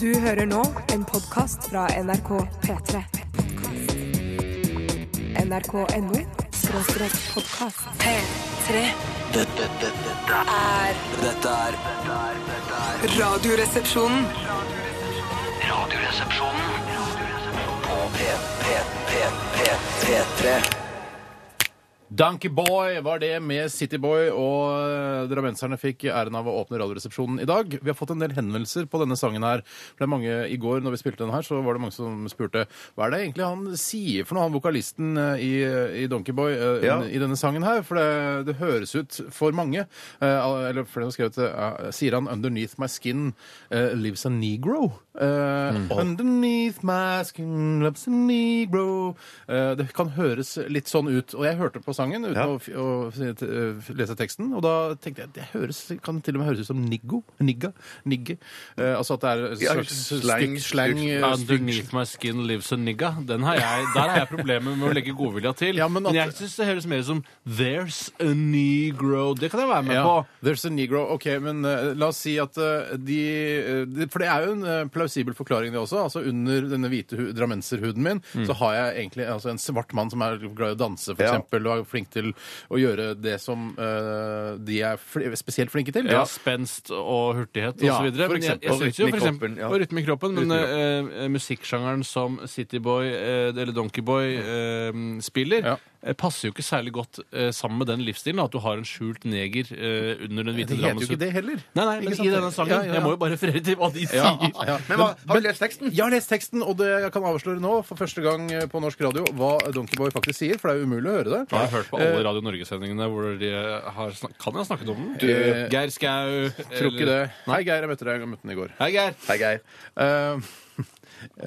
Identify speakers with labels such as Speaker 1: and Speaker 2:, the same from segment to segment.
Speaker 1: Du hører nå en podkast fra NRK P3. NRK.no skråstrek podkast. P3
Speaker 2: Dette, dette, dette,
Speaker 1: er
Speaker 2: dette er dette er- dette er
Speaker 1: Radioresepsjonen.
Speaker 2: Radioresepsjonen på P, P, P, P, P3.
Speaker 3: Donkeyboy var det med Cityboy, og eh, drammenserne fikk æren av å åpne Radioresepsjonen i dag. Vi har fått en del henvendelser på denne sangen her. For det er mange, I går når vi spilte den her, så var det mange som spurte hva er det egentlig han sier for noe, han vokalisten eh, i, i Donkeyboy eh,
Speaker 4: Ja.
Speaker 3: i denne sangen her. For det, det høres ut for mange, eh, al- eller for den som skrev det, eh, sier han 'Underneath my skin eh, lives a negro'. Eh,
Speaker 4: Mm.
Speaker 3: Underneath my skin lives a negro. Eh, det kan høres litt sånn ut. Og jeg hørte på sangen uten
Speaker 4: Ja.
Speaker 3: å, f- å f- t- eh, lese teksten, og da tenkte jeg det høres, kan til og med høres ut som niggo. Nigga. Nigge. Eh, altså at det er
Speaker 4: Ja,
Speaker 3: slags
Speaker 4: slang,
Speaker 3: stygt slang. eh, stygt-
Speaker 5: Underneath my skin lives a nigga. Den har jeg, der har jeg problemer med å legge godvilja til.
Speaker 3: Ja, men at-
Speaker 5: jeg syns det høres mer ut som There's a negro. Det kan jeg være med
Speaker 3: Ja,
Speaker 5: på.
Speaker 3: There's a negro. Ok, men eh, la oss si at eh, de, eh, de For det er jo en eh, plausibel forklaring, det også. Altså Under denne hvite hu drammenserhuden min
Speaker 5: Mm.
Speaker 3: så har jeg egentlig altså, en svart mann som er glad i å danse, for
Speaker 4: Ja.
Speaker 3: eksempel, og er flink til å gjøre det som eh, de er fl spesielt flinke til.
Speaker 5: Ja, spenst og hurtighet og
Speaker 3: Ja,
Speaker 5: så videre.
Speaker 3: for
Speaker 5: Men jeg,
Speaker 3: eksempel.
Speaker 5: jeg
Speaker 4: Og
Speaker 5: synes jo
Speaker 4: rytme i
Speaker 5: for eksempel,
Speaker 4: kroppen, ja.
Speaker 5: Og rytme i kroppen. Men eh, eh, musikksjangeren som Cityboy eh, eller Donkeyboy eh, spiller,
Speaker 3: Ja.
Speaker 5: eh, passer jo ikke særlig godt eh, sammen med den livsstilen. At du har en skjult neger eh, under den hvite
Speaker 3: Det heter jo ikke det heller.
Speaker 5: Nei, nei,
Speaker 3: Ikke
Speaker 5: men
Speaker 3: sant?
Speaker 5: i denne sangen.
Speaker 3: Ja, ja, ja.
Speaker 5: Jeg må jo bare referere til hva de sier.
Speaker 3: Ja, ja.
Speaker 4: Men hva, har du lest teksten?
Speaker 3: Jeg har lest teksten, og det jeg kan avsløre nå for første gang eh, på norsk radio hva Donkeyboy faktisk sier, for det er jo umulig å høre det.
Speaker 5: Har du hørt på
Speaker 3: Eh,
Speaker 5: alle Radio Norge-sendingene hvor de har snak Kan jeg ha snakket om den? Eh,
Speaker 3: Du-
Speaker 5: Geir Skau
Speaker 3: Tror ikke det. Hei, Geir, jeg møtte deg, jeg møtte den i går.
Speaker 5: Hei, Geir.
Speaker 4: Hei, Geir.
Speaker 3: Eh,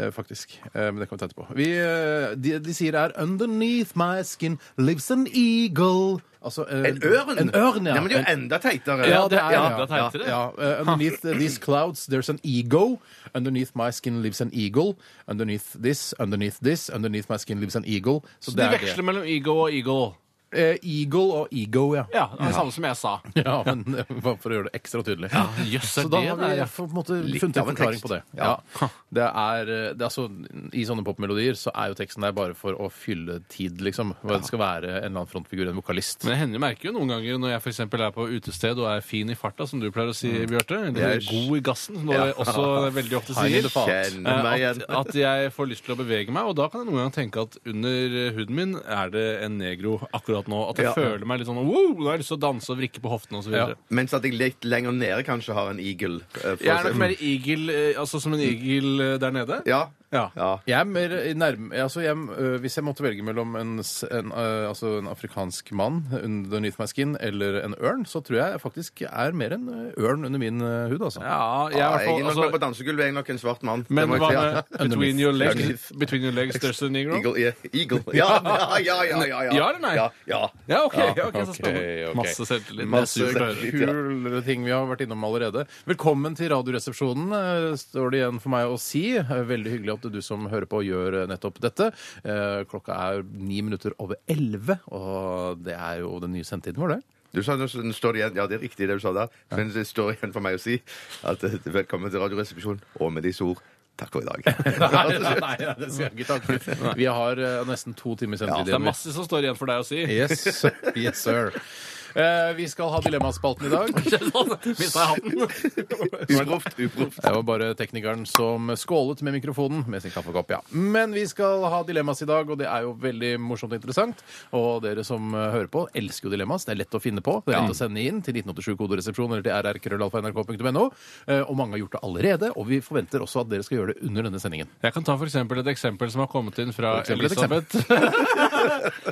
Speaker 3: eh, faktisk. Eh, Men det kan vi ta etterpå. Vi, eh, de, de sier er 'Underneath my skin lives an eagle'. Altså, eh,
Speaker 4: En ørn?
Speaker 3: En ørn, ja.
Speaker 4: Nei, men det er jo enda teitere.
Speaker 3: Ja, det er
Speaker 5: Ja,
Speaker 3: ja,
Speaker 5: det er teitere.
Speaker 3: ja, eh, underneath these clouds there's an ego. Underneath my skin lives an eagle. Underneath this, underneath this, underneath my skin lives an eagle. Så,
Speaker 5: Så
Speaker 3: det
Speaker 5: de
Speaker 3: er
Speaker 5: veksler
Speaker 3: det.
Speaker 5: mellom ego og eagle.
Speaker 3: Eh, eagle og ego, ja.
Speaker 5: Ja, det er det samme som jeg sa.
Speaker 3: Ja, men eh, bare for å gjøre det ekstra tydelig.
Speaker 5: Jøss,
Speaker 3: Så
Speaker 5: er
Speaker 3: da
Speaker 5: det
Speaker 3: har
Speaker 5: det
Speaker 3: vi
Speaker 5: er, ja.
Speaker 3: på en måte
Speaker 4: Litt
Speaker 3: funnet en
Speaker 4: av en
Speaker 3: forklaring
Speaker 4: tekst.
Speaker 3: på det. Ja.
Speaker 4: Ja.
Speaker 3: Det er, eh, det er altså, I sånne popmelodier så er jo teksten der bare for å fylle tid, liksom. Hva Det skal være en eller annen frontfigur, en vokalist.
Speaker 5: Men jeg hender merker jo noen ganger når jeg for eksempel er på utested og er fin i farta, som du pleier å si,
Speaker 3: Mm.
Speaker 5: Bjarte. Eller
Speaker 4: Jeg er-
Speaker 5: god i gassen, som du også veldig ofte
Speaker 3: Hei,
Speaker 5: sier.
Speaker 3: det faen.
Speaker 5: Eh,
Speaker 4: Kjenner meg
Speaker 5: At,
Speaker 4: igjen.
Speaker 5: at jeg får lyst til å bevege meg, og da kan jeg noen ganger tenke at under eh, huden min er det en negro akkurat nå. At jeg
Speaker 4: Ja.
Speaker 5: føler meg litt sånn wow, nå har jeg lyst til å danse og vrikke på hoftene osv.
Speaker 3: Ja.
Speaker 5: videre
Speaker 4: Mens at jeg litt lenger nede kanskje har en eagle. eh, for
Speaker 5: Jeg
Speaker 4: å
Speaker 5: er nok
Speaker 4: se-
Speaker 5: mer eagle, eh, altså som en eagle eh, der nede.
Speaker 4: Ja.
Speaker 5: Ja.
Speaker 4: ja.
Speaker 3: Jeg er mer i nærm... Altså, jeg, øh, hvis jeg måtte velge mellom en, s- en, øh, altså en afrikansk mann underneath my skin eller en ørn, så tror jeg faktisk er mer en øh, ørn under min øh, hud, altså.
Speaker 5: Ja, jeg
Speaker 4: Ja, jeg
Speaker 5: er i hvert
Speaker 4: er
Speaker 5: fall
Speaker 4: nok
Speaker 5: altså,
Speaker 4: mer på dansegulvet. Jeg er nok en svart mann.
Speaker 5: Men
Speaker 4: Det må
Speaker 5: hva
Speaker 4: jeg si, ja.
Speaker 5: med between your legs,
Speaker 4: Underneath.
Speaker 5: between your legs there's a negro?
Speaker 4: Eagle, ja. Eagle. Ja, ja, ja, ja, ja,
Speaker 5: Ja eller nei?
Speaker 4: Ja, ja.
Speaker 5: Ja, OK. Ja, ok,
Speaker 3: ok,
Speaker 5: så spennende.
Speaker 3: ok.
Speaker 5: Masse selvtillit.
Speaker 4: Masse
Speaker 5: Det er supert.
Speaker 4: selvtillit. ja.
Speaker 3: Kule ting vi har vært innom allerede. Velkommen til Radioresepsjonen, eh, står det igjen for meg å si. Eh, Veldig hyggelig at du som hører på, gjør eh, nettopp dette. Eh, Klokka er ni minutter over elleve, og det er jo den nye sendetiden vår, det.
Speaker 4: Du sa nå så står det igjen, ja det er riktig det du sa der, men det står igjen for meg å si at eh, velkommen til Radioresepsjonen, og med disse ord, takk for i dag.
Speaker 3: det skal jeg ikke takke Vi har eh, nesten to timer
Speaker 5: Det
Speaker 3: sendetid
Speaker 5: er
Speaker 3: igjen.
Speaker 5: masse som står igjen for deg å si.
Speaker 3: Yes, yes sir. Eh, vi skal ha Dilemmaspalten i dag.
Speaker 5: Mista jeg hatten?
Speaker 4: Uproft, uproft.
Speaker 3: Det var bare teknikeren som skålet med mikrofonen med sin kaffekopp, ja. Men vi skal ha dilemmas i dag, og det er jo veldig morsomt og interessant. Og dere som eh, hører på, elsker jo dilemmas. Det er lett å finne på. Det er lett å sende inn til 1987-koderesepsjon eller til rrkrøllalfa.nrk.no. Eh, Og mange har gjort det allerede, og vi forventer også at dere skal gjøre det under denne sendingen.
Speaker 5: Jeg kan ta for eksempel et eksempel som har kommet inn fra
Speaker 3: For eksempel et
Speaker 5: Elisabeth.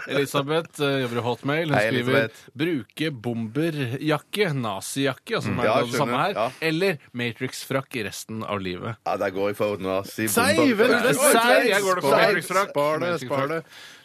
Speaker 5: Elisabeth eh, jobber i Hotmail. Hun
Speaker 4: Hei,
Speaker 5: skriver
Speaker 4: Elisabeth.
Speaker 5: 'bruke bomberjakke', nazijakke, altså, som er
Speaker 4: Ja,
Speaker 5: det samme
Speaker 4: skjønner,
Speaker 5: her,
Speaker 4: ja.
Speaker 5: eller Matrix-frakk i resten av livet.
Speaker 4: Ja, der går jeg for nå. Si
Speaker 3: Sei,
Speaker 4: bomber.
Speaker 3: vel,
Speaker 4: Ja,
Speaker 3: vel,
Speaker 4: sei,
Speaker 5: sei, jeg går det for.
Speaker 4: sei.
Speaker 5: Matrix Rock.
Speaker 3: Spar det,
Speaker 5: Matrix
Speaker 3: spar det.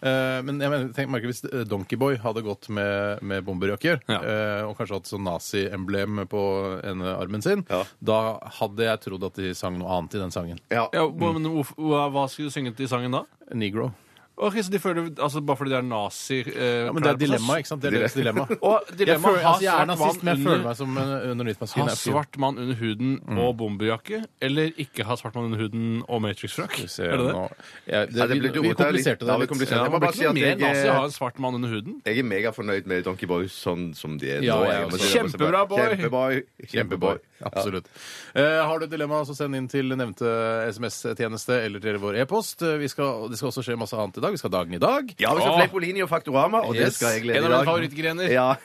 Speaker 3: Eh, men jeg mener, tenk Marke, hvis eh, Donkeyboy hadde gått med, med bomberjakker
Speaker 5: Ja.
Speaker 3: eh, og kanskje hatt sånn nazi-emblem på en eh, armen sin,
Speaker 4: Ja.
Speaker 3: da hadde jeg trodd at de sang noe annet i den sangen.
Speaker 4: Ja.
Speaker 5: Ja, hva- men hvorf- hva, hva skulle du synge til sangen da?
Speaker 3: Negro.
Speaker 5: Mm. Ok, så de føler, altså Bare fordi det er nazi eh,
Speaker 3: Ja, men det er
Speaker 5: klær på seg,
Speaker 3: dilemma, ikke sant? Det er deres dilemma.
Speaker 5: Og
Speaker 3: Jeg,
Speaker 5: dilemma,
Speaker 3: føler,
Speaker 5: ha
Speaker 3: altså, jeg er
Speaker 5: svart
Speaker 3: nazist, men
Speaker 5: mann
Speaker 3: jeg
Speaker 5: under-
Speaker 3: føler meg som eh, en underlivsmaskin.
Speaker 5: Ha svart mann under huden
Speaker 4: Mm.
Speaker 5: og bomberjakke, eller ikke ha svart mann under huden og Matrix-frakk? Er det det?
Speaker 3: Ja,
Speaker 4: Ja,
Speaker 3: det,
Speaker 4: det
Speaker 3: vi,
Speaker 4: ble
Speaker 3: vi
Speaker 4: rotet litt.
Speaker 3: kompliserte
Speaker 4: Ja,
Speaker 3: det
Speaker 4: vi
Speaker 3: litt.
Speaker 4: kompliserte
Speaker 5: Ja,
Speaker 4: Jeg må
Speaker 5: man
Speaker 4: bare si
Speaker 5: blir ikke
Speaker 4: at
Speaker 5: noe mer
Speaker 4: jeg,
Speaker 5: nazi av å ha en svart mann under huden.
Speaker 4: jeg er megafornøyd med Donkey Boys sånn som de er
Speaker 3: Ja,
Speaker 4: nå.
Speaker 3: jeg
Speaker 4: jeg må
Speaker 3: også.
Speaker 4: si det. Jeg må si det.
Speaker 5: Kjempebra, boy.
Speaker 4: Kjempeboy!
Speaker 3: Kjempeboy. Absolutt. Eh, har du et dilemma, så send inn til nevnte SMS-tjeneste eller til vår e-post. Eh, Vi skal, det skal også skje masse annet i dag. Vi skal ha dagen i dag.
Speaker 4: Ja, vi skal Fleipolini og Faktorama, og det
Speaker 3: Yes.
Speaker 4: skal jeg glede
Speaker 5: En av mine favorittgrener.
Speaker 4: Ja.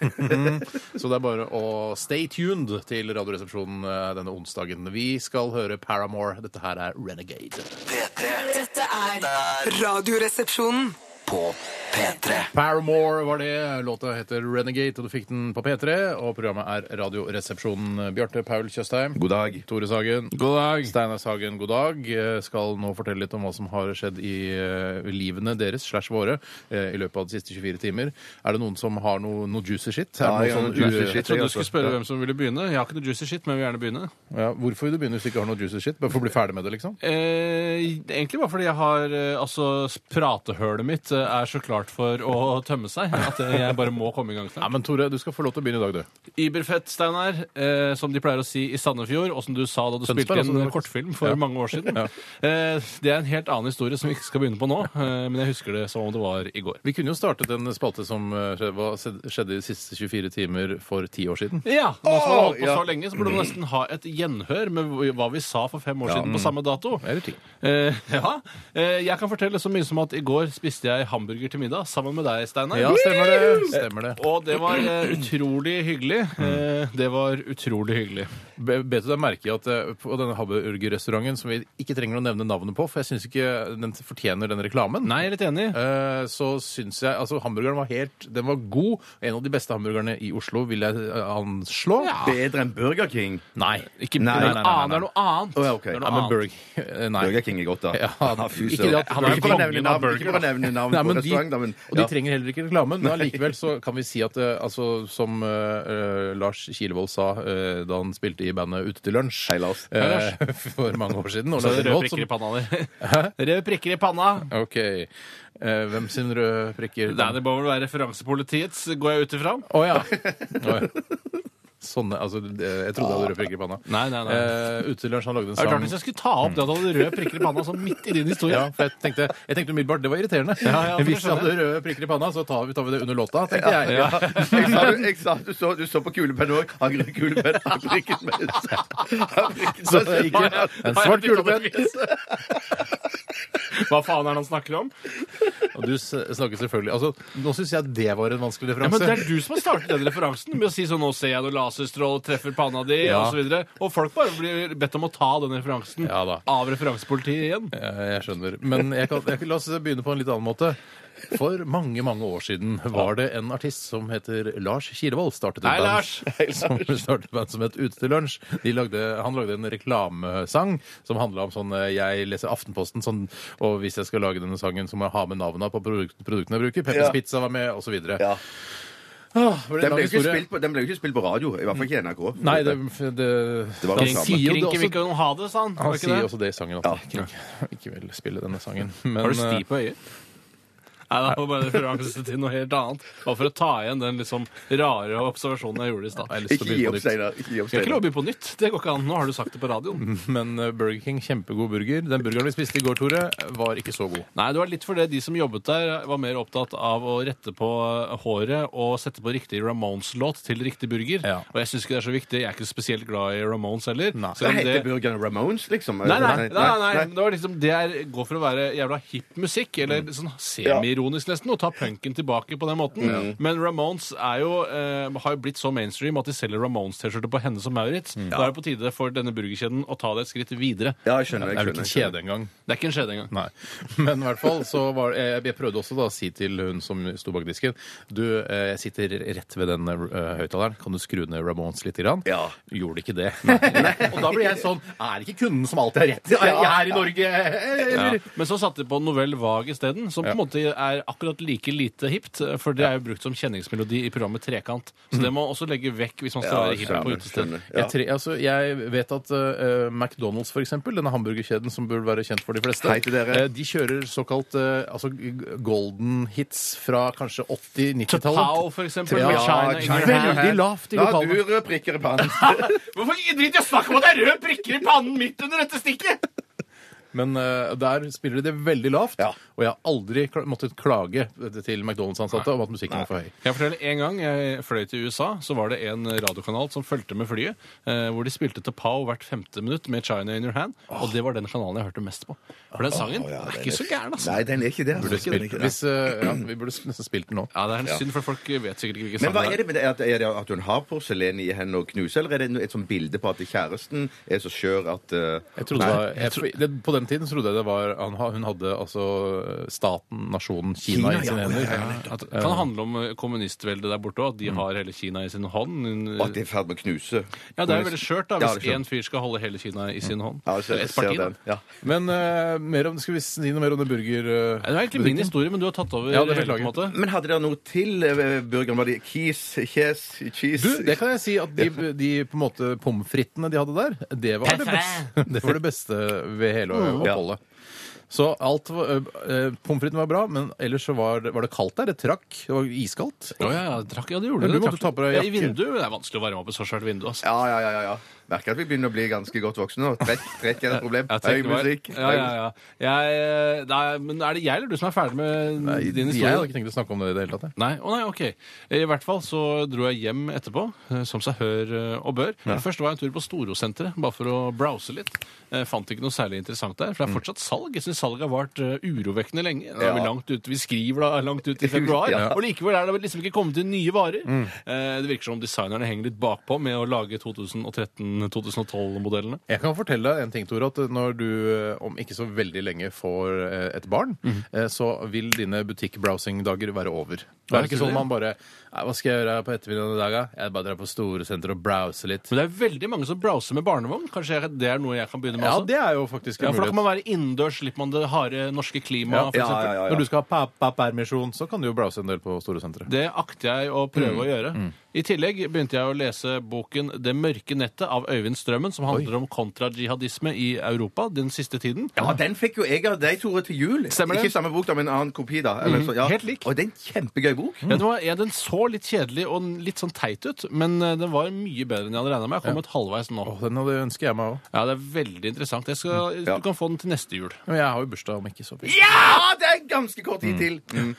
Speaker 3: Så det er bare å stay tuned til Radioresepsjonen eh, denne onsdagen. Vi skal høre Paramore. Dette her er Renegade.
Speaker 2: P3
Speaker 6: Dette er Radioresepsjonen.
Speaker 2: på P3.
Speaker 3: Paramore var det. Låta heter Renegade, og du fikk den på P3. Og programmet er Radioresepsjonen. Bjarte Paul Tjøstheim.
Speaker 4: God dag.
Speaker 3: Tore Sagen.
Speaker 5: God dag.
Speaker 3: Steinar Sagen, god dag. Eh, Skal nå fortelle litt om hva som har skjedd i eh, livene deres slash våre eh, i løpet av de siste 24 timer. Er det noen som har noe, noe juicy shit? Er
Speaker 4: Ja,
Speaker 3: det
Speaker 4: jeg har
Speaker 3: noe
Speaker 4: noe juicy
Speaker 3: u-
Speaker 4: shit.
Speaker 5: Jeg trodde du
Speaker 4: altså.
Speaker 5: skulle spørre hvem som ville begynne. Jeg har ikke noe juicy shit, men jeg vil gjerne begynne.
Speaker 3: Ja, hvorfor vil du begynne hvis du ikke har noe juicy shit? Bare for å bli ferdig med det, liksom?
Speaker 5: Eh, egentlig bare fordi jeg har eh, Altså, pratehølet mitt eh, er så klart for å tømme seg at eh, jeg bare må komme i gang
Speaker 3: Nei,
Speaker 5: snart.
Speaker 3: men Tore, du skal få lov til å begynne i dag, du.
Speaker 5: Iberfett, Steinar, eh, som de pleier å si i Sandefjord, og som du sa da du
Speaker 3: Tønsberg,
Speaker 5: spilte
Speaker 3: altså, det
Speaker 5: inn
Speaker 3: var-
Speaker 5: kortfilm for
Speaker 3: Ja.
Speaker 5: mange år siden.
Speaker 3: Ja.
Speaker 5: Eh, det er en helt annen historie som vi ikke skal begynne på nå, eh, men jeg husker det som om det var i går.
Speaker 3: Vi kunne jo startet en spalte som eh, skjedde- hva skjedde de siste 24 timer for ti år siden.
Speaker 5: Ja, Nå som vi har holdt på
Speaker 4: ja.
Speaker 5: så lenge, så burde vi nesten ha et gjenhør med hva vi sa for fem år siden på samme dato.
Speaker 3: Eller ti.
Speaker 5: Eh, ja. Eh, jeg kan fortelle så mye som at i går spiste jeg hamburger til middag sammen med deg, Steinar.
Speaker 3: Ja, stemmer det. Stemmer det.
Speaker 5: Og det var eh, utrolig hyggelig. Eh, det var utrolig hyggelig.
Speaker 3: Be- Bet du deg merke i at eh, på denne hamburgerrestauranten, som vi ikke trenger å nevne navnet på, for jeg syns ikke den fortjener den reklamen
Speaker 5: Nei, jeg er litt enig.
Speaker 3: Eh, så syns jeg Altså, hamburgeren var helt Den var god. En av de beste hamburgerne i Oslo, vil jeg eh, anslå.
Speaker 4: Bedre enn Burger King.
Speaker 3: Nei. Ikke
Speaker 4: Nei,
Speaker 3: Burger-
Speaker 4: nei, nei, nei, nei.
Speaker 5: Annet er noe annet.
Speaker 4: Å, ja, ok.
Speaker 5: Det er
Speaker 3: Ja,
Speaker 5: noe
Speaker 3: men
Speaker 5: annet.
Speaker 3: Burger eh, Nei.
Speaker 4: Burger King er godt, da.
Speaker 3: Ja,
Speaker 4: fy
Speaker 3: ikke
Speaker 4: søren.
Speaker 3: det at- han er
Speaker 4: Ikke bare
Speaker 3: kongen
Speaker 4: nevne
Speaker 3: av
Speaker 4: navn,
Speaker 3: burger,
Speaker 4: ikke bare nevne navn
Speaker 3: Nei,
Speaker 4: på
Speaker 3: men de,
Speaker 4: restaurant, da, men
Speaker 3: og de
Speaker 4: ja.
Speaker 3: trenger heller ikke reklame, men allikevel så kan vi si at eh, altså, som eh, eh, Lars Kilevold sa eh, da han spilte i bandet Ute til lunsj
Speaker 4: Hei, Lars.
Speaker 3: eh, for mange år siden og
Speaker 5: Så
Speaker 3: lagde
Speaker 5: er det
Speaker 3: en
Speaker 5: røde
Speaker 3: låt som-
Speaker 5: prikker i panna di. Røde prikker i panna.
Speaker 3: OK. Eh, hvem sin røde prikker?
Speaker 5: Nei, det må vel være referansepolitiets, går jeg ut ifra.
Speaker 3: Å ja. Å, ja. Sånne, altså, det- jeg trodde jeg hadde røde prikker i panna.
Speaker 5: Nei, nei, nei.
Speaker 3: Eh, Utelunsj han lagde en
Speaker 5: Det er klart Hvis
Speaker 3: sang
Speaker 5: jeg skulle ta opp det at du hadde røde prikker i panna sånn midt i din historie
Speaker 3: ja, for jeg tenkte, jeg tenkte umiddelbart det var irriterende.
Speaker 5: Ja, ja, for det
Speaker 3: Hvis jeg
Speaker 5: skjønner
Speaker 3: hadde røde prikker i panna, så tar vi, tar vi det under låta, tenkte jeg.
Speaker 5: Ja.
Speaker 4: Jeg sa, du, jeg sa du, så, du så på kulepenn òg. Han grønn kulepenn, han prikket med
Speaker 3: Så det er ikke en svart kulepenn.
Speaker 5: Hva faen er det han snakker om?
Speaker 3: Og du s- snakker selvfølgelig altså, Nå syns jeg det var en vanskelig
Speaker 5: Ja, men
Speaker 3: referanse.
Speaker 5: Det er du som har startet den referansen med å si sånn 'Nå ser jeg noe laserstrål treffer panna di',
Speaker 3: Ja.
Speaker 5: og så videre Og folk bare blir bedt om å ta den referansen
Speaker 3: Ja da.
Speaker 5: av referansepolitiet igjen.
Speaker 3: Eh, Jeg skjønner. Men jeg kan, jeg, kan- la oss begynne på en litt annen måte. For mange mange år siden var det en artist som heter Lars Kirevold. Startet et
Speaker 5: Hei,
Speaker 3: band,
Speaker 5: Lars!
Speaker 3: Som startet et band som het Ute til lunsj. De lagde, han lagde en reklamesang som handla om sånn eh, Jeg leser Aftenposten, sånn, og hvis jeg skal lage denne sangen, så må jeg ha med navna på produkt, produktene jeg bruker. Peppers
Speaker 4: Ja.
Speaker 3: Pizza var med, osv.
Speaker 4: Ja.
Speaker 3: ble en lang
Speaker 4: Den ble jo ikke
Speaker 3: historie.
Speaker 4: spilt på, den ble jo ikke spilt på radio. I hvert fall ikke i NRK.
Speaker 3: Nei, det, det,
Speaker 4: Det var det
Speaker 3: han
Speaker 4: samme.
Speaker 3: sier jo det også.
Speaker 5: Krinkevinke og ha det, sa han. Var
Speaker 3: Han
Speaker 5: det
Speaker 3: sier
Speaker 5: ikke det?
Speaker 3: også det i sangen at han ikke, ikke vil spille denne sangen. Men,
Speaker 5: Har du sti
Speaker 3: eh,
Speaker 5: på øyet? Nei, det var bare en referanse til noe helt annet. Bare for å ta igjen den liksom rare observasjonen jeg gjorde i stad.
Speaker 3: jeg har lyst til å
Speaker 4: Ikke gi
Speaker 3: begynne på nytt.
Speaker 4: opp, Steinar. Ikke gi opp,
Speaker 5: Skal ikke lov
Speaker 4: Steinar.
Speaker 5: å by på nytt. Det går ikke an. Nå har du sagt det på radioen.
Speaker 3: Men eh, Burger King, kjempegod burger. Den burgeren vi spiste i går, Tore, var ikke så god.
Speaker 5: Nei, det var litt fordi de som jobbet der, var mer opptatt av å rette på håret og sette på riktig Ramones-låt til riktig burger.
Speaker 3: Ja.
Speaker 5: Og jeg syns ikke det er så viktig. Jeg er ikke spesielt glad i Ramones heller.
Speaker 3: Nei.
Speaker 5: Selv om
Speaker 4: Det
Speaker 5: det-
Speaker 4: heter Burger Ramones, liksom?
Speaker 5: Nei, nei, nei, nei, Det, var liksom, det er, går for å være jævla hipp musikk, eller sånn semi-ironisk nesten, og ta punken tilbake på den måten. Men Ramones er jo, eh, har jo blitt så mainstream at de selger Ramones-T-skjorte på henne som Maurits. Da er det på tide for denne burgerkjeden å ta det et skritt videre.
Speaker 4: Ja, jeg
Speaker 3: Det
Speaker 4: skjønner. Jeg
Speaker 3: er vel ikke
Speaker 4: skjønner.
Speaker 3: en kjede engang.
Speaker 5: Det er ikke en skjede engang.
Speaker 3: Nei. Men i hvert fall så var jeg, jeg prøvde også da å si til hun som sto bak disken Du, eh, jeg sitter rett ved den eh, høyttaleren. Kan du skru ned Ramones litt? Grann?
Speaker 4: Ja.
Speaker 3: Gjorde ikke det. Og da blir jeg sånn Er det ikke kunden som alltid har rett? Jeg, jeg er i Norge! Eller
Speaker 5: Men så satte de på Novell Vag isteden, som på en måte er er akkurat like lite hipt, for det er jo brukt som kjenningsmelodi i programmet Trekant.
Speaker 3: Mm.
Speaker 5: Så det må man også legge vekk hvis man skal være hipp på
Speaker 4: skjønner,
Speaker 5: utested.
Speaker 4: skjønner. Ja.
Speaker 3: Jeg, tre, altså, jeg vet at eh, McDonald's, for eksempel, denne hamburgerkjeden som burde være kjent for de fleste,
Speaker 4: Hei til dere.
Speaker 3: eh, de kjører såkalt eh, altså, g- golden hits fra kanskje 80-90-tallet.
Speaker 5: Tapao, for eksempel.
Speaker 3: Ja,
Speaker 5: med China, in your hand.
Speaker 3: Veldig lavt i
Speaker 4: Da har du
Speaker 3: lokalene.
Speaker 4: røde prikker i pannen.
Speaker 5: Hvorfor driter jeg snakk om at det er røde prikker i pannen midt under dette stikket?
Speaker 3: Men eh, der spiller de det veldig lavt,
Speaker 4: Ja.
Speaker 3: og jeg har aldri kla måttet klage til McDonald's-ansatte om at musikken er for høy.
Speaker 5: Kan jeg fortelle En gang jeg fløy til USA, så var det en radiokanal som fulgte med flyet, eh, hvor de spilte til Pow hvert femte minutt med China in your hand. Og det var den kanalen jeg hørte mest på. For den sangen
Speaker 4: Å, ja,
Speaker 5: er
Speaker 4: den
Speaker 5: ikke så gæren, altså.
Speaker 4: Nei, den er ikke det. altså. Den er
Speaker 3: Spilt,
Speaker 4: ikke det.
Speaker 3: hvis, eh, ja, vi burde nesten spilt den nå.
Speaker 5: Ja, Det er en synd, for folk vet sikkert ikke hvilken
Speaker 4: Men
Speaker 5: sang
Speaker 4: hva er
Speaker 5: det er.
Speaker 4: det med det? Er det- Er det at hun har porselen i hendene og knuser, eller er det no- et sånt bilde på at kjæresten er så skjør at eh,
Speaker 3: Jeg trodde det var, jeg, det, på den tiden så trodde jeg det var han, ha- Hun hadde altså staten, nasjonen Kina, i sine hender.
Speaker 5: At, det kan handle om eh, kommunistveldet der borte òg, at de har hele Kina i sin hånd.
Speaker 4: og Mm. at de er i ferd med å knuse?
Speaker 5: Ja, Det er jo veldig skjørt da,
Speaker 4: Ja,
Speaker 5: hvis
Speaker 4: det er skjørt. Mm.
Speaker 5: én fyr skal holde hele Kina i sin hånd.
Speaker 4: Ja, så,
Speaker 5: Eller
Speaker 4: ser den. Ja.
Speaker 3: Men eh, mer om, skal vi si noe mer om det burger... eh,
Speaker 5: Det er egentlig min historie, men du har tatt over.
Speaker 3: Ja, det
Speaker 5: hele, på en
Speaker 3: beklager.
Speaker 5: måte.
Speaker 4: Men hadde dere noe til eh, burgeren? Var det keys, kjes, cheese?
Speaker 3: Du, det kan jeg si at de, de på en måte pommes fritene de hadde der, det var det beste, det, var det beste ved hele oppholdet. Så alt var, eh, Pommes fritesen var bra, men ellers så var det, var det kaldt der. Det trakk. Det var iskaldt.
Speaker 5: Å ja, ja, drakk, ja, det gjorde
Speaker 3: Men du
Speaker 5: det.
Speaker 3: måtte
Speaker 5: Trakk-
Speaker 3: ta på deg
Speaker 5: ja, I
Speaker 3: jakke.
Speaker 5: vindu. Det er vanskelig å varme opp i så svært vindu. Altså.
Speaker 4: Ja, ja, ja, ja, ja. Merker at vi begynner å bli ganske godt voksne nå. Trekk, trekk er et problem. Høy
Speaker 5: Jeg tenker bare-
Speaker 4: musikk.
Speaker 5: Ja, ja, ja. Jeg, eh, nei, men er det jeg eller du som er ferdig med
Speaker 3: Nei,
Speaker 5: din
Speaker 3: jeg hadde
Speaker 5: historie?
Speaker 3: ikke tenkt å snakke om det i det hele tatt. jeg.
Speaker 5: Nei, å nei, ok. I hvert fall så dro jeg hjem etterpå, eh, som seg hør eh, og bør. Først var jeg en tur på Storosenteret, bare for å browse litt. Jeg fant ikke noe særlig interessant der, for det er fortsatt salg. Jeg syns salget har vart eh, urovekkende lenge. Da er vi,
Speaker 4: Mm. Ja.
Speaker 5: langt ut, vi skriver da langt ut i februar,
Speaker 4: Ja. Mm.
Speaker 5: og likevel er det liksom ikke kommet inn nye varer. Eh, Det virker som om designerne henger litt bakpå med å lage 2013-2012-modellene.
Speaker 3: Jeg kan fortelle deg en ting, Tore, at når du eh, om ikke så veldig lenge får eh, et barn, eh, så vil dine butikkbrowsing-dager være over. Da er det
Speaker 5: jeg
Speaker 3: ikke
Speaker 5: tror
Speaker 3: sånn
Speaker 5: det.
Speaker 3: man bare «Nei, Hva skal jeg gjøre på ettermiddagen i dag, da? Jeg bare drar på Storesenteret og browser litt.
Speaker 5: Men det er veldig mange som browser med barnevogn. Kanskje jeg, det er noe jeg kan begynne med?
Speaker 3: Altså, Ja,
Speaker 5: også?
Speaker 3: det er jo faktisk en
Speaker 5: ja, for Da
Speaker 3: mulighet.
Speaker 5: kan man være innendørs, slipper man det harde norske
Speaker 3: Ja, for
Speaker 5: klimaet. for
Speaker 3: eksempel.
Speaker 5: eksempel.
Speaker 4: ja, ja.
Speaker 3: Når du skal ha pappapermisjon, så kan du jo browse en del på Storesenteret.
Speaker 5: Det akter jeg å
Speaker 3: Mm,
Speaker 5: prøve å gjøre. I tillegg begynte jeg å lese boken 'Det mørke nettet' av Øyvind Strømmen, som handler om kontrajihadisme i Europa den siste tiden.
Speaker 4: Ja, den fikk jo jeg av deg, Tore, til jul.
Speaker 5: Stemmer det? Mhm.
Speaker 4: Ikke samme bok, da, men en annen kopi. da. Eller så- ja.
Speaker 5: Helt lik.
Speaker 4: Og det er en kjempegøy bok.
Speaker 5: Ja, den, Mm. var, ja, den så litt kjedelig og litt sånn teit ut, men eh, den var mye bedre enn jeg hadde regna med. Jeg har kommet halvveis nå.
Speaker 3: Å, den hadde ønsker jeg meg òg.
Speaker 5: Ja, Det er veldig interessant. Jeg skal,
Speaker 3: Mm.
Speaker 4: Ja.
Speaker 5: Du kan få den til neste jul.
Speaker 3: Men jeg har jo bursdag om ikke så mye.
Speaker 4: Ja! Det er ganske kort tid til. Mm.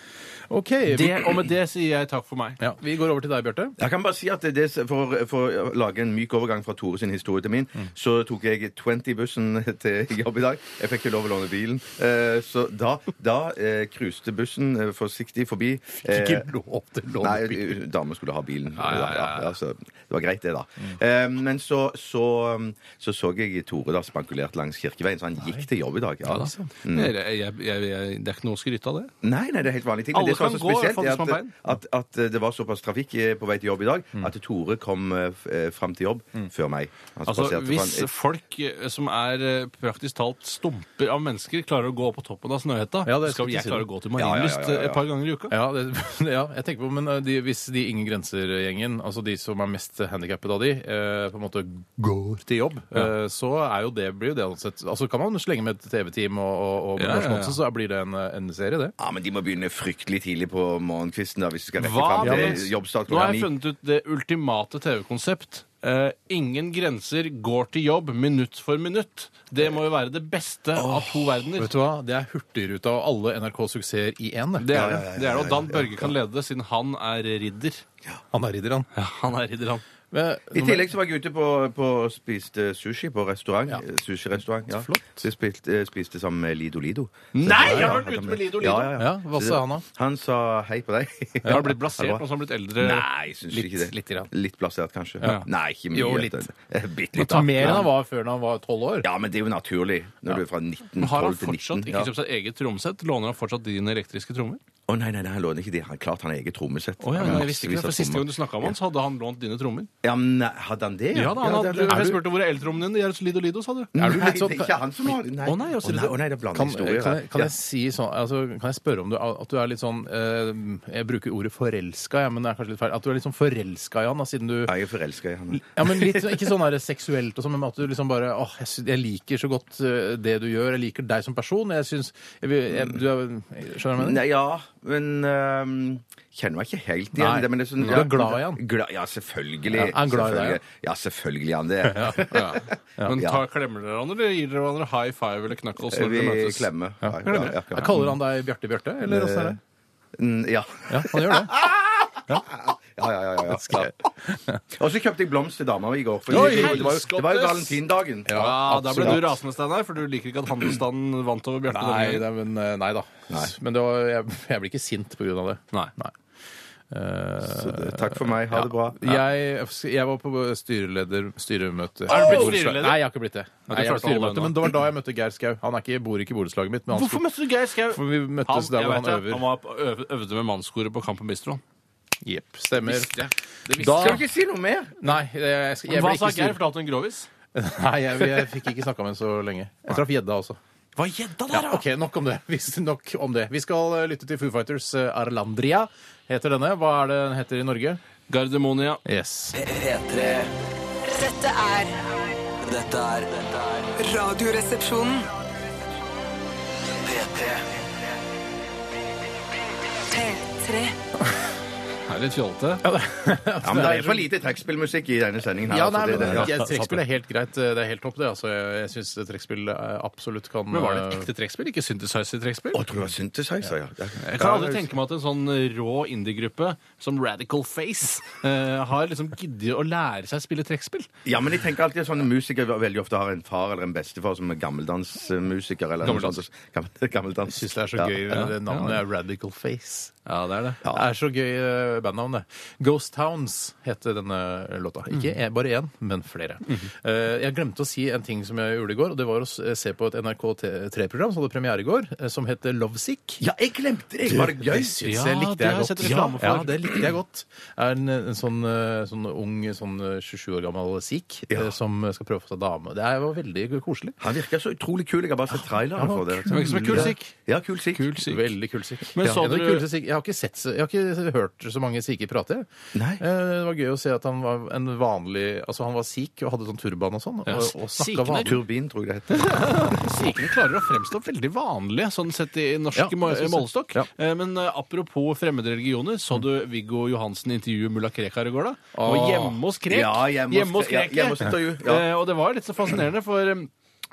Speaker 3: OK. Vi,
Speaker 5: Det, og med det sier jeg takk for meg.
Speaker 3: ja, vi går over til deg, Bjarte.
Speaker 4: Jeg kan bare si at det- det, for, for å lage en myk overgang fra Tore sin historie til min,
Speaker 5: Mm.
Speaker 4: så tok jeg 20-bussen til jobb i dag. Jeg fikk ikke lov å låne bilen. Eh, Så da, da eh, cruiste bussen eh, forsiktig forbi. eh,
Speaker 3: lov til å låne bil.
Speaker 4: Nei, damer skulle ha bilen.
Speaker 5: ja, ja, ja.
Speaker 4: så det var greit, det, da. Eh, Men så så, um, så så jeg Tore da spankulert langs kirkeveien, så han gikk til jobb i dag. Ja.
Speaker 5: Jeg, jeg, jeg, jeg, det er ikke noe å skryte av, det.
Speaker 4: Nei, nei, det er helt vanlige ting. Men
Speaker 5: Alle
Speaker 4: det som var
Speaker 5: kan
Speaker 4: så
Speaker 5: gå,
Speaker 4: spesielt,
Speaker 5: fattes man Mm.
Speaker 4: er at, at, at det var såpass trafikk eh, på vei til jobb i dag at Tore kom eh, f- eh, fram til jobb før meg. Han
Speaker 5: Altså,
Speaker 4: spaserte
Speaker 5: Hvis
Speaker 4: foran-
Speaker 5: folk eh, som er eh, praktisk talt stumper av mennesker, klarer å gå på toppen av Snøhetta,
Speaker 3: Ja, det
Speaker 5: skal
Speaker 3: skulle
Speaker 5: jeg
Speaker 3: si
Speaker 5: klare
Speaker 3: det.
Speaker 5: å gå til
Speaker 4: Ja, ja, ja,
Speaker 5: Marienlyst
Speaker 4: ja, ja.
Speaker 5: eh, et par ganger i uka.
Speaker 3: Ja, det, ja, jeg tenker på, men eh, de, hvis de Ingen Grenser-gjengen, altså de som er mest handikappet av de, eh, på en måte går til jobb, eh, så er jo det, blir jo det ansett Altså kan man slenge med et TV-team og, og, og
Speaker 5: Ja, ja,
Speaker 3: Lars
Speaker 5: ja.
Speaker 3: Monsen, så blir det en, eh, en serie, det.
Speaker 4: Ja, men De må begynne fryktelig tidlig på morgenkvisten da, hvis de skal rekke
Speaker 5: Hva
Speaker 4: fram til
Speaker 5: med-
Speaker 4: jobbstart
Speaker 5: Nå
Speaker 4: klokka
Speaker 5: har
Speaker 4: ni.
Speaker 5: jeg funnet ut det ultimate TV-konsept. Eh, ingen grenser går til jobb minutt for minutt. Det må jo være det beste av to verdener.
Speaker 3: Vet du hva? Det er Hurtigruta og alle NRK-suksesser i én.
Speaker 5: Det er det. det, er det. Og Dan Børge kan lede det, siden han er ridder.
Speaker 3: Han er ridder, han.
Speaker 5: Ja, han er ridder, han.
Speaker 3: Men-
Speaker 4: I tillegg så var jeg ute på, på spiste sushi på restaurant.
Speaker 3: Ja.
Speaker 4: eh, Sushi-restaurant, ja.
Speaker 3: Flott.
Speaker 4: Så jeg spilte, eh, spiste sammen med Lido Lido. Så-
Speaker 5: Nei,
Speaker 4: Ja,
Speaker 5: jeg
Speaker 4: ja,
Speaker 5: har vært ute med Lido Lido.
Speaker 4: Ja, ja, ja.
Speaker 3: Ja, hva
Speaker 4: Så
Speaker 3: sa
Speaker 4: det-
Speaker 3: han da?
Speaker 4: Han sa hei på deg.
Speaker 5: Jeg har blitt blasert
Speaker 4: Ja, det
Speaker 5: nå
Speaker 4: var-
Speaker 5: som har blitt eldre.
Speaker 4: Nei, jeg syns
Speaker 3: Litt-
Speaker 4: ikke det.
Speaker 3: litt grann.
Speaker 4: Litt plassert, kanskje.
Speaker 5: Ja.
Speaker 4: Nei, ikke mye.
Speaker 3: Jo, litt.
Speaker 4: Eh, Bitte
Speaker 3: Men
Speaker 4: litt.
Speaker 3: ta
Speaker 4: da.
Speaker 3: mer enn
Speaker 4: Ja.
Speaker 3: han var før når han var tolv år.
Speaker 4: Ja, men det er jo naturlig når du er fra 1912 til 19.
Speaker 5: Men Har han
Speaker 4: ja.
Speaker 5: fortsatt ikke kjøpt seg eget trommesett? Låner han fortsatt din elektriske trommer?
Speaker 4: Å nei, nei, nei, han låner ikke de. Han, klart han har eget trommesett.
Speaker 5: Å ja,
Speaker 4: Han har
Speaker 5: nei, jeg visste
Speaker 4: massevis
Speaker 5: ikke det,
Speaker 4: av
Speaker 5: for Siste gang
Speaker 4: trommer.
Speaker 5: du snakka om han, så hadde han lånt dine trommer.
Speaker 4: Ja, men nei, hadde han det?
Speaker 5: Ja, da, han hadde,
Speaker 4: det- det-
Speaker 5: jeg spurte hvor er eltrommene dine? De er hos Lido Lido, sa du.
Speaker 4: Nei,
Speaker 3: du litt sånn-
Speaker 4: det er ikke han som har Nei,
Speaker 5: Å nei, altså, jeg
Speaker 4: Å nei,
Speaker 5: ser det.
Speaker 4: å nei, det er blandet
Speaker 3: altså, Kan, eh,
Speaker 4: historier.
Speaker 3: kan, jeg, kan,
Speaker 4: Ja.
Speaker 3: jeg si sånn, altså, kan jeg spørre om du, at du er litt sånn eh, Jeg bruker ordet forelska, ja, men det er kanskje litt feil. At du er litt sånn forelska i han, da, siden du
Speaker 4: Ja, jeg er forelska i han.
Speaker 3: Ja, men litt, sånn- Ikke sånn der seksuelt, og sånn, men at du liksom bare åh, jeg, sy- jeg liker så godt eh, det du gjør. Jeg liker deg som person. Jeg syns jeg, vil- jeg, du er, Skjønner du hva jeg mener?
Speaker 4: Nei, ja, men øhm, Kjenner meg ikke helt igjen.
Speaker 3: Nei.
Speaker 4: det, men det er sånn,
Speaker 3: Du er glad i han?
Speaker 4: Gla, ja, selvfølgelig.
Speaker 3: Ja, er han glad i deg,
Speaker 4: selvfølgelig. Ja, selvfølgelig er han det.
Speaker 5: Men
Speaker 4: Ja.
Speaker 5: tar, klemmer dere hverandre, eller gir dere hverandre high five eller knuckles når dere
Speaker 4: Vi
Speaker 5: møtes?
Speaker 4: klemmer. Ja, ja, ja, ja.
Speaker 3: Jeg kaller han deg Bjarte Bjarte, eller åssen er det?
Speaker 4: Mm, Ja.
Speaker 3: Ja, han gjør det.
Speaker 4: Ja, ja, ja. ja, ja. Og så kjøpte jeg blomst til dama mi i går. For
Speaker 5: Oi,
Speaker 4: det, var jo- det, var, jo- det var jo
Speaker 5: helskottes!
Speaker 4: valentindagen.
Speaker 5: Ja, Da ble
Speaker 3: absolutt.
Speaker 5: du rasende, Steinar, for du liker ikke at handelsstanden vant over Bjarte.
Speaker 3: Nei,
Speaker 5: denne
Speaker 3: det er,
Speaker 5: gangen.
Speaker 3: men, eh, nei da. Men det var, jeg, jeg blir ikke sint på grunn av det.
Speaker 5: Nei.
Speaker 3: Eh,
Speaker 4: Så det- Takk for meg. Ha det bra.
Speaker 3: Jeg, jeg var på styreleder styremøte.
Speaker 5: Er du blitt styreleder?
Speaker 3: Nei, jeg har ikke blitt det. Nei, jeg
Speaker 5: klarte
Speaker 3: var på styremøte,
Speaker 5: alle ennå.
Speaker 3: Men det var da jeg møtte Geir Skau. Han er ikke, bor ikke i borettslaget mitt. Men han
Speaker 5: Hvorfor møtte du Geir Skau?
Speaker 3: For vi møttes der
Speaker 5: jeg
Speaker 3: hvor han
Speaker 5: vet det.
Speaker 3: øver.
Speaker 5: Han var på, øv, øvde med mannskoret på Kampen Bistro.
Speaker 3: Jepp, stemmer.
Speaker 5: Da-
Speaker 4: Skal du ikke si noe mer?
Speaker 3: Nei, jeg, jeg, skal- jeg
Speaker 5: Hva
Speaker 3: ble
Speaker 5: sa
Speaker 3: ikke
Speaker 5: Geir?
Speaker 3: styr...
Speaker 5: Fortalte han grovis?
Speaker 3: Nei, jeg, jeg fikk ikke snakka med henne så lenge. Jeg traff gjedda også.
Speaker 5: Hva er gjedda
Speaker 3: Ja,
Speaker 5: der, da?
Speaker 3: ok, nok om det. Visst nok om det. Vi skal eh, lytte til Foo Fighters. eh, Arlandria heter denne. Hva er det den heter i Norge?
Speaker 5: Gardermonia.
Speaker 3: Yes.
Speaker 2: P3.
Speaker 6: Dette er
Speaker 2: Dette er dette er
Speaker 6: Radioresepsjonen.
Speaker 2: P3.
Speaker 6: P3.
Speaker 5: Er litt fjollete.
Speaker 4: Ja, men det er for lite trekkspillmusikk i denne sendingen. her.
Speaker 3: Ja,
Speaker 4: altså,
Speaker 3: nei,
Speaker 4: det-
Speaker 3: men
Speaker 4: det- ja.
Speaker 3: jeg- Trekkspill er helt greit. Det er helt topp, det. Altså, jeg jeg syns trekkspill eh, absolutt kan
Speaker 5: Men var det et
Speaker 3: eh,
Speaker 5: ekte trekkspill? Ikke synthesizer-trekkspill?
Speaker 4: Å, tror du det var synthesizer, ja.
Speaker 5: Jeg kan aldri tenke meg at en sånn rå indie-gruppe som Radical Face eh, har liksom giddet å lære seg å spille trekkspill.
Speaker 4: Ja, men jeg tenker alltid at sånne musikere veldig ofte har en far eller en bestefar som er gammeldansmusiker. Eller noe
Speaker 5: Gammeldans.
Speaker 4: sånt. Gammel, gammeldans.
Speaker 3: Jeg syns det er så
Speaker 4: Ja.
Speaker 3: gøy.
Speaker 5: ja,
Speaker 3: det navnet
Speaker 5: ja.
Speaker 3: er Radical Face.
Speaker 5: Ja, det er det.
Speaker 3: Det er så gøy eh, bandnavn, det. Ghost Towns heter denne eh, låta.
Speaker 5: Mhm.
Speaker 3: Ikke en- bare én, men flere. Eh, Jeg glemte å si en ting som jeg gjorde i går, og det var å s- eh, se på et NRK3-program som hadde premiere i går, eh, som heter Lovesick. Eh,
Speaker 4: Ja, jeg glemte det! Var det gøy?
Speaker 3: Det syns
Speaker 5: Ja,
Speaker 3: jeg likte
Speaker 5: det
Speaker 3: jeg
Speaker 5: har jeg
Speaker 3: godt.
Speaker 5: sett reklame for.
Speaker 3: Ja, det likte jeg godt. Er en, en sånn, eh, sånn ung, sånn eh, 27 år gammel sikh eh, som skal prøve å få seg dame. Det er jo veldig koselig.
Speaker 4: Han virker så utrolig kul. Jeg har bare sett traileren for det.
Speaker 5: Men ikke så kul sikk.
Speaker 4: Ja, kul sikk.
Speaker 5: Kul sikk.
Speaker 3: Veldig kul sikh.
Speaker 5: Men
Speaker 3: Ja.
Speaker 5: så
Speaker 3: En av de
Speaker 5: dere-
Speaker 3: kuleste sikh- Jeg har ikke sett så- Jeg har ikke hørt så mange sikher prate. jeg.
Speaker 4: Nei.
Speaker 3: Eh, Det var gøy å se at han var en vanlig Altså, han var sikh og hadde sånn turban og sånn. Og, og
Speaker 5: Sikhene-
Speaker 3: snakka vanlig.
Speaker 4: Turbin, tror jeg det heter.
Speaker 5: Sikene klarer å fremstå veldig vanlige, sånn sett i norsk
Speaker 3: Ja, jeg
Speaker 5: må-
Speaker 3: synes det.
Speaker 5: målestokk.
Speaker 3: Ja.
Speaker 5: Eh, Men eh, apropos fremmede religioner, så du Viggo Johansen intervjue mulla Krekar i går, da? Og
Speaker 3: Åh.
Speaker 5: hjemme hos Krek.
Speaker 4: Ja, hjemme hos- ja, hjemme hos intervju, ja.
Speaker 5: Eh, Og det var litt så fascinerende, for eh,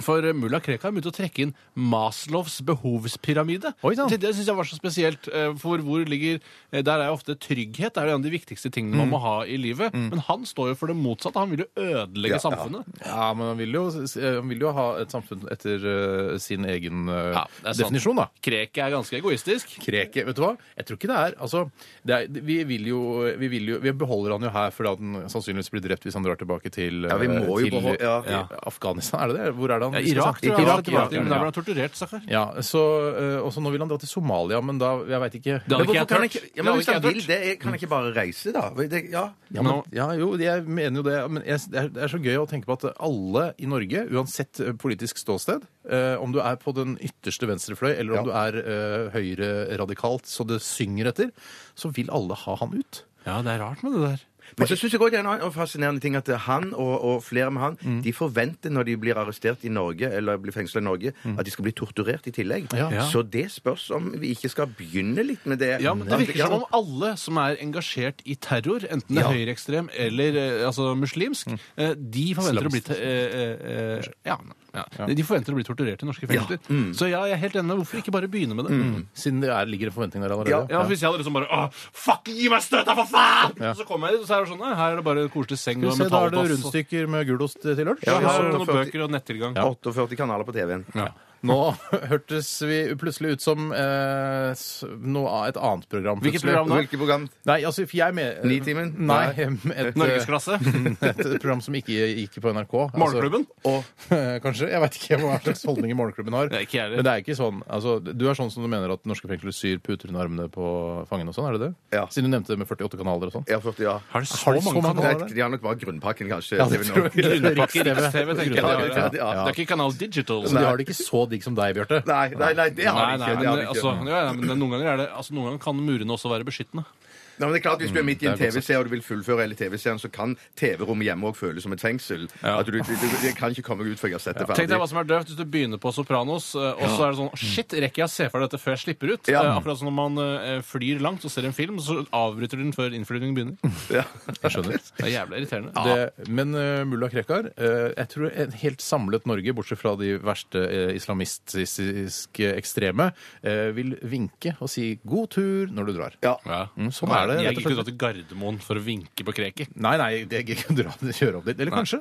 Speaker 5: for eh, mulla Krekar begynte å trekke inn Maslows behovspyramide.
Speaker 3: Oi, sann.
Speaker 5: Det- Det syns jeg var så spesielt. eh, For hvor ligger eh, Der er jo ofte trygghet det er jo en av de viktigste tingene
Speaker 4: Mm.
Speaker 5: man må ha i livet. Men han står jo for det motsatte. Han vil jo ødelegge
Speaker 4: Ja, ja.
Speaker 5: samfunnet.
Speaker 3: Ja, men han vil, jo, han vil jo ha et samfunn etter eh, sin egen eh,
Speaker 5: Ja, det er sant.
Speaker 3: definisjon, da.
Speaker 5: Kreket er ganske egoistisk.
Speaker 3: Kreket, vet du hva? Jeg tror ikke det er Altså, det er, vi vil jo Vi, vil jo, vi beholder han jo her fordi at han sannsynligvis blir drept hvis han drar tilbake til
Speaker 4: Ja, vi må jo
Speaker 3: til,
Speaker 4: beholde- ja.
Speaker 3: eh, Afghanistan, er det det? Hvor er det han?
Speaker 5: Irak, tror jeg.
Speaker 3: Irak,
Speaker 5: Irak, Irak,
Speaker 3: Irak,
Speaker 5: men der ble
Speaker 3: ja.
Speaker 5: han torturert, stakkar.
Speaker 3: Ja, så, eh, og så nå vil han dra til Somalia, men da Jeg veit ikke
Speaker 5: Det hadde
Speaker 4: Men
Speaker 5: ikke
Speaker 4: hvorfor
Speaker 5: jeg
Speaker 4: kan han
Speaker 5: tørt.
Speaker 4: ikke ja, men
Speaker 5: Det
Speaker 4: Hvis
Speaker 5: hadde
Speaker 4: han
Speaker 5: ikke jeg
Speaker 4: vil det, er- kan han ikke bare reise, da? Det, ja.
Speaker 3: Ja, men, ja, jo, jeg mener jo det. Men jeg, det er- det er så gøy å tenke på at alle i Norge, uansett eh, politisk ståsted, eh, om du er på den ytterste venstrefløy, eller om du er eh, høyre radikalt så det synger etter, så vil alle ha han ut.
Speaker 5: Ja, det er rart med det der.
Speaker 4: Men så syns jeg også det er en annen fascinerende ting at han og, og flere med han
Speaker 5: Mm.
Speaker 4: de forventer når de blir arrestert i Norge eller blir fengsla i Norge,
Speaker 5: Mm.
Speaker 4: at de skal bli torturert i tillegg.
Speaker 3: Ja.
Speaker 4: Så det spørs om vi ikke skal begynne litt med det.
Speaker 5: Ja, men Det
Speaker 4: At-
Speaker 5: virker
Speaker 4: ja,
Speaker 5: som om alle som er engasjert i terror, enten det er høyreekstrem eller eh, altså, muslimsk, eh, de forventer å bli te- eh, eh, eh, ja, ja. De forventer å bli torturert i norske fengsler. Så ja, Mm. jeg er helt enig. med Hvorfor ikke bare begynne med det?
Speaker 3: Siden det er, ligger en forventning der allerede.
Speaker 4: Ja,
Speaker 5: Ja, Hvis jeg hadde liksom bare Åh, fuck, gi meg støta, for faen! Så kommer jeg dit, og så er det sånn Nei, her er det bare en koselig seng
Speaker 3: Skal
Speaker 5: og
Speaker 3: vi se, da er det
Speaker 5: metallbass. og-
Speaker 3: rundstykker med gulost til lunsj.
Speaker 5: Ja,
Speaker 4: Ja,
Speaker 5: her er det
Speaker 4: og
Speaker 5: noen
Speaker 4: førti-
Speaker 5: bøker og nettilgang.
Speaker 4: 48 kanaler på TV-en.
Speaker 5: Ja.
Speaker 3: Nå hørtes vi plutselig ut som eh, s- noe, av- et annet program.
Speaker 5: Hvilket
Speaker 3: plutselig.
Speaker 5: program da? Eh,
Speaker 4: Hvilket program?
Speaker 3: Nei, altså for jeg med...
Speaker 4: Nitimen?
Speaker 3: Nei, et, eh,
Speaker 5: Norgesklasse?
Speaker 3: et program som ikke gikk på NRK. Altså-
Speaker 5: Morgenklubben?
Speaker 3: Og, kanskje. Jeg vvet ikke hva slags holdninger Morgenklubben har.
Speaker 5: Nei, ikke jeg heller.
Speaker 3: Men det er ikke sånn. Altså, du er sånn som du mener at norske fengsler syr puter under armene på fangene og sånn, er det det?
Speaker 4: Ja.
Speaker 3: Siden du nevnte det med 48 kanaler og sånn.
Speaker 4: Ja, 40, ja.
Speaker 5: Har
Speaker 3: Har
Speaker 5: du så
Speaker 3: du så
Speaker 5: mange
Speaker 3: mange
Speaker 5: kanaler?
Speaker 3: kanaler?
Speaker 4: Nei, de har nok bare grunnpakken, kanskje.
Speaker 3: Ja, det tror jeg.
Speaker 5: Grunnpakke
Speaker 3: Riks-TV.
Speaker 5: Riks-TV, tenker jeg.
Speaker 3: Grunnpakke,
Speaker 4: Ja, ja, ja.
Speaker 5: Det er ikke Kanal Digital.
Speaker 3: Så de har det ikke så digg som deg, Bjarte.
Speaker 4: Nei, nei, nei, det har
Speaker 5: Nei,
Speaker 4: de ikke.
Speaker 5: nei, men,
Speaker 4: det har de
Speaker 5: det-
Speaker 4: ikke.
Speaker 5: altså, ja, ja, men det- noen ganger er det, altså, noen ganger kan murene også være beskyttende.
Speaker 4: Nei, men det er klart,
Speaker 5: Mm,
Speaker 4: Hvis du er midt i en
Speaker 3: det er godt
Speaker 4: TV-serie og du vil fullføre hele TV-serien, så kan TV-rommet hjemme òg føles som et fengsel.
Speaker 5: Ja.
Speaker 4: At du, du, du, jeg kan ikke komme meg ut før jeg har sett det ferdig.
Speaker 5: Tenk deg hva som er døvt hvis du begynner på Sopranos, eh, og så er det sånn Shit, rekker jeg å se ferdig dette før jeg slipper ut?
Speaker 4: Ja.
Speaker 5: Eh, Akkurat som når man eh, flyr langt og ser en film, så avbryter du den før innflyvningen begynner.
Speaker 3: Jeg skjønner.
Speaker 5: Det er jævlig irriterende.
Speaker 3: Det, men eh, mulla Krekar, eh, jeg tror en helt samlet Norge, bortsett fra de verste eh, islamistiske ekstreme, eh, vil vinke og si 'god tur' når du drar.
Speaker 4: Ja.
Speaker 5: Ja.
Speaker 3: Mm, sånn er det,
Speaker 5: Nei,
Speaker 3: rett og
Speaker 5: Jeg gikk ikke
Speaker 3: slett.
Speaker 5: dra til Gardermoen for å vinke på kreket.
Speaker 3: Nei, nei, det jeg kan dra, kjøre opp dit. Eller kanskje.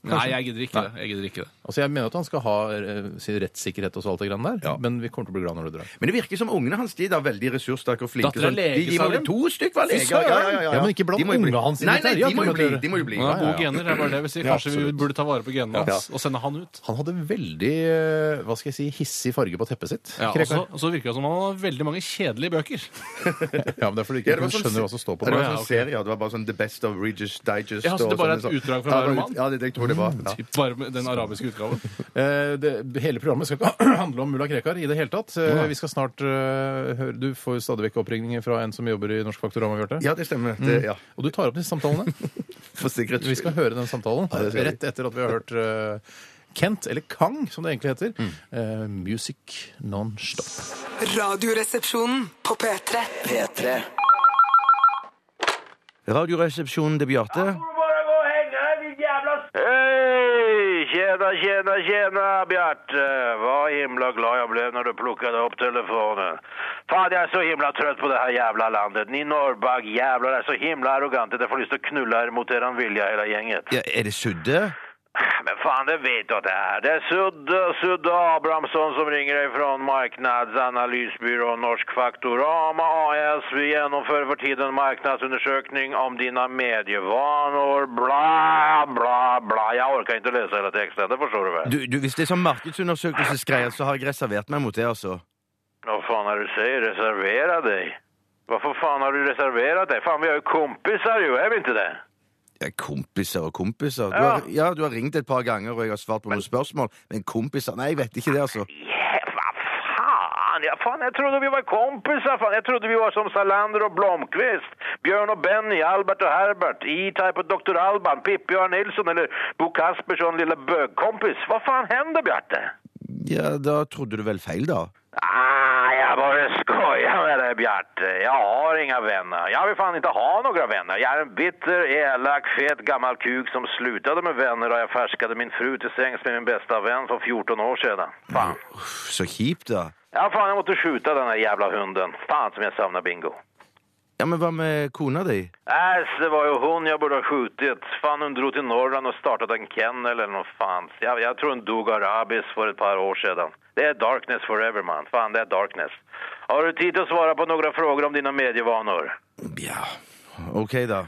Speaker 5: Nei, jeg gidder ikke det. Jeg gidder ikke det.
Speaker 3: Altså, Jeg mener at han skal ha eh, sin rettssikkerhet og så alt det grann der, men vi kommer til å bli glad når du drar.
Speaker 4: Men det virker som ungene hans de er da veldig ressurssterke og flinke.
Speaker 5: Datter er
Speaker 4: sånn.
Speaker 5: lege,
Speaker 4: de, de
Speaker 5: sa
Speaker 4: må bli
Speaker 5: de.
Speaker 4: to stykk, var leger.
Speaker 3: søren! Ja, men ikke blant
Speaker 4: De må jo bli-
Speaker 3: ungene hans i
Speaker 4: Nei, nei,
Speaker 3: militæret,
Speaker 4: de må jo
Speaker 3: at
Speaker 4: bli.
Speaker 3: dere-
Speaker 4: De må jo bli.
Speaker 5: Han har
Speaker 3: ja,
Speaker 5: gode
Speaker 3: ja.
Speaker 5: gener. det er bare det jeg vil si.
Speaker 3: Ja,
Speaker 5: Kanskje vi
Speaker 3: absolutt.
Speaker 5: burde ta vare på genene hans og sende han ut.
Speaker 3: Han hadde veldig eh, hva skal jeg si, hissig farge på teppet sitt.
Speaker 5: Ja, og
Speaker 3: Krekar.
Speaker 5: så- så virker det som han har veldig mange kjedelige bøker.
Speaker 3: ja, men Det er fordi
Speaker 4: Ja,
Speaker 3: ikke
Speaker 4: det var
Speaker 3: hun
Speaker 4: sånn-
Speaker 3: skjønner hva som står på
Speaker 4: Ja,
Speaker 3: den.
Speaker 4: det var
Speaker 5: Ja,
Speaker 4: sånn
Speaker 5: ok.
Speaker 4: serie, ja. det var bare sånn The Best of Regis Digest.
Speaker 5: Ja, så det
Speaker 4: og
Speaker 5: bare er
Speaker 4: sånne
Speaker 5: et
Speaker 4: sånn-
Speaker 5: utdrag fra
Speaker 4: Ja,
Speaker 5: hver
Speaker 4: bare-
Speaker 5: roman?
Speaker 4: Ja, det, jeg tror det var. Ja.
Speaker 5: Bare med den arabiske utgaven.
Speaker 3: Eh, det, hele programmet skal ikke handle om mulla Krekar i det hele tatt. Eh, Vi skal snart eh, høre Du får jo stadig vekk oppringninger fra en som jobber i Norsk Faktorama, Bjarte.
Speaker 4: ja, det stemmer. Det, ja.
Speaker 3: Og du tar opp disse samtalene.
Speaker 4: For sikkerhets
Speaker 3: Mm. Vi skal
Speaker 4: skyld.
Speaker 3: høre den samtalen
Speaker 4: det skal vi.
Speaker 3: rett etter at vi har hørt eh, Kent, eller Kang, som det egentlig heter. eh, music non-stop.
Speaker 6: Radioresepsjonen på P3.
Speaker 2: P3
Speaker 4: Radioresepsjonen til Bjarte.
Speaker 7: bare gå og henge deg, din jævla Hei, tjena, tjena, tjena, Bjarte. Hva himla glad jeg ble når du plukket opp telefonen. Faen, jeg er så himla trøtt på det her jævla landet. Ni norrbag jævlar er så himla arrogante at jeg får lyst til å knulle her mot deres vilja, hele gjengen.
Speaker 4: Ja, er det sudde?
Speaker 7: Men fan, det vet du at det er. Det er Sudde, Sudde Abrahamsson som ringer deg fra Marknadsanalysbyrå Norsk Faktorama AS. Vi gjennomfører for tiden marknadsundersøkning om dine medievanor. Bla, bla, bla. Jeg orker ikke lese hele teksten, det forstår du vel?
Speaker 4: Du, du, hvis det er sånn markedsundersøkelsesgreier, så har jeg reservert meg mot det, altså.
Speaker 7: Hva faen er det du sier? Reservere deg? Hvorfor faen har du reservert deg? Faen, vi er jo kompiser jo, er vi ikke det?
Speaker 4: Ja, kompiser og kompiser. Du har, ja, du har ringt et par ganger, og jeg har svart på noen spørsmål, men kompiser Nei, jeg vet ikke det, altså.
Speaker 7: Yeah, vad fan! Ja, fan, jag trodde vi var kompisar. Fan. Jag trodde vi var som Salander och Blomqvist, Björn och Benny, Albert och Herbert, E-Type och Dr. Alban, Pippi och Arne Nilsson eller Bo Kaspersson, lilla bögkompis. Vad fan händer, Bjarte?
Speaker 4: Ja, da trodde du vel feil, da?
Speaker 7: Ah, jag bara skojar med dig, Bjarte. Jag har inga vänner. Jag vill fan inte ha några vänner. Jag är en bitter, elak, fet gammal kuk som slutade med vänner då jag färskade min fru till sängs med min bästa vän för 14 år sedan. Fan.
Speaker 4: Pff, Så kjipt, da.
Speaker 7: Ja, fan, jag måste skjuta den här jävla hunden. Fan som jag savnar Bingo.
Speaker 4: Ja, men hva med kona di?
Speaker 7: Äsch, Äh, det var ju hon jag borde ha skjutit. Fan, hon drog till Norrland och startade en kennel eller något fan. Jag, jag tror hon dog av rabies för ett par år sedan. Det är darkness forever, man. Fan, det är darkness. Har du tid att svara på några frågor om dina medievanor?
Speaker 4: Ja, OK, da.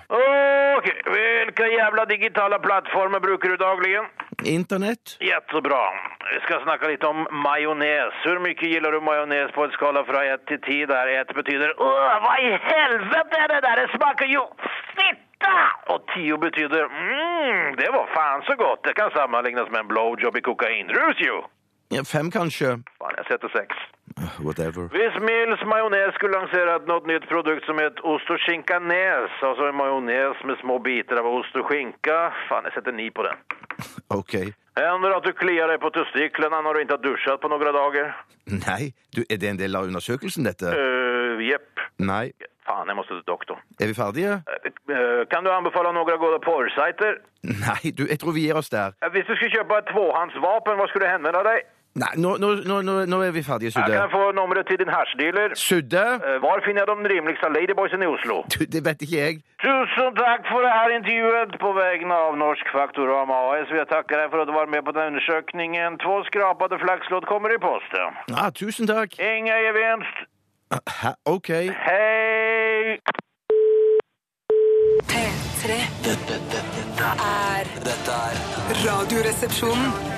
Speaker 7: Okej, vilka jävla digitala plattformar brukar du dagligen?
Speaker 4: Internett?
Speaker 7: Jättebra. Vi ska snacka lite om majonnäs. Hur mycket gillar du majonnäs på en skala från 1 till 10 där 1 betyder Åh, vad i helvete är det där? Det smakar ju fitta! Och 10 betyder mm, det var fan så gott. Det kan sammanlignas med en blowjob i kokainrus ju.
Speaker 4: Ja, fem, kanskje?
Speaker 7: Fan, jag sätter sex.
Speaker 4: Ah, Whatever.
Speaker 7: Hvis Mills Majonnäs skulle lanserat något nytt produkt som heter ost och skinka näs, alltså en majonnäs med små bitar av ost och skinka. Fan, jag sätter ni på den.
Speaker 4: OK.
Speaker 7: Händer det att du kliar dig på testiklarna när du inte har duschat på några dagar?
Speaker 4: Nei, du, er det en del av undersøkelsen, dette?
Speaker 7: Uh, jepp.
Speaker 4: Nei.
Speaker 7: Fan, jag måste till doktorn.
Speaker 4: Er vi ferdige?
Speaker 7: Eh, eh, kan du anbefala några goda porrsajter?
Speaker 4: Nei, du, jeg tror vi gir oss der.
Speaker 7: Eh, Om du skulle köpa ett tvåhandsvapen, vad skulle du hänvända dig?
Speaker 4: Nei, nå, nå, nå, nå- nå er vi ferdige,
Speaker 7: Her kan jeg
Speaker 4: Sudde.
Speaker 7: få nummeret til din hersedealer.
Speaker 4: Sudde?
Speaker 7: Eh, Hvor finner jeg de rimeligste ladyboysene i Oslo?
Speaker 4: Du, det vet ikke jeg.
Speaker 7: Tusen takk for det her intervjuet på vegne av Norsk Faktorama AS. Jeg takker deg for at du var med på den undersøkningen. To skrapede flakslodd kommer i posten.
Speaker 4: Ah, tusen takk.
Speaker 7: Ingen gevinst.
Speaker 4: Hæ? OK.
Speaker 7: Hei!
Speaker 6: P3
Speaker 2: Dette, dette,
Speaker 6: er
Speaker 2: dette er
Speaker 6: radioresepsjonen.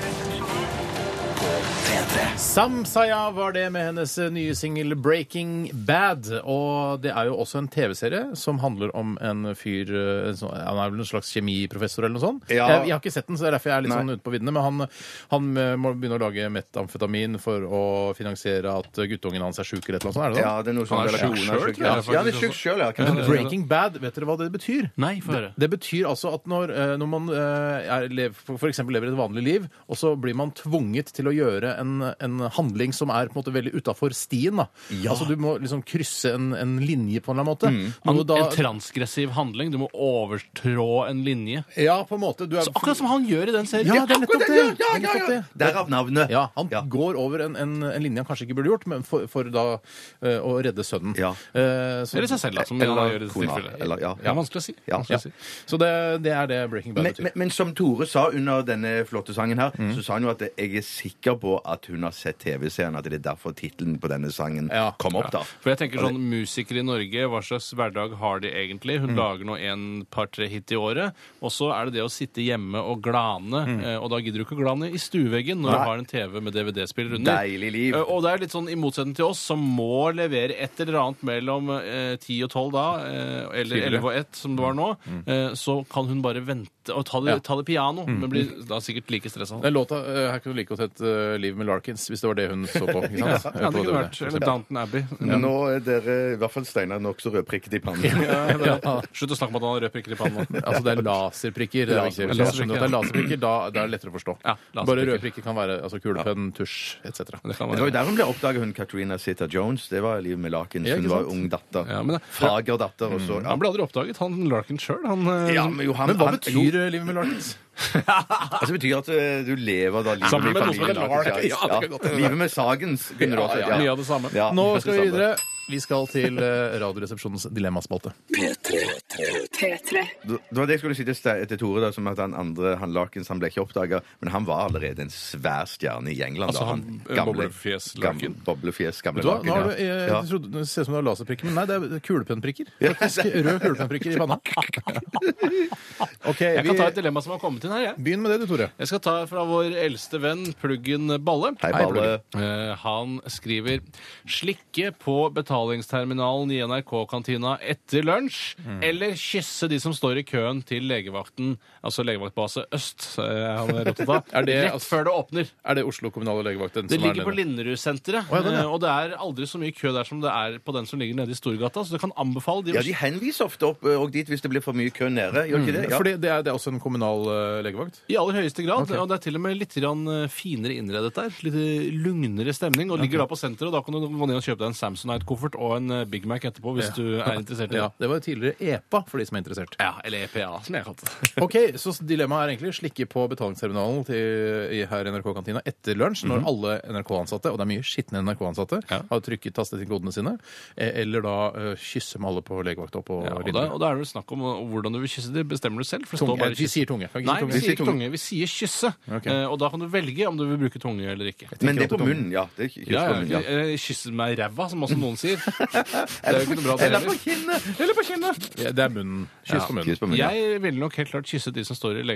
Speaker 2: P3.
Speaker 3: Samsaya var det med hennes nye singel 'Breaking Bad'. Og det er jo også en TV-serie som handler om en fyr eh, som- Han er vel en slags kjemiprofessor eller noe sånt.
Speaker 4: Ja.
Speaker 3: Jeg, jeg har ikke sett den, så det er derfor jeg er litt sånn ute på viddene. Men han, han eh, må begynne å lage metamfetamin for å finansiere at guttungen hans er sjuk eller et eller annet sånt. Er det
Speaker 4: Ja,
Speaker 3: sånn?
Speaker 4: det er noe sånn
Speaker 5: Han er
Speaker 4: relasjon,
Speaker 5: sjuk
Speaker 4: han er
Speaker 5: selv,
Speaker 4: sjuk,
Speaker 5: tror jeg,
Speaker 4: ja.
Speaker 5: faktisk, altså.
Speaker 4: Ja, han er sjuk sjøl, ja. kanskje det.
Speaker 3: Breaking Bad, vet dere hva det betyr?
Speaker 5: Nei, få høre.
Speaker 3: Det betyr altså at når, eh, når man eh, er, lev- for for eksempel lever et vanlig liv, og så blir man tvunget til å gjøre en, en handling som er på en måte veldig utafor stien. Da. Altså Du må liksom krysse en, en linje på en eller annen måte. Noe
Speaker 5: En, en transgressiv handling. Du må overtrå en linje.
Speaker 3: ja, på en måte. Du er,
Speaker 5: Så akkurat som han gjør i den serien.
Speaker 3: Ja, det er nettopp det!
Speaker 4: Ja, ja,
Speaker 3: det er
Speaker 4: ja,
Speaker 3: nettopp
Speaker 4: ja.
Speaker 3: det.
Speaker 4: Derav navnet.
Speaker 3: Ja, Han går over en, en, en linje han kanskje ikke burde gjort, men for, for da eh, å redde sønnen.
Speaker 4: Ja.
Speaker 3: Eh, så,
Speaker 5: Eller seg selv, da, som
Speaker 4: Eller
Speaker 5: han gjør i dette
Speaker 4: kona,
Speaker 5: tilfellet.
Speaker 4: eller- ja.
Speaker 5: Det er vanskelig å si.
Speaker 4: Ja.
Speaker 5: Vanskelig
Speaker 3: ja.
Speaker 5: å si.
Speaker 3: så det, det er det Breaking Bad
Speaker 4: Men,
Speaker 3: betyr.
Speaker 4: men, men som Tore sa under denne flotte sangen her,
Speaker 5: Mm.
Speaker 4: så sa han jo at jeg er sikker på at hun har sett TV-serien, at det er derfor tittelen på denne sangen
Speaker 3: Ja.
Speaker 4: kom opp, da.
Speaker 5: For jeg tenker sånn, Musikere i Norge, hva slags hverdag har de egentlig? Hun lager nå en par-tre hit i året. Og så er det det å sitte hjemme og glane. eh, Og da gidder du ikke å glane i stueveggen når du har en TV med DVD-spiller under.
Speaker 4: Deilig liv.
Speaker 5: Eh, Og det er litt sånn i motsetning til oss, som må levere et eller annet mellom eh, 10 og 12 da, eh, eller
Speaker 3: Tidligere.
Speaker 5: 11 og 1, som det var nå, eh, så kan hun bare vente og ta det,
Speaker 3: Ja.
Speaker 5: ta det piano. Men blir da sikkert like stressa.
Speaker 3: Den låta eh, her kunne du like godt hett eh, 'Liv med Larkins', hvis det var det hun så på. Ikke sant?
Speaker 5: Ja, det
Speaker 3: På
Speaker 5: kunne
Speaker 3: DVD,
Speaker 5: vært.
Speaker 3: for
Speaker 5: Eller
Speaker 3: eksempel.
Speaker 5: Downton Abbey.
Speaker 4: Men nå er dere, i hvert fall Steinar, nokså rødprikket i pannen.
Speaker 5: Ja. Slutt å snakke om at han har rød prikker i pannen. nå.
Speaker 3: Altså det er laserprikker. Det er viktig. Hvis du
Speaker 5: Laserprikker,
Speaker 3: skjønner at det er laserprikker, da det er det lettere å forstå.
Speaker 5: Ja, laserprikker.
Speaker 3: Bare røde prikker kan være altså kulepenn, tusj etc.
Speaker 5: Det kan
Speaker 4: Det var jo
Speaker 5: være.
Speaker 4: der hun ble oppdaget, hun Katrina Zeta Jones. Det var livet med laken.
Speaker 3: Ja, ikke
Speaker 4: hun var
Speaker 3: sant?
Speaker 4: ung datter.
Speaker 5: Ja, men Mm. det-
Speaker 4: Fager datter, og så
Speaker 5: Han ble aldri oppdaget, han Larkin sjøl. Han eh,
Speaker 4: Ja, men jo, han,
Speaker 3: Men hva
Speaker 4: han,
Speaker 3: betyr eh, 'Livet med Larkins'?
Speaker 4: Jo, altså, det betyr at eh, du lever da livet
Speaker 5: Sammen
Speaker 4: i
Speaker 5: med noen som
Speaker 4: familien.
Speaker 5: heter Lark.
Speaker 4: Ja,
Speaker 5: Ja, det kan godt hende.
Speaker 4: Livet med Sagens kunne du også
Speaker 5: ja, mye av det samme.
Speaker 4: Ja,
Speaker 3: Nå
Speaker 4: mye av
Speaker 3: skal
Speaker 4: det
Speaker 3: vi
Speaker 4: samme.
Speaker 3: videre. Vi skal til eh, Radioresepsjonens dilemmaspalte.
Speaker 6: P3.
Speaker 4: Det var det jeg skulle si til, Ste- til Tore, da, som at han andre han Larkins han ble ikke oppdaga, men han var allerede en svær stjerne i England.
Speaker 5: Altså,
Speaker 4: da,
Speaker 5: han, eh, boblefjes Larkin.
Speaker 4: gam- Boblefjes, gamle
Speaker 3: Vet du hva?
Speaker 4: Larkin.
Speaker 3: Nå har du, eh,
Speaker 4: ja.
Speaker 3: jeg,
Speaker 4: Ja.
Speaker 3: jeg trodde, det ser ut som du har laserprikker, men nei, det er kulepennprikker. Faktisk røde kulepennprikker i panna. Ok,
Speaker 5: Jeg
Speaker 3: vi
Speaker 5: kan ta et dilemma som har kommet inn her, jeg.
Speaker 3: Begynn med det, du, Tore.
Speaker 5: Jeg skal ta fra vår eldste venn, Pluggen Balle.
Speaker 4: Hei, Balle.
Speaker 5: Eh, Han skriver slikke på betalingsterminalen i NRK-kantina etter lunsj, eller kysse de som står i køen til legevakten, altså legevaktbase Øst, eh, han er opptatt av,
Speaker 3: Er det-
Speaker 5: rett før det åpner.
Speaker 3: Er det Oslo kommunale legevakt? den
Speaker 5: Det
Speaker 3: som er
Speaker 5: ligger på
Speaker 3: nede?
Speaker 5: Linderud-senteret,
Speaker 3: Å, ja, den, ja.
Speaker 5: eh, og det er aldri så mye kø der som det er på den som ligger nede i Storgata, så det kan anbefale de
Speaker 4: ja,
Speaker 5: å
Speaker 4: de henviser ofte opp eh, og dit hvis det blir for mye kø nede.
Speaker 5: Mm.
Speaker 4: Gjør ikke det? Ja.
Speaker 3: Fordi det er, det er også en kommunal eh, legevakt?
Speaker 5: I aller høyeste grad. Og det er til og med litt grann eh, finere innredet der. Litt eh, lugnere stemning. Og ligger da på senteret, og da kan du gå ned og kjøpe deg en Samsonite-koffert og en eh, Big Mac etterpå hvis du er interessert i
Speaker 3: Ja,
Speaker 5: det.
Speaker 3: Det var jo tidligere EPA, for de som er interessert.
Speaker 5: Ja, eller EPA, som jeg kalte det.
Speaker 3: Ok, Så dilemmaet er egentlig slikke på betalingsterminalen til, i, her i NRK-kantina etter lunsj, når alle NRK-ansatte, og det er mye skitne NRK-ansatte,
Speaker 5: Mhm. Ja.
Speaker 3: har trykket tastet inn kodene sine, eh, eller da eh, kysse med alle på legevakta på
Speaker 5: Ja, og, da,
Speaker 3: Lindmo.
Speaker 5: og da er det vel snakk om eh, hvordan du vil kysse det, bestemmer du selv. For det
Speaker 3: Tunge.
Speaker 5: står bare
Speaker 3: Vi
Speaker 5: kysse.
Speaker 3: sier tunge. Kan ikke
Speaker 5: Nei,
Speaker 3: si tunge.
Speaker 5: vi sier ikke tunge. Vi sier kysse.
Speaker 3: Ok.
Speaker 5: Eh, Og da kan du velge om du vil bruke tunge eller ikke.
Speaker 4: Men det er
Speaker 3: Tenker at
Speaker 4: på
Speaker 3: det er
Speaker 4: munnen, ja. Det er kyss
Speaker 5: Ja,
Speaker 4: på
Speaker 5: ja,
Speaker 4: munnen,
Speaker 5: ja.
Speaker 4: ja.
Speaker 5: Eh, Kysse meg i ræva, som også noen sier. Det er jo ikke noe bra det
Speaker 4: Eller på
Speaker 5: heller.
Speaker 4: kinnet!
Speaker 5: Eller på kinnet!
Speaker 3: Ja, det er munnen. Kyss på munnen.
Speaker 4: Kyss på munnen. Ja.
Speaker 5: Jeg ville nok helt klart kysse de som står i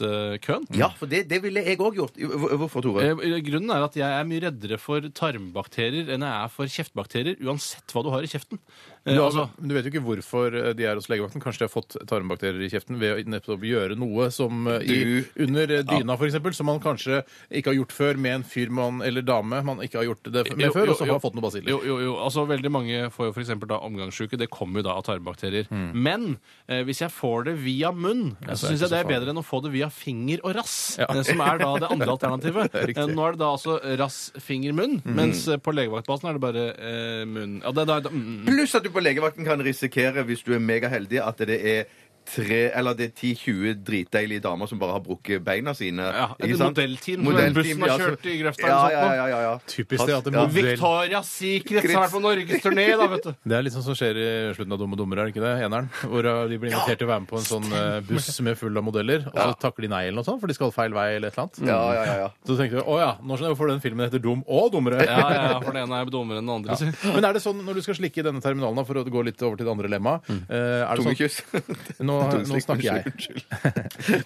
Speaker 5: legevaktkøen.
Speaker 4: Ja, for det, det ville jeg òg gjort. Hvor- Hvorfor, Tore?
Speaker 5: Eh, Grunnen er at jeg er mye reddere for tarmbakterier enn jeg er for kjeftbakterier, uansett hva du har i kjeften. Eh,
Speaker 3: Du,
Speaker 5: altså,
Speaker 3: men du vet jo ikke hvorfor eh, de er hos legevakten. Kanskje de har fått tarmbakterier i kjeften ved å nettopp gjøre noe som eh, i,
Speaker 4: Du-
Speaker 3: under eh, dyna, for eksempel, som man kanskje ikke har gjort før med en fyr man, eller dame man ikke har gjort det f- med
Speaker 5: Jo,
Speaker 3: før,
Speaker 5: jo,
Speaker 3: og så
Speaker 5: jo.
Speaker 3: har fått noen basiller.
Speaker 5: jo, jo, jo, altså Veldig mange får jo f.eks. omgangssjuke. Det kommer jo da av tarmbakterier. Men eh, hvis jeg får det via munn,
Speaker 3: Mm. så er
Speaker 5: så
Speaker 3: det
Speaker 5: syns jeg det
Speaker 3: ikke så
Speaker 5: er
Speaker 3: farlig.
Speaker 5: bedre enn å få det via finger og rass,
Speaker 3: Ja.
Speaker 5: eh, som er da det andre alternativet.
Speaker 3: Det er riktig. Mm.
Speaker 5: Eh, Nå er det da altså rass, finger, munn, mens eh, på legevaktbasen er det bare eh, munn. Ja, det, det, det, mm, mm.
Speaker 4: Pluss at du på legevakten kan risikere, hvis du er megaheldig, at det er tre, eller det er 10-20 dritdeilige damer som bare har brukket beina sine.
Speaker 5: Ja,
Speaker 4: ikke
Speaker 5: et
Speaker 4: sant?
Speaker 5: modellteam som bussen har
Speaker 4: ja, så-
Speaker 5: kjørt i grøfta eller
Speaker 4: Ja,
Speaker 5: sånt
Speaker 4: ja,
Speaker 5: nå.
Speaker 4: ja, ja, ja.
Speaker 3: Typisk det at det
Speaker 4: Ja.
Speaker 3: må
Speaker 5: Victorias Secret som er på norgesturné, da, vet du.
Speaker 3: Det er litt sånn som skjer i slutten av Dumme dummere, er det ikke det? Eneren. Hvor uh, de blir invitert til å være med på en sånn uh, buss med full av modeller, og så takker de nei eller noe sånt, for de skal feil vei eller et eller annet. Mm.
Speaker 4: Ja, ja, ja, ja.
Speaker 3: Så tenkte vi å ja, nå skjønner jeg hvorfor den filmen heter Dum og dummere.
Speaker 5: Ja, ja, ja, for den ene er dummere enn den andre. sier.
Speaker 3: Men er det sånn, når du skal slikke i denne terminalen, da, for å gå litt over til det andre lemmaet
Speaker 4: Mm.
Speaker 3: eh, er det sånn,
Speaker 4: Tungekyss.
Speaker 3: nå, nå
Speaker 4: Tungeslikk,
Speaker 3: snakker jeg.
Speaker 4: Unnskyld.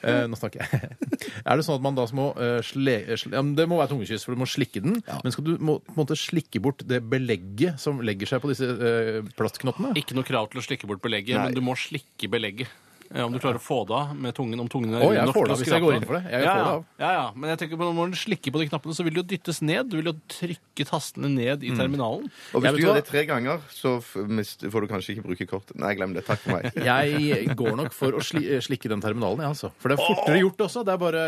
Speaker 3: Eh, nå snakker jeg. er det sånn at man da må eh, sle, sle, ja, men Det må være tungekyss, for du må slikke den. Men skal du må, på en måte slikke bort det belegget som legger seg på disse eh, plastknottene?
Speaker 5: Ikke noe krav til å slikke bort belegget,
Speaker 4: Nei.
Speaker 5: men du må slikke belegget. Ja, om du klarer å få det av med tungen. om tungen
Speaker 3: Å,
Speaker 5: er rund
Speaker 3: jeg
Speaker 5: nok
Speaker 3: får
Speaker 5: til
Speaker 3: det
Speaker 5: å
Speaker 3: av hvis jeg
Speaker 5: skrape
Speaker 3: går inn for det. Jeg
Speaker 5: ja,
Speaker 3: får det
Speaker 5: ja.
Speaker 3: av.
Speaker 5: ja, ja. Men jeg tenker på når du slikker på de knappene, så vil de jo dyttes ned. Du vil jo trykke tastene ned i terminalen.
Speaker 3: Jeg
Speaker 4: Og hvis
Speaker 3: vet
Speaker 4: du gjør
Speaker 3: hva-
Speaker 4: det tre ganger, så f- mist- får du kanskje ikke bruke kortet. Nei, glem det. Takk for meg.
Speaker 3: Jeg går nok for å sli, slikke den terminalen, jeg, altså. For det er fortere gjort også. Det er bare,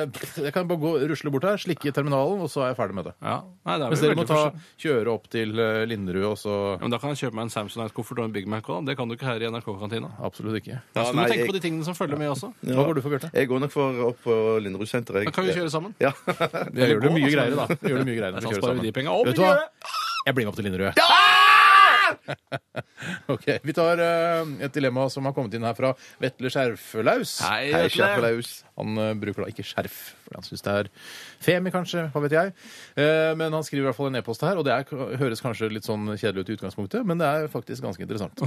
Speaker 3: jeg kan bare gå, rusle bort her, slikke terminalen, og så er jeg ferdig med det.
Speaker 5: Ja. Nei, det er
Speaker 3: Mens
Speaker 5: vel
Speaker 3: dere må
Speaker 5: veldig
Speaker 3: ta,
Speaker 5: forskjell-
Speaker 3: kjøre opp til eh, Linderud, og så
Speaker 5: ja, men Da kan jeg kjøpe meg en Samsonite-koffert og en Big Mac òg. Det kan du ikke her i NRK-kantina.
Speaker 3: Absolutt ikke.
Speaker 4: Ja,
Speaker 5: Så du
Speaker 4: nei,
Speaker 5: må tenke
Speaker 4: jeg-
Speaker 5: på de tingene som følger med også.
Speaker 3: Hva går du for, Bjarte?
Speaker 4: Jeg går nok for opp på Linderud-senteret.
Speaker 5: Da
Speaker 4: jeg.
Speaker 5: kan vi kjøre sammen.
Speaker 4: Ja.
Speaker 3: Jeg gjør det
Speaker 5: gå,
Speaker 3: mye
Speaker 5: altså.
Speaker 3: greiere, da. Jeg Gjør det mye greiere når vi
Speaker 5: Da
Speaker 3: kjører
Speaker 5: sparer vi
Speaker 3: sammen.
Speaker 5: de penga. Og
Speaker 3: Vet du hva? Jeg blir med opp til Linderud. ok, Vi tar eh, et dilemma som har kommet inn her fra Vetle Skjerflaus.
Speaker 4: Hei, Skjerfelaus.
Speaker 3: Han eh, bruker da ikke skjerf, for han syns det er femi, kanskje. Hva vet jeg. Eh, men han skriver i hvert fall en e-post her, og det er, høres kanskje litt sånn kjedelig ut i utgangspunktet, men det er faktisk ganske interessant.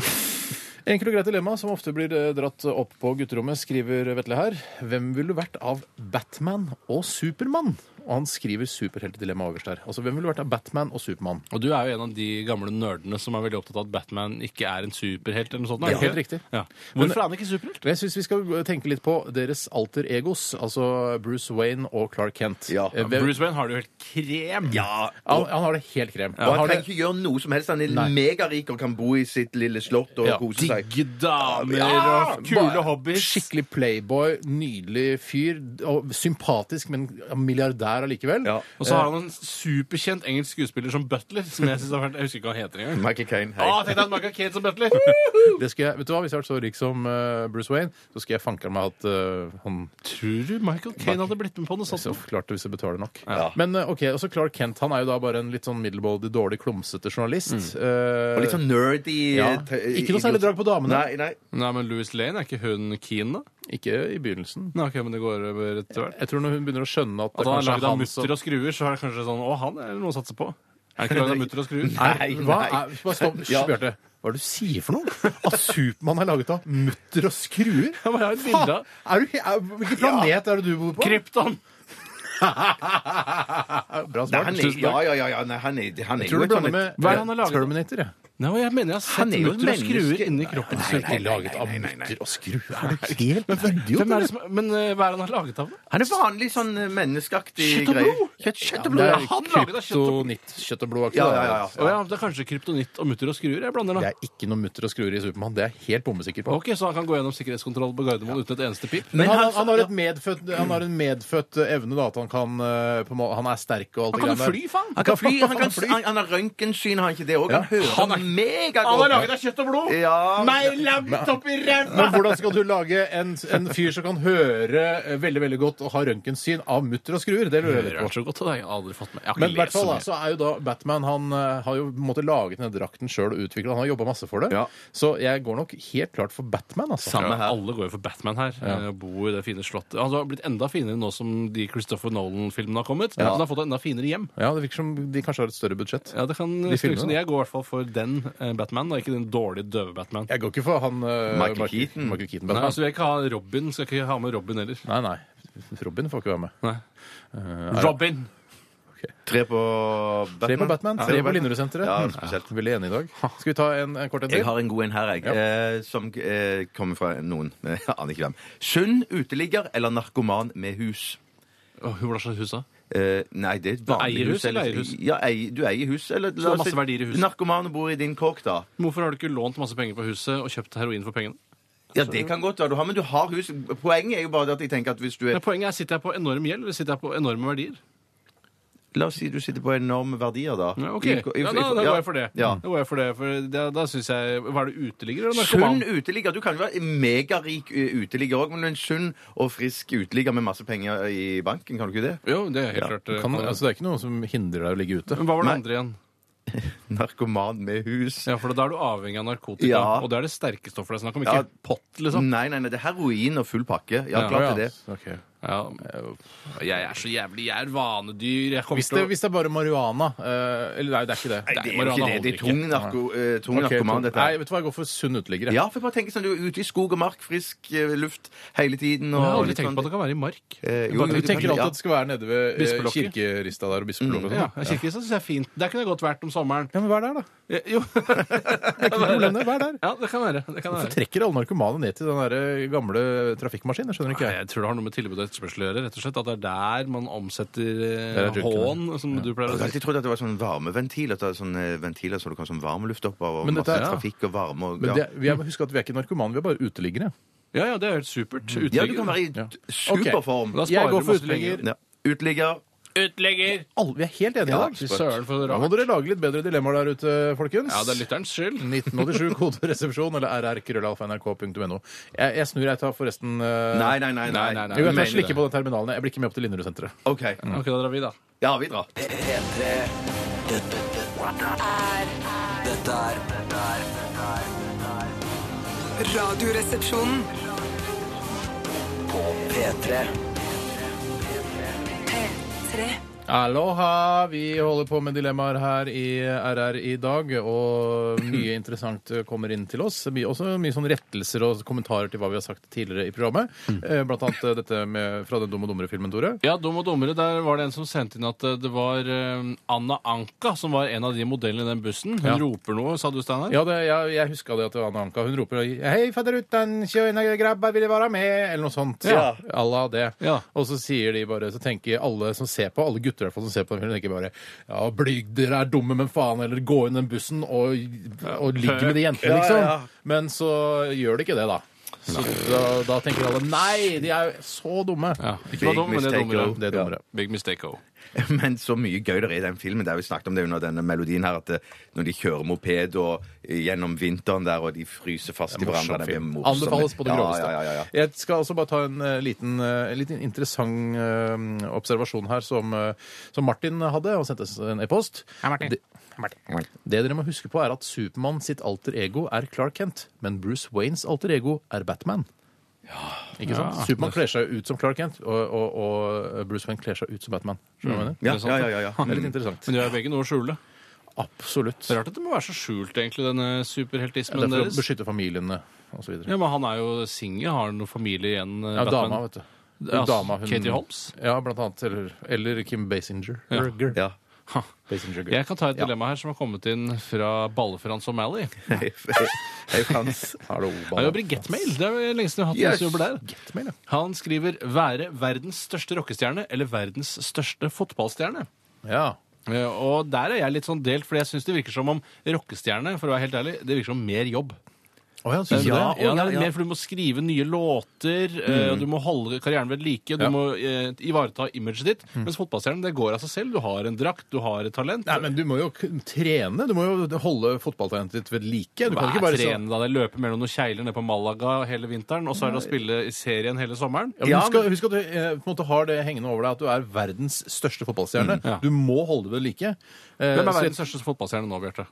Speaker 3: Enkelt og greit dilemma som ofte blir eh, dratt opp på gutterommet, skriver Vetle her. Hvem ville du vært av Batman og Supermann? Og han skriver superheltedilemma øverst her. Altså, hvem ville du vært av Batman og Supermann?
Speaker 5: Og du er jo en av de gamle nerdene som er veldig opptatt av at Batman ikke er en superhelt eller noe sånt. er
Speaker 3: Ja,
Speaker 5: du ikke
Speaker 3: helt
Speaker 5: det?
Speaker 3: riktig.
Speaker 5: Ja. Hvorfor er han ikke superhelt?
Speaker 3: Jeg syns vi skal tenke litt på deres alter egos, altså Bruce Wayne og Clark Kent.
Speaker 4: Ja.
Speaker 3: Eh, hvem-
Speaker 5: Bruce Wayne har det jo helt krem.
Speaker 4: Ja.
Speaker 3: han, han har det helt krem.
Speaker 4: Og
Speaker 3: har
Speaker 4: han
Speaker 3: det-
Speaker 4: trenger ikke gjøre noe som helst. Han er
Speaker 3: Nei.
Speaker 4: megarik og kan bo i sitt lille slott og
Speaker 3: Ja,
Speaker 4: kose seg.
Speaker 5: Digge damer
Speaker 4: Ja!
Speaker 5: og
Speaker 3: Bare
Speaker 5: Ah, kule hobbyer.
Speaker 3: Skikkelig playboy, nydelig fyr. Og sympatisk, men milliardær allikevel.
Speaker 4: Ja.
Speaker 5: Og så har han en superkjent engelsk skuespiller som Butler. Som Jeg synes har vært, jeg husker ikke hva han heter engang.
Speaker 4: Michael Caine, hei.
Speaker 5: Ah, tenk deg at Michael Caine som Butler!
Speaker 3: Det skal jeg, vet du hva, Hvis jeg hadde vært så rik som eh, Bruce Wayne, så skulle jeg fanke meg at eh, han
Speaker 5: Tror du Michael Caine hadde blitt med på noe
Speaker 3: så
Speaker 5: sånt?
Speaker 3: klart det hvis jeg betaler nok.
Speaker 4: Ja.
Speaker 3: Men eh, ok, og så Clark Kent han er jo da bare en litt sånn middelmådig, dårlig, klumsete journalist. Eh,
Speaker 4: Mm. Og litt sånn nerdy
Speaker 3: ja.
Speaker 4: te-
Speaker 3: Ikke noe særlig drag på damene.
Speaker 4: Nei, nei.
Speaker 5: Nei, men Louis Lane, er ikke hun Keane, da?
Speaker 3: Ikke i begynnelsen.
Speaker 5: Nei, ok, men det går over etter hvert.
Speaker 3: Jeg tror når hun begynner å skjønne at det
Speaker 5: At han er
Speaker 3: kanskje
Speaker 5: lagd
Speaker 3: er
Speaker 5: av
Speaker 3: han som
Speaker 5: mutter og skruer, så er det kanskje sånn Å, han er det noe å satse på. Er han ikke lagd av mutter og skruer?
Speaker 3: Nei, hva er hva står- Hysj,
Speaker 4: Ja.
Speaker 3: Bjarte. Hva er det du sier for noe? At Supermann er laget av mutter og skruer?
Speaker 5: men jeg har et bilde av-
Speaker 3: Faen, er du, er, hvilken planet er det du bor på?
Speaker 5: Krypton!
Speaker 3: Bra
Speaker 4: Nei, han
Speaker 3: svart.
Speaker 4: er,
Speaker 3: Tusen
Speaker 4: ja,
Speaker 3: takk.
Speaker 4: ja, ja, ja, nei, han er, han er
Speaker 3: Jeg tror
Speaker 4: jo
Speaker 3: du
Speaker 4: et sånn
Speaker 3: blander med
Speaker 5: Hva er det han har laget?
Speaker 3: Terminator. jeg.
Speaker 5: Nei, og jeg mener jeg har
Speaker 4: Han
Speaker 5: sett
Speaker 4: er jo et
Speaker 5: mutter og skruer
Speaker 4: menneske.
Speaker 5: inni kroppen.
Speaker 3: Han er ikke laget av
Speaker 4: nei, nei, nei.
Speaker 3: mutter og skruer. Er du helt idiot?
Speaker 5: Hvem er
Speaker 3: eller?
Speaker 5: det som, men eh, hva er det han har laget av?
Speaker 4: Han er vanlig sånn eh, menneskeaktig
Speaker 5: Kjøtt og
Speaker 4: greie.
Speaker 5: blod.
Speaker 4: Kjøtt, kjøtt og
Speaker 3: Det
Speaker 4: blod.
Speaker 3: er
Speaker 5: Ja, han laget av kjøtt og-
Speaker 3: kryptonitt, kjøtt og blod.
Speaker 4: Ja, ja, ja, ja.
Speaker 5: Å ja, det er kanskje kryptonitt og mutter og skruer. Jeg blander
Speaker 3: Det
Speaker 5: da.
Speaker 3: er ikke noe mutter og skruer i Supermann. Det er jeg helt bommesikker på.
Speaker 5: Ok, Så han kan gå gjennom sikkerhetskontroll på Gardermoen uten et eneste pip?
Speaker 3: Men han,
Speaker 4: han-
Speaker 3: han, har et medfødt, han har en medfødt evne, da. At han kan eh, på en måte, Han er sterk og alt
Speaker 5: Han kan jo
Speaker 3: greiene der.
Speaker 5: fly, faen!
Speaker 4: Han kan fly, han, kan, han, han har røntgensyn, har han ikke det òg? Han hører
Speaker 5: Han er- Han
Speaker 4: megagodt.
Speaker 5: er laget av kjøtt og blod!
Speaker 4: Ja.
Speaker 5: Meg langt oppi ræva!
Speaker 3: Men hvordan skal du lage en, en fyr som kan høre eh, veldig veldig godt og ha røntgensyn av mutter og skruer? Det lurer jeg litt
Speaker 5: Hører
Speaker 3: på.
Speaker 5: han så godt av deg? Jeg har aldri fått med. Jeg har ikke
Speaker 3: Men i hvert
Speaker 5: lest så
Speaker 3: fall altså. da, så
Speaker 5: mye.
Speaker 3: er jo da Batman Han eh, har jo på en måte laget denne drakten sjøl og utvikla Han har jobba masse for det.
Speaker 4: Ja.
Speaker 3: Så jeg går nok helt klart for Batman, altså.
Speaker 5: Samme her. Alle går jo for Batman her. eh, Bor i det fine slottet. Han har blitt enda finere nå som de Christopher Nolan-filmene har kommet. Han har fått et enda finere hjem.
Speaker 3: Ja, Det virker som de kanskje har et større budsjett.
Speaker 5: Ja, det kan
Speaker 3: De
Speaker 5: se ut som
Speaker 3: filmene, da.
Speaker 5: Jeg går i hvert fall for den eh, Batman, og ikke den dårlige, døve Batman.
Speaker 3: Jeg går ikke for han eh,
Speaker 4: Michael Keaton.
Speaker 3: Michael Keaton
Speaker 5: Nei,
Speaker 3: Batman.
Speaker 5: altså, jeg vil ikke ha Robin. Skal ikke ha med Robin heller.
Speaker 3: Nei, nei. Robin får ikke være med.
Speaker 5: Nei. Robin!
Speaker 4: Tre på Batman.
Speaker 3: Tre på Batman,
Speaker 4: Ja,
Speaker 3: tre på Linderud-senteret.
Speaker 4: Ja,
Speaker 3: Hmm.
Speaker 4: spesielt.
Speaker 3: Veldig enig i dag. Skal vi ta en, en kort en
Speaker 4: Jeg
Speaker 3: til?
Speaker 4: har en god en her, jeg. Eh, som eh, kommer fra noen. Jeg aner ikke hvem. Sunn uteligger eller narkoman med hus?
Speaker 5: Åh, Hva slags hus da?
Speaker 4: Eh, nei, det er et vanlig
Speaker 5: Eier hus eller
Speaker 4: eller-
Speaker 5: eier hus?
Speaker 4: Ja, eier- du eier hus. Eller,
Speaker 5: det er masse verdier i huset.
Speaker 4: Narkoman og bor i din kåk, da.
Speaker 5: Hvorfor har du ikke lånt masse penger på huset og kjøpt heroin for pengene?
Speaker 4: Ja, det kan godt være du har, men du har hus. Poenget er jo bare at jeg tenker at hvis du er
Speaker 5: Men poenget er, sitter jeg på enorm gjeld eller sitter jeg på enorme verdier?
Speaker 4: La oss si du sitter på enorme verdier, da.
Speaker 5: Ja, OK.
Speaker 4: I-
Speaker 5: Ja,
Speaker 4: i- i-
Speaker 5: da, da går jeg for det. Mm.
Speaker 4: Ja.
Speaker 5: Da går jeg for det, for da, da syns jeg Hva er det, uteligger eller narkoman?
Speaker 4: Sunn uteligger. Du kan jo være megarik ø, uteligger òg, men en sunn og frisk uteligger med masse penger i banken, kan du ikke det?
Speaker 5: Jo, det er helt klart. eh,
Speaker 3: Kan, altså, det er ikke noe som hindrer deg å ligge ute.
Speaker 5: Men hva var det
Speaker 4: Nei.
Speaker 5: andre igjen?
Speaker 4: Narkoman med hus.
Speaker 5: Ja, for Da er du avhengig av narkotika.
Speaker 4: Ja.
Speaker 5: Og det er det sterke stoffet det er snakk om. Ikke
Speaker 4: Ja. Mm.
Speaker 5: pott, liksom.
Speaker 4: Nei, nei, nei, det er heroin og full pakke. Ja,
Speaker 5: Ja,
Speaker 4: klart det er
Speaker 5: ja.
Speaker 4: det.
Speaker 3: Ok.
Speaker 5: Ja. Jeg er så jævlig Jeg er vanedyr. Jeg kommer
Speaker 3: Hvis det,
Speaker 5: til å
Speaker 3: hvis det er bare marihuana eh, Eller nei, det er ikke det.
Speaker 4: Nei, det er jo
Speaker 5: Marianne
Speaker 4: ikke det. Det er tung, narko, eh, tung
Speaker 3: Ok,
Speaker 4: narkoman,
Speaker 3: to-
Speaker 4: dette
Speaker 3: Nei,
Speaker 4: her.
Speaker 3: vet du hva, jeg går for sunn uteligger. jeg.
Speaker 4: Ja, for jeg bare tenker sånn, du er ute i skog og mark, frisk eh, luft hele tiden. Og
Speaker 5: Jeg har aldri
Speaker 4: litt
Speaker 5: tenkt
Speaker 4: sånn-
Speaker 5: på at det kan være i mark.
Speaker 4: Eh, jo,
Speaker 3: Du
Speaker 4: jo, det
Speaker 3: tenker
Speaker 4: kan- Mm,
Speaker 3: alltid at det skal være nede ved eh,
Speaker 5: Bispelokket.
Speaker 3: kirkerista der og bispelokket. og
Speaker 5: Ja,
Speaker 3: sånn.
Speaker 5: Kirkerista syns jeg er fint. Der kunne jeg godt vært om sommeren.
Speaker 3: Ja, men vær der, da.
Speaker 5: Ja, Jo.
Speaker 3: Det er ikke noe problem, det. Vær der.
Speaker 5: Ja, det kan være. Det kan
Speaker 3: Hvorfor
Speaker 5: være.
Speaker 3: trekker alle narkomane ned til den der eh, gamle trafikkmaskinen? Jeg skjønner ikke.
Speaker 5: Nei, jeg tror det har noe med tilbud og etterspørsel å gjøre. rett og slett, At det er der man omsetter
Speaker 3: Der er
Speaker 5: eh,
Speaker 3: drunkene.
Speaker 5: H-en, som du pleier
Speaker 4: Jeg har
Speaker 5: å si.
Speaker 4: alltid trodd at det var sånn varmeventil, at det er sånne ventiler så det kom sånn varmluft opp av, og
Speaker 3: Men dette
Speaker 4: masse
Speaker 3: er-
Speaker 4: trafikk og varme og
Speaker 3: Men
Speaker 4: ja.
Speaker 3: det, vi er, husk at vi er ikke narkomane, vi er bare uteliggere.
Speaker 5: Ja, Mm. ja, det er helt supert.
Speaker 4: ja, du kan være i
Speaker 3: Ja.
Speaker 4: t- superform.
Speaker 5: Ok. Da sparer
Speaker 3: Jeg
Speaker 5: du
Speaker 3: går for
Speaker 5: masse penger.
Speaker 3: uteligger.
Speaker 4: Ja. Uteligger.
Speaker 5: Utlegger!
Speaker 3: Alle- Vi er helt enige i dag.
Speaker 5: Fy søren, for
Speaker 3: Da må
Speaker 5: rart.
Speaker 3: dere lage litt bedre dilemmaer der ute, folkens.
Speaker 5: Ja, det er lytterens skyld.
Speaker 3: 1987, koderesepsjon eller rrkrøllalfa.nrk.no. Jeg, jeg snur, jeg tar forresten eh,
Speaker 4: Nei, nei, nei. nei,
Speaker 5: Nei, nei, nei.
Speaker 3: Jo, jeg
Speaker 4: Mener
Speaker 3: tar slikke
Speaker 4: det.
Speaker 3: på den terminalen. Jeg blir ikke med opp til Linderud-senteret.
Speaker 4: OK.
Speaker 5: Ok, da drar vi, da.
Speaker 4: Ja, vi drar.
Speaker 2: P- P3 Dette dette- dette er Dette er
Speaker 6: Radioresepsjonen.
Speaker 2: På P3
Speaker 6: P3.
Speaker 3: Aloha! Vi holder på med dilemmaer her i RR i dag, og mye interessant eh, kommer inn til oss. Mye, også mye sånn rettelser og kommentarer til hva vi har sagt tidligere i programmet. Eh, Blant annet eh, dette med, fra den Dum og dummere-filmen, Tore.
Speaker 5: Ja, Dum og dummere, der var det en som sendte inn at eh, det var eh, Anna Anka som var en av de modellene i den bussen. Hun
Speaker 3: Ja.
Speaker 5: roper noe, sa du, Steinar?
Speaker 3: Ja, det, jeg, jeg huska det at det var Anna Anka. Hun roper 'Hei, fadderuttan, tjena grabbar, vil dere være med?' eller noe sånt.
Speaker 4: Ja.
Speaker 3: À la det.
Speaker 5: Ja.
Speaker 3: Og så sier de bare, så tenker alle som ser på, alle gutter i hvert fall som ser på den filmen, tenker bare 'Ja, blyg, dere er dumme, men faen', eller 'gå inn den bussen og, og ligg med de jentene', liksom.
Speaker 4: ja.
Speaker 3: Men så gjør de ikke det, da. Så da, da tenker alle 'nei, de er jo så dumme'.
Speaker 5: Ja, Ikke var
Speaker 4: Big
Speaker 5: dum, men det er
Speaker 4: mistake,
Speaker 5: dummere.
Speaker 4: oh.
Speaker 3: Det er dummere.
Speaker 5: Big mistake, oh.
Speaker 4: Men så mye gøy det er i den filmen. Det har vi snakket om det under denne melodien her, at det, når de kjører moped og eh, gjennom vinteren der, og de fryser fast i hverandre. det blir morsomt.
Speaker 3: Anbefales på det groveste.
Speaker 4: Ja, ja, ja, ja.
Speaker 3: Jeg skal også bare ta en eh, liten, eh, en liten interessant eh, observasjon her som, eh, som Martin hadde. Han sendte oss en e-post. Det, det dere må huske på, er at Supermann sitt alter ego er Clark Kent, men Bruce Waynes alter ego er Batman. Ikke sant? Supermann kler seg ut som Clark Kent, og, og, og Bruce Wayne kler seg ut som Batman. Skjønner du hva jeg mener?
Speaker 4: Ja, ja, ja, ja, ja.
Speaker 3: Det er litt interessant.
Speaker 5: Men de har begge noe å skjule.
Speaker 3: Absolutt.
Speaker 5: Det er rart at det må være så skjult, egentlig, denne
Speaker 3: Det
Speaker 5: superheltismen
Speaker 3: er for å
Speaker 5: deres.
Speaker 3: beskytte familiene og så
Speaker 5: Ja,
Speaker 3: videre.
Speaker 5: Men han er jo singel, har han noen familie igjen? eh,
Speaker 3: Ja,
Speaker 5: Batman?
Speaker 3: dama, vet du.
Speaker 5: Ja, altså,
Speaker 3: Dama, hun-
Speaker 5: Katie Holmes?
Speaker 3: Ja, blant annet. Eller, eller Kim Basinger. Gerger.
Speaker 4: Ja.
Speaker 3: Basinger Gerger.
Speaker 5: Jeg kan ta et dilemma her som har kommet inn fra Balle-Frans O'Malley.
Speaker 4: Hei, hei, Frans.
Speaker 3: Hallo,
Speaker 5: Han
Speaker 3: Banan.
Speaker 5: jobber i Getmail. Det er jo lenge siden jeg har hatt
Speaker 4: Yes.
Speaker 5: yes. jobber der.
Speaker 3: Getmail, ja.
Speaker 5: Han skriver 'være verdens største rockestjerne' eller 'verdens største fotballstjerne'.
Speaker 3: ja.
Speaker 5: Eh, Og der er jeg litt sånn delt, for jeg syns det virker som om rockestjerne, for å være helt ærlig, det virker som mer jobb.
Speaker 3: Å ja,
Speaker 5: Ja,
Speaker 3: synes du det?
Speaker 5: det er mer, for du må skrive nye låter, eh, og du må holde karrieren ved like, du
Speaker 3: Ja.
Speaker 5: må eh, ivareta imaget ditt. Mens fotballstjernen, det går av seg selv. Du har en drakt, du har et talent.
Speaker 3: Nei, men du må jo k- trene. Du må jo holde fotballtalentet ditt ved like. Du kan ikke
Speaker 5: Hva er
Speaker 3: bare så-
Speaker 5: trene, da? Det er løpe mellom noen kjegler nede på Malaga hele vinteren, og så er det å spille i serien hele sommeren?
Speaker 3: ja, men husk, at- husk at du eh, på en måte har det hengende over deg at du er verdens største fotballstjerne.
Speaker 5: Mm, Ja.
Speaker 3: Du må holde det ved like. Eh,
Speaker 5: Hvem er
Speaker 3: så-
Speaker 5: verdens største fotballstjerne nå, Bjarte?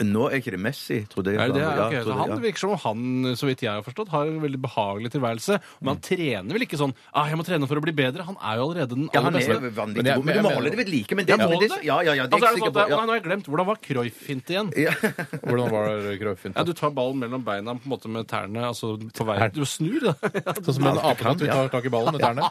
Speaker 4: Nå er ikke det Messi, trodde jeg.
Speaker 5: Er det det?
Speaker 4: Ja,
Speaker 5: Ok,
Speaker 4: trodde
Speaker 5: så
Speaker 4: jeg,
Speaker 5: han
Speaker 4: ja.
Speaker 5: virker som om han, så vidt jeg har forstått, har en veldig behagelig tilværelse. Men han trener vel ikke sånn ah, 'jeg må trene for å bli bedre'? Han er jo allerede den
Speaker 4: Ja,
Speaker 5: aller
Speaker 4: han er
Speaker 5: beste.
Speaker 4: jo vanvittig
Speaker 3: Men jeg-
Speaker 4: god, men
Speaker 3: men jeg
Speaker 4: du må holde
Speaker 3: mener-
Speaker 4: det ved like. Men det,
Speaker 5: Ja, må
Speaker 4: men det,
Speaker 5: det?
Speaker 4: ja, ja, ja, det er
Speaker 5: Altså,
Speaker 4: jeg
Speaker 5: er det
Speaker 4: sikker
Speaker 5: sånn
Speaker 4: på.
Speaker 5: at det-
Speaker 4: Ja.
Speaker 5: Å, Nå har jeg glemt. Hvordan var Cruyff-hintet igjen?
Speaker 4: Ja.
Speaker 3: Hvordan var det, Krøyfinn?
Speaker 5: Ja, Du tar ballen mellom beina på en måte med tærne altså på vei. Du snur, da.
Speaker 3: Sånn som en apekatt du tar tak i ballen med tærne?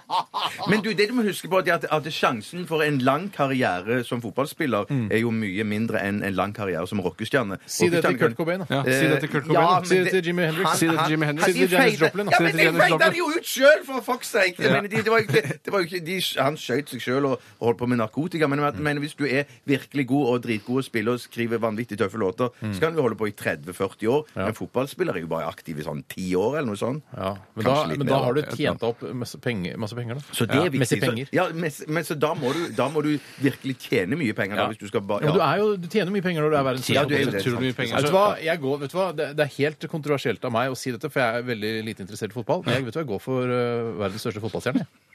Speaker 4: Men du, det du må huske på, er at, at sjansen for en lang karriere som fotballspiller er jo mye mindre enn en lang karriere som Bjarne.
Speaker 3: Si det til Kurt
Speaker 4: Bjarne.
Speaker 3: Cobain, da.
Speaker 5: Ja,
Speaker 3: Eh,
Speaker 5: si det til Kurt Cobain.
Speaker 3: Ja,
Speaker 5: da.
Speaker 3: si det til Jimmy Hendrix.
Speaker 5: Si det til Jimi Hendrix.
Speaker 4: Han-
Speaker 5: Si det til
Speaker 4: han-
Speaker 5: Janis Joplin. da.
Speaker 4: Ja,
Speaker 5: Si det
Speaker 4: men
Speaker 5: til
Speaker 4: de
Speaker 5: Janis
Speaker 4: feida
Speaker 5: Joplin.
Speaker 4: det jo ut sjøl, for fuck's sake! Jeg mener, de, det var jo ikke, det var jo ikke, de, han skjøt seg sjøl og holdt på med narkotika. Men, jeg mener, hvis du er virkelig god og dritgod og spiller og skriver vanvittig tøffe låter, så kan du holde på i 30-40 år. Men fotballspillere er jo bare aktive i sånn 10 år eller noe sånt.
Speaker 3: Ja, men da,
Speaker 4: Kanskje litt
Speaker 3: men
Speaker 4: mer,
Speaker 3: da har du
Speaker 4: da.
Speaker 3: tjent opp masse penger. Masse penger da.
Speaker 4: Så det
Speaker 3: ja,
Speaker 4: er viktig.
Speaker 3: Messi
Speaker 4: Så-
Speaker 3: penger.
Speaker 4: Ja, mess- men så da må du, da må du virkelig tjene mye penger da,
Speaker 3: Ja.
Speaker 4: hvis du skal bare
Speaker 3: Ja, men du, er jo, du tjener mye penger når du er verdens
Speaker 4: Ja,
Speaker 3: største
Speaker 4: du er jo
Speaker 3: fotballspiller.
Speaker 4: det.
Speaker 5: Tror du mye
Speaker 3: Ja,
Speaker 5: penger
Speaker 3: Vet du
Speaker 5: så
Speaker 3: hva? Jeg går, vet du hva? Det, det er helt kontroversielt av meg å si dette, for jeg er veldig lite interessert i fotball. Men jeg, vet du, hva? jeg går for eh, verdens største fotballstjerne. jeg.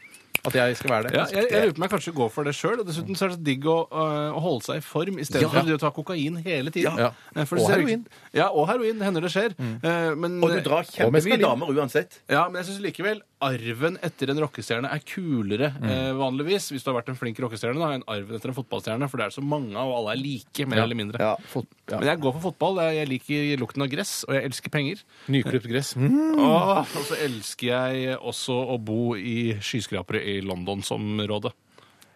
Speaker 3: At jeg skal være det.
Speaker 5: ja, jeg, jeg lurer på om jeg kanskje går for det sjøl. Dessuten så er det så digg å, øh, å holde seg i form istedenfor for å drive og ta kokain hele tiden.
Speaker 3: Ja.
Speaker 5: Eh, for
Speaker 3: Og
Speaker 5: det ser-
Speaker 3: heroin.
Speaker 5: Ja, og heroin. Det hender det skjer. Eh, men,
Speaker 4: Og du drar kjempemye
Speaker 3: meskelin.
Speaker 4: damer uansett.
Speaker 5: Ja, men jeg syns likevel arven etter en rockestjerne er kulere eh, vanligvis. Hvis du har vært en flink rockestjerne, da, enn arven etter en fotballstjerne. For det er så mange, og alle er like, mer eller mindre.
Speaker 3: Ja, fot- ja.
Speaker 5: Men jeg går for fotball. Jeg- Jeg liker lukten av gress, og jeg elsker penger.
Speaker 3: Nyklipt gress. Mm.
Speaker 5: Åh, Og så elsker jeg også å bo i skyskrapere i London-området.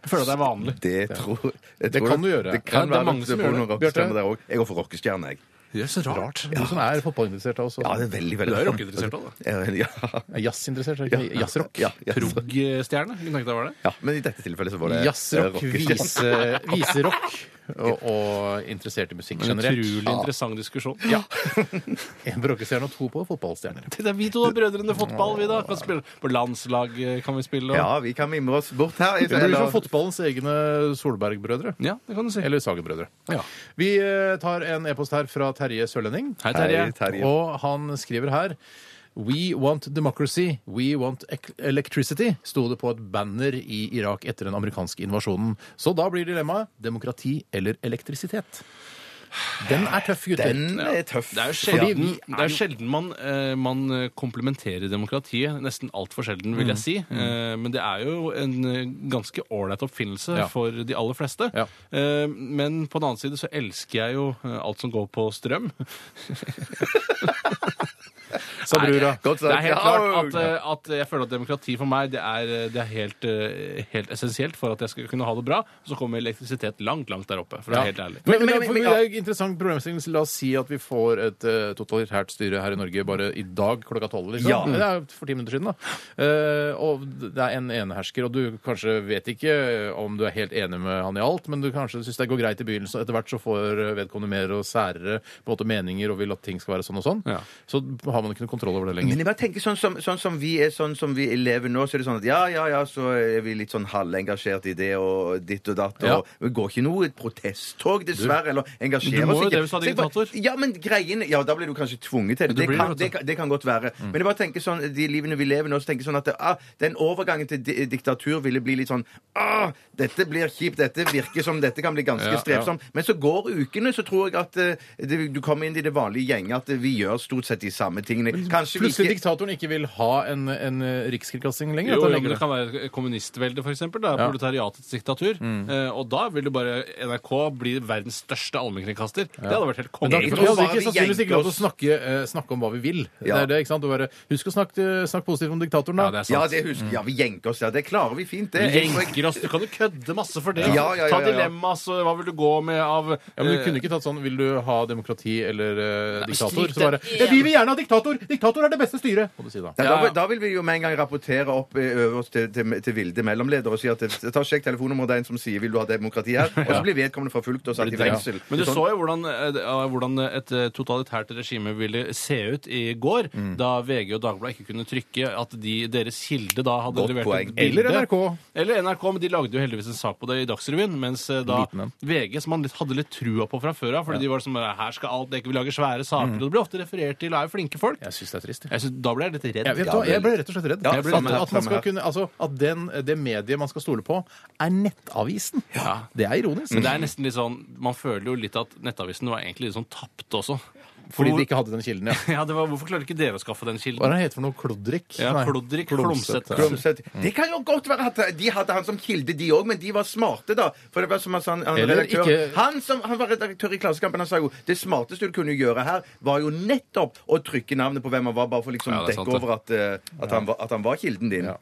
Speaker 5: Jeg føler det er vanlig.
Speaker 4: Det tror jeg
Speaker 3: Det
Speaker 4: tror
Speaker 3: kan du gjøre.
Speaker 4: Det
Speaker 5: Ja,
Speaker 4: kan
Speaker 5: det er
Speaker 4: være
Speaker 5: mange
Speaker 4: at
Speaker 5: som
Speaker 4: det
Speaker 5: gjør
Speaker 4: bor noen
Speaker 5: det.
Speaker 4: rockestjerner der òg. Jeg går for rockestjerne, jeg.
Speaker 5: Det er så rart.
Speaker 3: Du som er fotballinteressert av oss.
Speaker 4: Ja, det er veldig, veldig
Speaker 5: Du er jo rockeinteressert òg, da.
Speaker 4: Ja, ja.
Speaker 3: Er Jazzinteressert. er det ikke? Jazzrock.
Speaker 4: Ja, ja.
Speaker 5: Prog-stjerne. Kunne tenkt deg å være det.
Speaker 4: Ja, men i dette tilfellet så var det
Speaker 3: Jazzrock,
Speaker 4: eh, rockestjerne.
Speaker 3: vise- viserock og, og interessert i musikk
Speaker 5: En utrolig
Speaker 3: generelt.
Speaker 5: interessant diskusjon.
Speaker 3: Ja. En rockestjerne og to på fotballstjerner.
Speaker 5: Det er vi to da, brødrene fotball, vi da. Kan spille på landslag eh, kan vi spille. og-
Speaker 4: Ja, vi kan mimre oss bort her.
Speaker 3: Det blir som fotballens egne Solberg-brødre.
Speaker 5: ja, det kan du si.
Speaker 3: Eller Sagen-brødre.
Speaker 5: Ja.
Speaker 3: Vi eh, tar en e-post her fra Terje Sørlending.
Speaker 5: Hei, Terje.
Speaker 4: Hei, Terje.
Speaker 3: Og han skriver her We want democracy, we want ec- electricity, sto det på et banner i Irak etter den amerikanske invasjonen. Så da blir dilemmaet demokrati eller elektrisitet. Den er tøff, gutter.
Speaker 4: Den er tøff.
Speaker 5: Det er jo
Speaker 3: Fordi
Speaker 5: sjelden,
Speaker 3: vi er
Speaker 5: det er jo sjelden man, eh, man komplementerer demokratiet. Nesten altfor sjelden,
Speaker 3: Mm.
Speaker 5: vil jeg si. Eh, men det er jo en eh, ganske ålreit oppfinnelse
Speaker 3: Ja.
Speaker 5: for de aller fleste.
Speaker 3: Ja.
Speaker 5: Eh, men på den annen side så elsker jeg jo eh, alt som går på strøm.
Speaker 3: sa brura.
Speaker 4: Godt sagt.
Speaker 5: Det er helt
Speaker 4: Ja.
Speaker 5: klart at, eh, at jeg føler at demokrati for meg det er, eh, det er helt, eh, helt essensielt for at jeg skal kunne ha det bra. Så kommer elektrisitet langt, langt der oppe, for å
Speaker 3: Ja.
Speaker 5: være helt ærlig.
Speaker 3: Men,
Speaker 4: Men-
Speaker 3: men,
Speaker 4: men-
Speaker 3: for
Speaker 4: men-
Speaker 3: det er jo interessant problemstilling. så La oss si at vi får et eh, totalitært styre her i Norge bare i dag klokka tolv. Liksom.
Speaker 4: Ja.
Speaker 3: Det er jo for ti minutter siden, da. Eh, og det er en enehersker, og du kanskje vet ikke eh, om du er helt enig med han i alt, men du kanskje syns det går greit i begynnelsen, og etter hvert så får vedkommende mer og særere på en måte meninger og vil at ting skal være sånn og sånn.
Speaker 5: Ja.
Speaker 3: Så har man ikke noe kontroll over det
Speaker 4: Men
Speaker 3: lenger.
Speaker 4: jeg bare tenker sånn som, sånn som vi er sånn som vi lever nå, så er det sånn at ja, ja, ja, så er vi litt sånn halvengasjert i det og ditt og datt.
Speaker 3: Ja.
Speaker 4: Og vi går ikke noe protesttog, dessverre. Eller
Speaker 5: Du
Speaker 4: engasjerer
Speaker 5: må
Speaker 4: oss
Speaker 5: jo
Speaker 4: ikke.
Speaker 5: det hvis du er
Speaker 4: Så jeg bare-
Speaker 5: diktator.
Speaker 4: Ja, men greien Ja, da blir du kanskje tvunget til det.
Speaker 5: Du
Speaker 4: Det
Speaker 5: blir
Speaker 4: kan,
Speaker 5: det, altså. Mm. vet
Speaker 4: det,
Speaker 5: du.
Speaker 4: kan- det kan godt være. Men jeg bare tenker sånn, de livene vi lever nå, så tenker jeg sånn at ah, den overgangen til di diktatur ville bli litt sånn ah, Dette blir kjipt. Dette virker som Dette kan bli ganske
Speaker 5: Ja, ja.
Speaker 4: strevsomt. Men så går ukene, så tror jeg at eh, det, du kommer inn i det vanlige gjenget at vi gjør stort sett de samme tingene. Kanskje vi
Speaker 3: Plutselig
Speaker 4: ikke
Speaker 3: diktatoren ikke vil ha en, en eh, rikskringkasting lenger.
Speaker 5: Jo,
Speaker 3: at han
Speaker 5: jo,
Speaker 3: legger
Speaker 5: men det
Speaker 3: det.
Speaker 5: kan være kommunistvelde, for eksempel. Da,
Speaker 3: Ja.
Speaker 5: Proletariatets diktatur. Eh, og da vil jo bare NRK bli verdens største allmennkringkaster. Det hadde vært helt
Speaker 3: Men da,
Speaker 5: konge.
Speaker 3: vi
Speaker 4: for
Speaker 3: hadde
Speaker 4: bare
Speaker 3: altså, ikke
Speaker 4: vi
Speaker 3: sannsynligvis ikke lov til å
Speaker 4: jenker
Speaker 3: snakke, eh, snakke om hva vi vil.
Speaker 4: Ja.
Speaker 3: Det er det, ikke sant? Og bare, husk å snakke, snakke positivt om diktatoren, da.
Speaker 5: Ja, det er
Speaker 4: Ja,
Speaker 5: sant.
Speaker 4: det husker Ja, vi jenker oss. Ja, det klarer vi fint, det.
Speaker 5: Vi
Speaker 4: Jeg tror jeg-
Speaker 5: jenker oss. Du kan jo kødde masse for det.
Speaker 4: Ja, ja, ja,
Speaker 5: Ta
Speaker 4: ja, ja.
Speaker 5: dilemma, så hva vil du gå med av
Speaker 3: Ja, men Du
Speaker 5: eh,
Speaker 3: kunne ikke tatt sånn 'Vil du ha demokrati eller eh, diktator?'
Speaker 5: stryk
Speaker 3: Så bare
Speaker 5: det.
Speaker 3: ja, 'Vi vil gjerne ha diktator! Diktator er det beste styret!' Må du si da.
Speaker 4: Nei,
Speaker 5: Ja, ja.
Speaker 4: da, da vil vi jo med en gang rapportere opp eh, øverst til, til, til Vilde mellomleder og si at det- ta sjekk telefonnummeret det er en som sier 'vil du ha demokrati her', og så blir vedkommende forfulgt og satt i fengsel.
Speaker 5: Men du
Speaker 4: Sånn.
Speaker 5: så jo hvordan, eh, det- ah, hvordan et eh, totalitært regime ville se ut i går,
Speaker 3: Mm.
Speaker 5: da VG og Dagbladet ikke kunne trykke at de, deres kilde da hadde
Speaker 4: Godt
Speaker 5: levert
Speaker 4: poeng.
Speaker 5: et bilde.
Speaker 3: Eller NRK.
Speaker 5: Eller NRK, men de lagde jo heldigvis en sak på det i Dagsrevyen. Mens eh, da
Speaker 3: Liten en.
Speaker 5: VG, som man litt, hadde litt trua på fra før av, fordi de var sånn Her skal alt dekke, vi lager svære
Speaker 3: Mm.
Speaker 5: saker. Og det blir ofte referert til, og er jo flinke folk.
Speaker 3: Jeg syns det er trist. jeg.
Speaker 5: Jeg synes, da ble jeg litt redd.
Speaker 3: Jeg, vet, du hva, jeg ble rett og slett redd.
Speaker 4: Ja,
Speaker 3: Jeg ble
Speaker 4: samme
Speaker 3: redd
Speaker 4: her,
Speaker 3: at man
Speaker 4: samme
Speaker 3: skal
Speaker 4: her.
Speaker 3: kunne, altså, at den, det mediet man skal stole på, er Nettavisen. Det er ironisk.
Speaker 5: Men det er nesten litt sånn Man føler jo litt at Nettavisen var egentlig litt sånn tapt også.
Speaker 3: Fordi de ikke hadde den kilden, ja.
Speaker 5: Ja, det var, Hvorfor klarer ikke dere å skaffe
Speaker 3: Hva
Speaker 5: den
Speaker 3: er
Speaker 5: kilden?
Speaker 3: det han heter for noe? Klodrik?
Speaker 5: Ja,
Speaker 3: Nei.
Speaker 5: Klodrik
Speaker 3: Klomsæt.
Speaker 5: Klomsæt.
Speaker 4: Klomsæt. Mm. Det kan jo godt være at de hadde han som kilde, de òg, men de var smarte, da. For det var som han sa, han, han,
Speaker 3: Eller
Speaker 4: redaktør,
Speaker 3: ikke-
Speaker 4: han som han var redaktør i Klassekampen, han sa jo det smarteste du kunne gjøre her, var jo nettopp å trykke navnet på hvem han var, bare for liksom
Speaker 5: Ja,
Speaker 4: å
Speaker 5: det er sant,
Speaker 4: dekke over at, eh, at, han, var, at han var kilden din.
Speaker 3: Ja.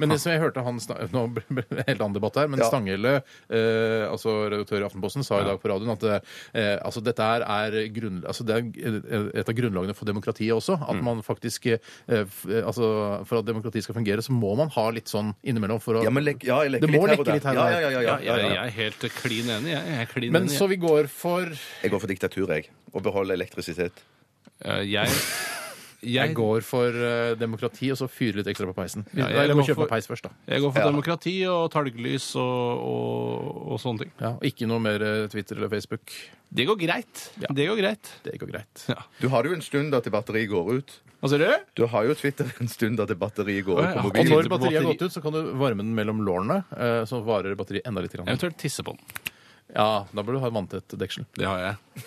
Speaker 3: Men det som jeg hørte han sna- Nå ble ble det en helt annen debatt her, men
Speaker 4: Ja.
Speaker 3: Stanghelle, eh, altså redaktør i Aftenposten, sa i dag på radioen at eh, altså dette her er grunn, altså det er eh, et av grunnlagene for demokratiet også. At man faktisk eh, f, eh, altså For at demokratiet skal fungere, så må man ha litt sånn innimellom for å
Speaker 4: Ja, men lek, ja, jeg leker
Speaker 3: Det må
Speaker 4: litt her og
Speaker 3: leke litt
Speaker 4: der.
Speaker 3: her
Speaker 4: Ja,
Speaker 3: og der.
Speaker 4: ja, ja, ja, ja,
Speaker 5: jeg,
Speaker 4: ja,
Speaker 5: jeg er helt klin enig. Jeg, jeg er klin
Speaker 3: Men
Speaker 5: enig.
Speaker 3: så vi går for
Speaker 4: Jeg går for diktatur, jeg. Og beholder elektrisitet.
Speaker 5: Eh, jeg,
Speaker 3: Jeg
Speaker 5: jeg,
Speaker 3: går for eh, demokrati, og så fyre litt ekstra på peisen.
Speaker 5: Ja, jeg
Speaker 3: Eller må
Speaker 5: går
Speaker 3: kjøpe
Speaker 5: for-
Speaker 3: meg peis først, da.
Speaker 5: jeg går for
Speaker 4: Ja.
Speaker 5: demokrati og talglys og, og, og sånne ting.
Speaker 3: Ja, og ikke noe mer eh, Twitter eller Facebook.
Speaker 5: Det går greit. Det går greit.
Speaker 3: Det går greit.
Speaker 4: Du har det jo en stund da til batteriet går ut.
Speaker 5: Hva sier du?
Speaker 4: Du har jo Twitter en stund da til batteriet går ut
Speaker 5: Å, ja.
Speaker 4: på
Speaker 3: Og
Speaker 4: mobilen.
Speaker 3: når
Speaker 5: Batteri-
Speaker 3: batteriet har
Speaker 5: batteri-
Speaker 3: gått ut, så kan du varme den mellom lårene. eh, Så varer batteriet enda litt. Grann.
Speaker 5: Eventuelt tisse på den.
Speaker 3: Ja, Da bør du ha et vanntett deksel.
Speaker 5: Det har jeg.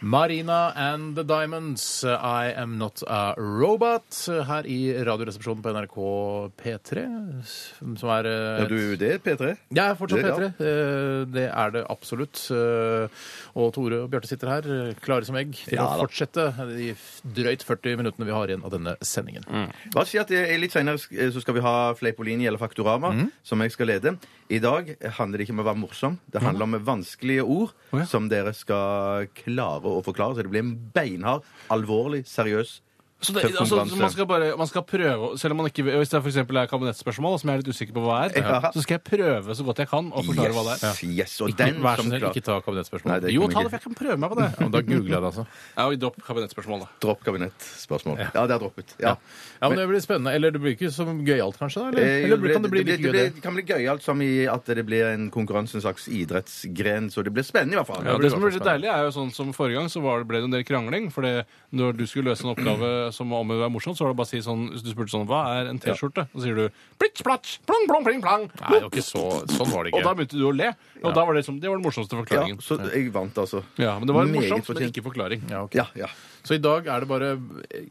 Speaker 3: Marina and the Diamonds, I Am Not a Robot, her i Radioresepsjonen på NRK P3, som er eh,
Speaker 4: Ja, du, det er P3.
Speaker 3: Jeg er fortsatt
Speaker 4: Det, ja.
Speaker 3: P3. Eh, Det er det absolutt. Eh, Og Tore og Bjarte sitter her, eh, klare som egg, til å fortsette de f- drøyt 40 minuttene vi har igjen av denne sendingen.
Speaker 4: Bare si at eh, Litt senere sk- eh, så skal vi ha Fleipolini eller Faktorama,
Speaker 3: Mhm.
Speaker 4: som jeg skal lede. I dag handler det ikke om å være morsom. Det handler om vanskelige ord
Speaker 5: ja.
Speaker 4: som dere skal klare å forklare. Så det blir en beinhard, alvorlig, seriøs
Speaker 5: Så det,
Speaker 4: tøff
Speaker 5: altså,
Speaker 4: konkurranse.
Speaker 5: så man, skal bare, man skal prøve, å- selv om man ikke Hvis det for eksempel er kabinettspørsmål, som jeg er litt usikker på hva er,
Speaker 4: Ja.
Speaker 5: så skal jeg prøve så godt jeg kan å forklare hva det er.
Speaker 4: Yes, yes, og den
Speaker 3: Vær så
Speaker 4: som
Speaker 3: snill,
Speaker 4: klarer
Speaker 3: ikke ta kabinettspørsmål.
Speaker 4: Nei, det
Speaker 5: Jo,
Speaker 4: kan vi
Speaker 5: ta det,
Speaker 4: ikke.
Speaker 5: for jeg kan prøve meg på det.
Speaker 3: Ja, men da googler jeg det, altså.
Speaker 5: Ja, vi Dropp kabinettspørsmål, da.
Speaker 4: Dropp kabinettspørsmål. Ja. det er droppet. Ja.
Speaker 3: Ja. ja, men det blir spennende. Eller det blir ikke så gøyalt, kanskje? da, Eller,
Speaker 4: Eh, jo,
Speaker 3: eller kan det bli
Speaker 4: det,
Speaker 3: like
Speaker 4: blir-
Speaker 3: gøy,
Speaker 4: det
Speaker 3: det?
Speaker 4: blir- kan bli gøyalt som i at det blir en konkurranse, en slags idrettsgren. Så det blir spennende, i hvert fall.
Speaker 5: Ja,
Speaker 3: blir
Speaker 5: det som
Speaker 3: i
Speaker 5: ble
Speaker 3: hvert fall
Speaker 5: litt deilig, er jo sånn som forrige gang, så var det, ble det en del krangling. For det- når du skulle løse en oppgave som var om å være morsom, så var det bare å si sånn hvis Du spurte sånn Hva er en T-skjorte? Og så sier du plitsj, platsj, plong, plong, pling, plang.
Speaker 3: Nei, det var ikke så, sånn var det
Speaker 5: Og da
Speaker 3: ikke.
Speaker 5: begynte du å le. Og da var det liksom Det var den morsomste
Speaker 4: Ja,
Speaker 5: forklaringen.
Speaker 4: så jeg vant, altså.
Speaker 5: Ja, men det var
Speaker 4: Meget
Speaker 5: morsomt, men
Speaker 4: fortjent.
Speaker 5: ikke forklaring.
Speaker 3: Ja, ok.
Speaker 4: Ja, ja.
Speaker 3: Så i dag er det bare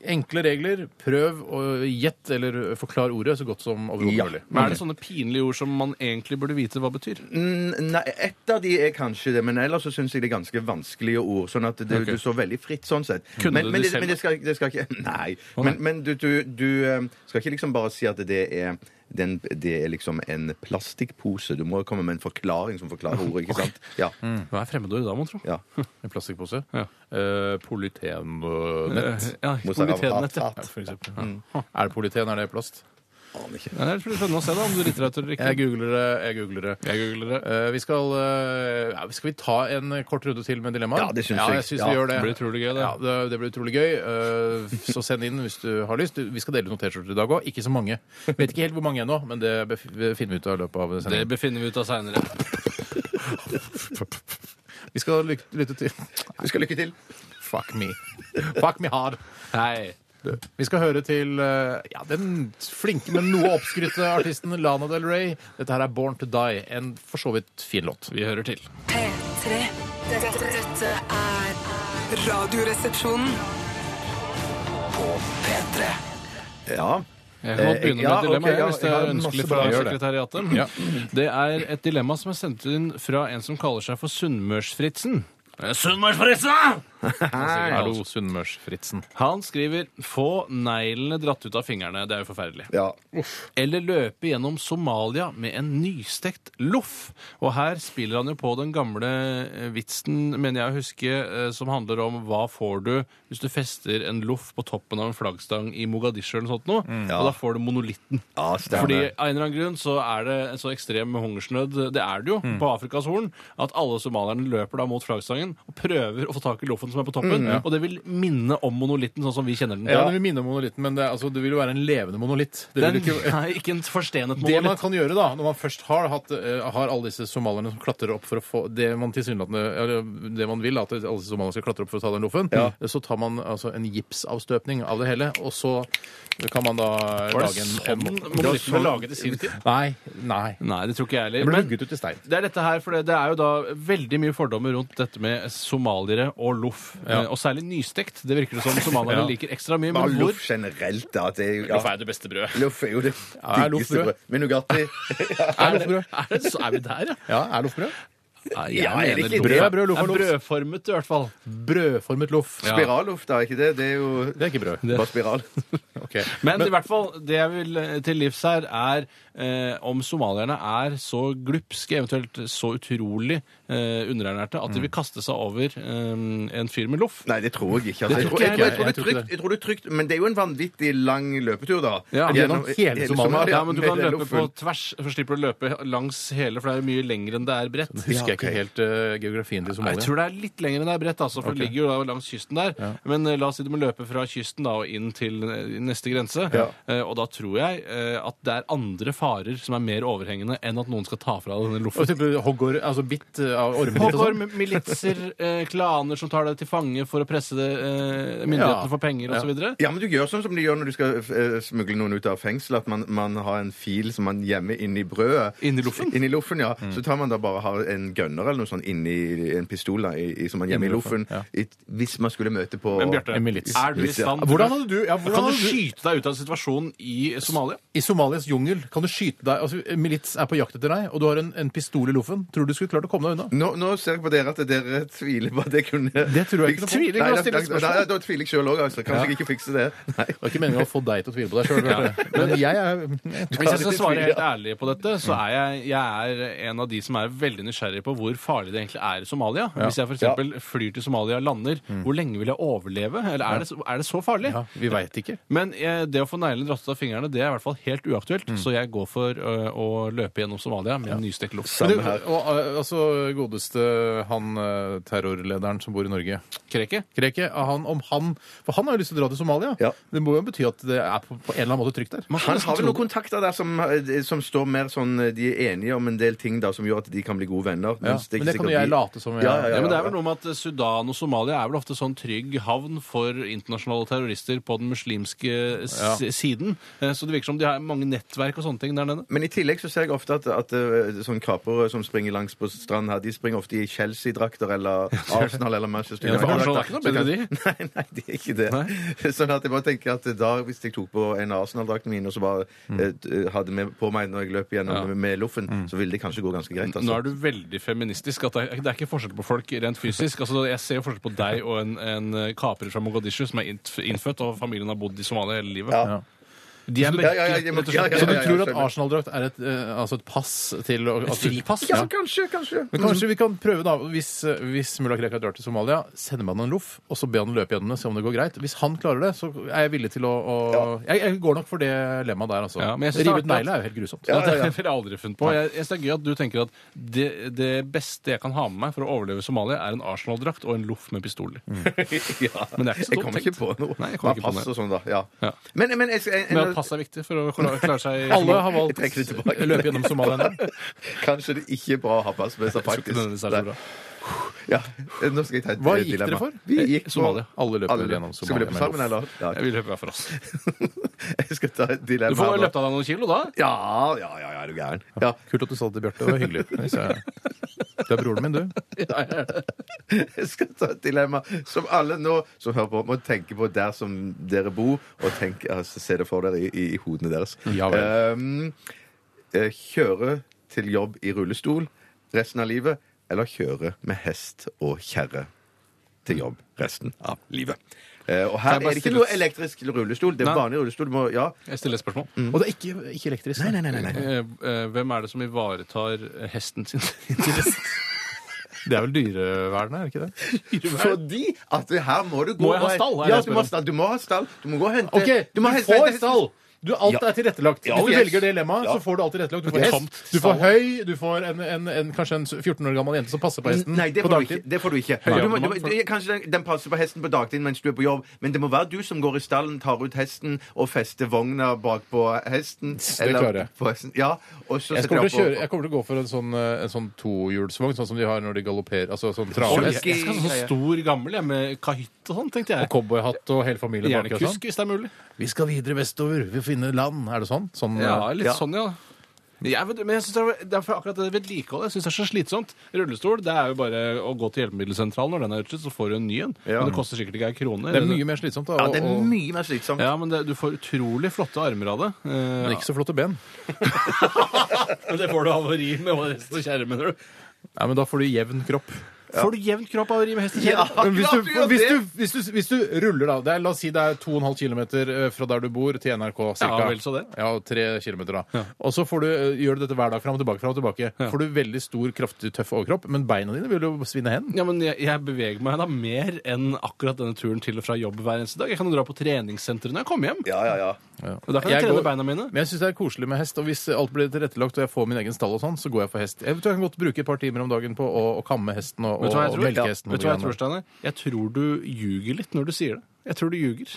Speaker 3: enkle regler. Prøv å gjette eller forklar ordet så godt som overhodet
Speaker 4: Ja.
Speaker 3: mulig.
Speaker 5: Men er det sånne pinlige ord som man egentlig burde vite hva betyr?
Speaker 4: Mm, Nei, ett av de er kanskje det, men ellers så syns jeg det er ganske vanskelige ord. Sånn at det, du står veldig fritt sånn sett.
Speaker 5: Kunne
Speaker 4: men,
Speaker 5: du
Speaker 4: men,
Speaker 5: de
Speaker 4: det,
Speaker 5: selv?
Speaker 4: men det skal, det skal ikke Nei.
Speaker 5: Å, nei.
Speaker 4: Men, men du, du, du eh, skal ikke liksom bare si at det er den, det er liksom en plastikkpose. Du må komme med en forklaring som forklarer ordet. ikke sant? Ja,
Speaker 5: Hva er fremmedordet da, mon tro?
Speaker 4: ja.
Speaker 3: En plastikkpose.
Speaker 5: Ja. Eh,
Speaker 3: Eh, polyten og nett.
Speaker 5: Ja,
Speaker 4: Mozzarella.
Speaker 5: politenett, ja.
Speaker 3: Eh, Ja, for eksempel. Ja. Er det polyten? Er det plast?
Speaker 4: Aner ikke.
Speaker 5: Ja, Det er spennende å se da, om du driter deg ut eller
Speaker 3: Jeg
Speaker 5: ikke.
Speaker 3: googler det. jeg googler det.
Speaker 5: Jeg googler det.
Speaker 3: Eh, vi skal, eh, ja, skal vi ta en kort runde til med dilemmaer?
Speaker 4: Ja, det syns jeg.
Speaker 3: jeg syns
Speaker 4: Ja.
Speaker 3: vi gjør det.
Speaker 5: Det blir utrolig gøy, det.
Speaker 3: Ja, det, det blir utrolig gøy. Eh, så send inn hvis du har lyst. Du- Vi skal dele ut noen T-skjorter i dag òg. Ikke så mange. Vet ikke helt hvor mange ennå, men det bef- finner vi ut av i løpet av
Speaker 5: Det
Speaker 3: sendingen.
Speaker 5: befinner vi ut av seinere.
Speaker 3: Vi skal lyk- lytte til
Speaker 4: Vi skal lykke til.
Speaker 3: Fuck me. Fuck me hard.
Speaker 5: Hei.
Speaker 3: Vi skal høre til eh, ja, den flinke, men noe oppskrytte artisten Lana Del Rey. Dette her er Born to Die. En for så vidt fin låt.
Speaker 5: Vi hører til.
Speaker 6: P3. Dette, dette er Radioresepsjonen.
Speaker 4: Ja.
Speaker 5: Jeg kan godt
Speaker 4: Eh,
Speaker 5: begynne
Speaker 4: ja,
Speaker 5: med et
Speaker 4: ok,
Speaker 5: dilemma
Speaker 4: ja,
Speaker 5: jeg, hvis det
Speaker 4: jeg har
Speaker 5: er ønskelig
Speaker 4: masse
Speaker 5: fra
Speaker 4: bra, gjør det.
Speaker 5: sekretariatet.
Speaker 3: Ja.
Speaker 5: Det er et dilemma som er sendt inn fra en som kaller seg for Sunnmørsfritzen. Eh, Sunnmørsfritzen!
Speaker 3: Hallo, Sunnmørs-Fritzen.
Speaker 5: Han skriver 'få neglene dratt ut av fingrene'. Det er jo forferdelig.
Speaker 4: ja.
Speaker 5: Eller løpe gjennom Somalia med en nystekt loff. Og her spiller han jo på den gamle eh, vitsen, mener jeg å huske, eh, som handler om hva får du hvis du fester en loff på toppen av en flaggstang i Mogadishu eller noe sånt noe,
Speaker 4: Mm,
Speaker 5: og da får du monolitten.
Speaker 4: Ja, stemmer.
Speaker 5: Fordi av en eller annen grunn så er det en så ekstrem hungersnød, det er det jo, på Afrikas Horn, at alle somalierne løper da mot flaggstangen og prøver å få tak i loffen som er på toppen, og det vil minne om monolitten sånn som vi kjenner den.
Speaker 3: Ja, det vil minne om monolitten, men det, er- altså, det vil jo være en levende monolitt. Det, vil
Speaker 5: Det er
Speaker 3: jo ikke,
Speaker 5: en- nei, ikke en forstenet
Speaker 3: det
Speaker 5: monolitt.
Speaker 3: man kan gjøre, da, når man først har, hatt, eh, har alle disse somalierne som klatrer opp for å få det man tilsynelatende eller Det man vil, at alle disse somalierne skal klatre opp for å ta den loffen, så tar man altså en gipsavstøpning av det hele, og så kan man da
Speaker 5: Var
Speaker 3: lage
Speaker 5: det
Speaker 3: en,
Speaker 5: sånn
Speaker 3: en
Speaker 5: monolitten ble laget i sin tid?
Speaker 3: Nei. nei.
Speaker 5: Nei, det tror ikke jeg
Speaker 3: Det
Speaker 5: heller.
Speaker 3: ble
Speaker 5: Men
Speaker 3: hugget ut i stein.
Speaker 5: det er dette her, for det, det er jo da veldig mye fordommer rundt dette med somaliere og loff.
Speaker 3: Ja.
Speaker 5: Eh, Og særlig nystekt. Det virker det som somaliere
Speaker 3: Ja.
Speaker 5: liker ekstra mye.
Speaker 4: Bare
Speaker 5: Men hvor
Speaker 4: loff generelt, da. Det er jo, ja.
Speaker 5: er det beste brødet.
Speaker 4: Loff er jo det
Speaker 3: Ja, er loff
Speaker 4: diggeste
Speaker 3: brød?
Speaker 4: brødet. Med Nugatti.
Speaker 3: Er loffbrød?
Speaker 5: Er, det- så er vi der, ja?
Speaker 3: Ja, er loffbrød?
Speaker 5: Nei,
Speaker 4: Ja, er det ikke
Speaker 5: loff.
Speaker 4: brød?
Speaker 5: er brød, loff er brødformet, i hvert fall.
Speaker 3: Brødformet loff.
Speaker 5: Ja.
Speaker 4: Spiralluft, da, er ikke det? Det er jo
Speaker 3: Det er ikke brød.
Speaker 4: bare spiral.
Speaker 3: Ok.
Speaker 5: Men, i hvert fall, det jeg vil eh, til livs her, er eh, om somalierne er så glupske, eventuelt så utrolig eh, underernærte, at
Speaker 3: Mm.
Speaker 5: de vil kaste seg over eh, en fyr med loff.
Speaker 4: Nei, det tror jeg ikke. Altså.
Speaker 5: Det
Speaker 4: Jeg,
Speaker 5: tror
Speaker 4: tror,
Speaker 5: ikke
Speaker 4: jeg, tror,
Speaker 5: jeg
Speaker 4: jeg, tror det
Speaker 3: heller.
Speaker 4: er trygt, jeg tror det er trygt, men det er jo en vanvittig lang løpetur, da.
Speaker 5: Ja.
Speaker 3: Gjennom hele Somalia.
Speaker 5: Ja, men du
Speaker 4: med
Speaker 5: kan
Speaker 4: den
Speaker 5: løpe på
Speaker 4: loffen.
Speaker 5: tvers, så slipper du å løpe langs hele, for det er jo mye lenger enn det er bredt.
Speaker 3: Sånn Husker jeg ikke helt eh, geografien til
Speaker 5: Nei,
Speaker 3: Somalia.
Speaker 5: Jeg tror det er litt lenger enn det er bredt, altså, for det ligger jo da langs kysten der. Men eh, la oss si du må løpe fra kysten da og inn til eh, neste grense. Eh, og da tror jeg eh, at det er andre farer som er mer overhengende enn at noen skal ta fra deg denne
Speaker 3: Og
Speaker 5: loffen.
Speaker 3: type hoggor, altså bitt eh, av ormer og
Speaker 5: Pågår
Speaker 3: sånn.
Speaker 5: m- militser, eh, klaner som tar deg til fange for å presse det, eh, myndighetene
Speaker 3: Ja.
Speaker 5: for penger osv.
Speaker 4: Ja, men du gjør sånn som de gjør når du skal eh, smugle noen ut av fengsel, at man, man har en fil som man gjemmer inni brødet.
Speaker 5: Inni loffen?
Speaker 4: Inni loffen, ja. Så tar man da bare har en gønner eller noe sånt inni en pistol da, i, i, som man gjemmer i loffen, i, hvis man skulle møte på
Speaker 5: Men Bjarte,
Speaker 3: En milits.
Speaker 5: er du i
Speaker 4: Milits, ja.
Speaker 5: stand
Speaker 3: Hvordan hadde du, ja, hvordan
Speaker 5: Kan du
Speaker 3: hadde du
Speaker 5: skyte deg ut av situasjonen i Somalia?
Speaker 3: I Somalias jungel kan du skyte deg altså Milits er på jakt etter deg, og du har en, en pistol i loffen. Tror du du skulle klart å komme deg unna?
Speaker 4: Nå, nå ser jeg på dere at dere tviler på at jeg kunne
Speaker 3: Det tror jeg ikke noe på.
Speaker 4: Tviler
Speaker 3: Nei,
Speaker 4: ikke,
Speaker 3: da
Speaker 4: da,
Speaker 3: stiller jeg
Speaker 4: da, da,
Speaker 3: spørsmål.
Speaker 4: da tviler jeg sjøl òg, altså. Kanskje jeg ikke fikser det. Nei.
Speaker 3: Det var ikke meningen å få deg til å tvile på deg sjøl. Men jeg er
Speaker 5: Hvis jeg skal svare helt ærlig på dette, så er jeg, jeg er en av de som er veldig nysgjerrig på hvor farlig det egentlig er i Somalia. Hvis jeg f.eks. flyr til Somalia og lander, hvor lenge vil jeg overleve? Eller er det, så- er det så farlig?
Speaker 3: Mm. ja, Vi veit ikke.
Speaker 5: Men eh, det å få neglene dratt ut av fingrene, det er i hvert fall helt uaktuelt.
Speaker 3: Mm.
Speaker 5: Så jeg går for ø, å løpe gjennom Somalia med en nystekt loff.
Speaker 3: Men Du, og eh, altså godeste han eh, terrorlederen som bor i Norge.
Speaker 5: Kreket?
Speaker 3: Kreke, han, om han For han har jo lyst til å dra til Somalia.
Speaker 4: Ja.
Speaker 3: Det må jo bety at det er på, på en eller annen måte trygt der.
Speaker 4: Han har vel noen kontakter der som, som står mer sånn De er enige om en del ting da som gjør at de kan bli gode venner.
Speaker 3: Ja,
Speaker 4: mens det ikke
Speaker 3: men det kan
Speaker 4: sikkert
Speaker 3: jo jeg
Speaker 4: blir-
Speaker 3: late som jeg-
Speaker 4: ja, ja, ja,
Speaker 5: Ja, men det er
Speaker 4: ja.
Speaker 5: vel noe med at Sudan og Somalia er vel ofte sånn trygg havn for internasjonale terrorister på den muslimske s siden. Eh, Så det virker som de har mange nettverk og sånne ting der nede.
Speaker 4: Men i tillegg så ser jeg ofte at, at eh, sånne kapere som springer langs på stranden her, de springer ofte i Chelsea-drakter eller Arsenal eller Manchester
Speaker 5: Ja, for Arsenal er
Speaker 4: United-drakter.
Speaker 5: ikke noe bedre, de.
Speaker 4: Nei, nei, de er ikke det. Sånn at jeg bare tenker at da, hvis jeg tok på en av Arsenal-draktene mine og så bare
Speaker 5: Mm.
Speaker 4: eh, t- hadde med på meg når jeg løp gjennom med loffen, så ville det kanskje gå ganske greit.
Speaker 5: Nå
Speaker 4: Altså.
Speaker 5: er du veldig feministisk. At det, er, det er ikke forskjell på folk rent fysisk. Altså, jeg ser jo forskjell på deg og en, en kaprer fra Mogadishu som er innf- innfødt, og familien har bodd i Somalia hele livet.
Speaker 4: Ja.
Speaker 5: De er
Speaker 4: Ja, ja, ja, ja,
Speaker 5: merket,
Speaker 4: men-
Speaker 5: rett og
Speaker 4: ja,
Speaker 5: slett.
Speaker 4: ja,
Speaker 3: Så du
Speaker 4: ja,
Speaker 3: tror at
Speaker 4: skjønner.
Speaker 3: Arsenal-drakt er et, eh, altså et pass til altså å- at du-
Speaker 5: fripass?
Speaker 4: Ja, kanskje, kanskje.
Speaker 3: Men kanskje vi kan prøve da, hvis, eh, hvis mulla Krekar drar til Somalia, sender man en loff, og så ber han løpe gjennom det, se om det går greit. Hvis han klarer det, så er jeg villig til å, å jeg, jeg går nok for det lemmaet der, altså.
Speaker 5: Ja, men jeg
Speaker 3: Rive
Speaker 5: synes det
Speaker 3: ut
Speaker 5: er artig
Speaker 3: negle er jo helt grusomt.
Speaker 5: Ja, Det ville jeg aldri funnet på. Jeg, jeg synes det er gøy at du tenker at det, det beste jeg kan ha med meg for å overleve Somalia, er en Arsenal-drakt og en loff med pistoler.
Speaker 4: Mm.
Speaker 5: Men det er ikke så
Speaker 4: Jeg
Speaker 5: dumt
Speaker 4: kommer ikke
Speaker 5: tenkt.
Speaker 4: på noe.
Speaker 5: Nei, jeg kommer
Speaker 4: Ja,
Speaker 5: ikke på
Speaker 4: pass
Speaker 5: noe.
Speaker 4: og sånn, da. Ja.
Speaker 5: Ja.
Speaker 4: Men, men jeg, jeg,
Speaker 5: Men at pass er viktig for å klare, klare seg i
Speaker 3: Alle
Speaker 5: Somalia.
Speaker 3: har valgt
Speaker 4: Jeg trekker det tilbake.
Speaker 3: løpe gjennom Somalia nå.
Speaker 4: Kanskje det ikke er bra å ha pass med seg,
Speaker 5: Ikke nødvendigvis
Speaker 4: faktisk.
Speaker 5: er det så bra.
Speaker 4: Ja. Nå skal jeg ta et
Speaker 3: Hva gikk
Speaker 4: dilemma.
Speaker 3: dere for?
Speaker 4: Vi gikk for
Speaker 5: Eh, Somalia.
Speaker 3: Alle løper
Speaker 4: Alle.
Speaker 3: gjennom
Speaker 4: Skal vi
Speaker 3: Somalia
Speaker 4: løpe
Speaker 3: med
Speaker 4: sammen,
Speaker 3: loff.
Speaker 4: eller? Ja.
Speaker 5: Jeg vil løpe hver for oss.
Speaker 4: Jeg skal ta et dilemma.
Speaker 5: Du får
Speaker 4: nå.
Speaker 5: løpt av deg noen kilo da.
Speaker 4: Ja, ja, ja, ja, er du gæren. Ja.
Speaker 3: Kult at du sa det til Bjarte, det var hyggelig. Hvis jeg- Det er broren min, du.
Speaker 4: Jeg skal ta et dilemma som alle nå som hører på, må tenke på der som dere bor, og tenk, altså, se det for dere i, i hodene deres.
Speaker 3: Ja vel.
Speaker 4: Ehm, eh, kjøre til jobb i rullestol resten av livet, eller kjøre med hest og kjerre til jobb resten av livet. Eh, og her er
Speaker 5: Kan jeg bare
Speaker 4: det ikke
Speaker 5: stille
Speaker 4: noe
Speaker 5: et-
Speaker 4: elektrisk rullestol. Det er
Speaker 5: Nei.
Speaker 4: vanlig rullestol. Du må, ja.
Speaker 5: Jeg stiller et spørsmål.
Speaker 3: Og det er ikke, ikke elektrisk.
Speaker 4: nei, nei, nei.
Speaker 5: Eh, eh, Hvem er det som ivaretar eh, hesten sin interesse?
Speaker 3: Det er vel dyrevernet, er det ikke det?
Speaker 4: Fordi at det her må du gå
Speaker 5: Må jeg ha
Speaker 4: og-
Speaker 5: stall, er det
Speaker 4: Ja, du
Speaker 5: jeg spør
Speaker 4: må ha
Speaker 5: om.
Speaker 4: stall. Du må ha stall. Du må gå og hente
Speaker 3: Ok,
Speaker 4: du
Speaker 3: du,
Speaker 4: må hente-
Speaker 3: får
Speaker 4: hente-
Speaker 3: stall. Du, alt
Speaker 4: Ja.
Speaker 3: er tilrettelagt.
Speaker 4: Ja,
Speaker 3: Hvis du
Speaker 4: yes.
Speaker 3: velger det lemmaet,
Speaker 4: Ja.
Speaker 3: så får du alt tilrettelagt. Du
Speaker 5: Det
Speaker 3: får
Speaker 5: er
Speaker 3: hest,
Speaker 5: tomt
Speaker 3: du får
Speaker 5: stall.
Speaker 3: høy, du får en, en, en, kanskje en 14 år gammel jente som passer på hesten
Speaker 4: Nei, det
Speaker 3: på
Speaker 4: får, du
Speaker 3: dagtid.
Speaker 4: ikke, det får du ikke. Du
Speaker 5: Høy
Speaker 4: må, du, må-
Speaker 5: automat,
Speaker 4: du, kanskje den, den passer på hesten på dagtid mens du er på jobb, men det må være du som går i stallen, tar ut hesten og fester vogna bakpå hesten.
Speaker 3: klarer jeg.
Speaker 4: på hesten. Ja, og så
Speaker 3: Jeg
Speaker 4: setter
Speaker 3: kommer,
Speaker 4: jeg
Speaker 3: til å kjøre,
Speaker 4: opp
Speaker 3: jeg kommer til å gå for en sånn, eh, en sånn tohjulsvogn, sånn som de har når de galopperer. Altså sånn
Speaker 5: Jeg
Speaker 3: travhest.
Speaker 5: skal ha sånn stor gammel jeg, med kahytt og sånn, tenkte
Speaker 3: Og
Speaker 5: jeg.
Speaker 3: cowboyhatt og hele familien baki
Speaker 5: Gjerne
Speaker 3: og sånn.
Speaker 5: kusk, hvis det er mulig.
Speaker 3: Vi skal videre vestover, vi finner land. Er det sånn? sånn
Speaker 5: Ja,
Speaker 3: eh,
Speaker 5: litt
Speaker 4: Ja.
Speaker 5: sånn, ja. Men Jeg, vet- men jeg synes det er- det er for akkurat det vedlikeholdet jeg synes det er så slitsomt. Rullestol det er jo bare å gå til hjelpemiddelsentralen. Når den er utslitt, så får du en ny en. Men det koster sikkert ikke ei krone.
Speaker 3: det er mye mer slitsomt. Da,
Speaker 4: Ja, det
Speaker 3: og-
Speaker 4: er
Speaker 3: og-
Speaker 4: mye mer slitsomt.
Speaker 5: Ja, men det, du får utrolig flotte armer av det. Eh,
Speaker 3: men ikke så flotte ben.
Speaker 5: Men det får du havari med hest og kjerre, mener du?
Speaker 3: Nei, men da får du jevn kropp.
Speaker 5: Får du jevn kropp av å ri med hest i
Speaker 4: Ja,
Speaker 5: kjele?
Speaker 3: Men hvis, du,
Speaker 4: akkurat
Speaker 3: hvis,
Speaker 4: det.
Speaker 3: du, hvis, du, hvis du ruller, da det er, La oss si det er 2,5 km eh, fra der du bor til NRK. Cirka.
Speaker 5: Ja, vel så det.
Speaker 3: Ja, tre kilometer da. Og så får du, eh, gjør du dette hver dag fram og tilbake. Frem og tilbake. Får du veldig stor, kraftig, tøff overkropp, men beina dine vil jo svinne hen.
Speaker 5: Ja, men jeg, jeg beveger meg da mer enn akkurat denne turen til og fra jobb hver eneste dag. Jeg kan jo dra på treningssenteret når jeg kommer hjem.
Speaker 4: Ja, ja, ja.
Speaker 5: Og da kan jeg,
Speaker 3: Jeg
Speaker 5: trene
Speaker 3: går-
Speaker 5: beina mine.
Speaker 3: Men jeg syns det er koselig med hest, og hvis alt blir tilrettelagt og jeg får min egen stall, og sånn, så går jeg for hest. Jeg tror jeg kan godt bruke et par timer om dagen på å, å kamme hesten og, og,
Speaker 5: Vet du hva jeg
Speaker 3: og
Speaker 5: tror?
Speaker 3: melke
Speaker 5: Ja.
Speaker 3: hesten. og
Speaker 5: Vet du hva jeg
Speaker 3: greiene.
Speaker 5: tror, Steiner? Jeg tror du ljuger litt når du sier det. Jeg tror du ljuger.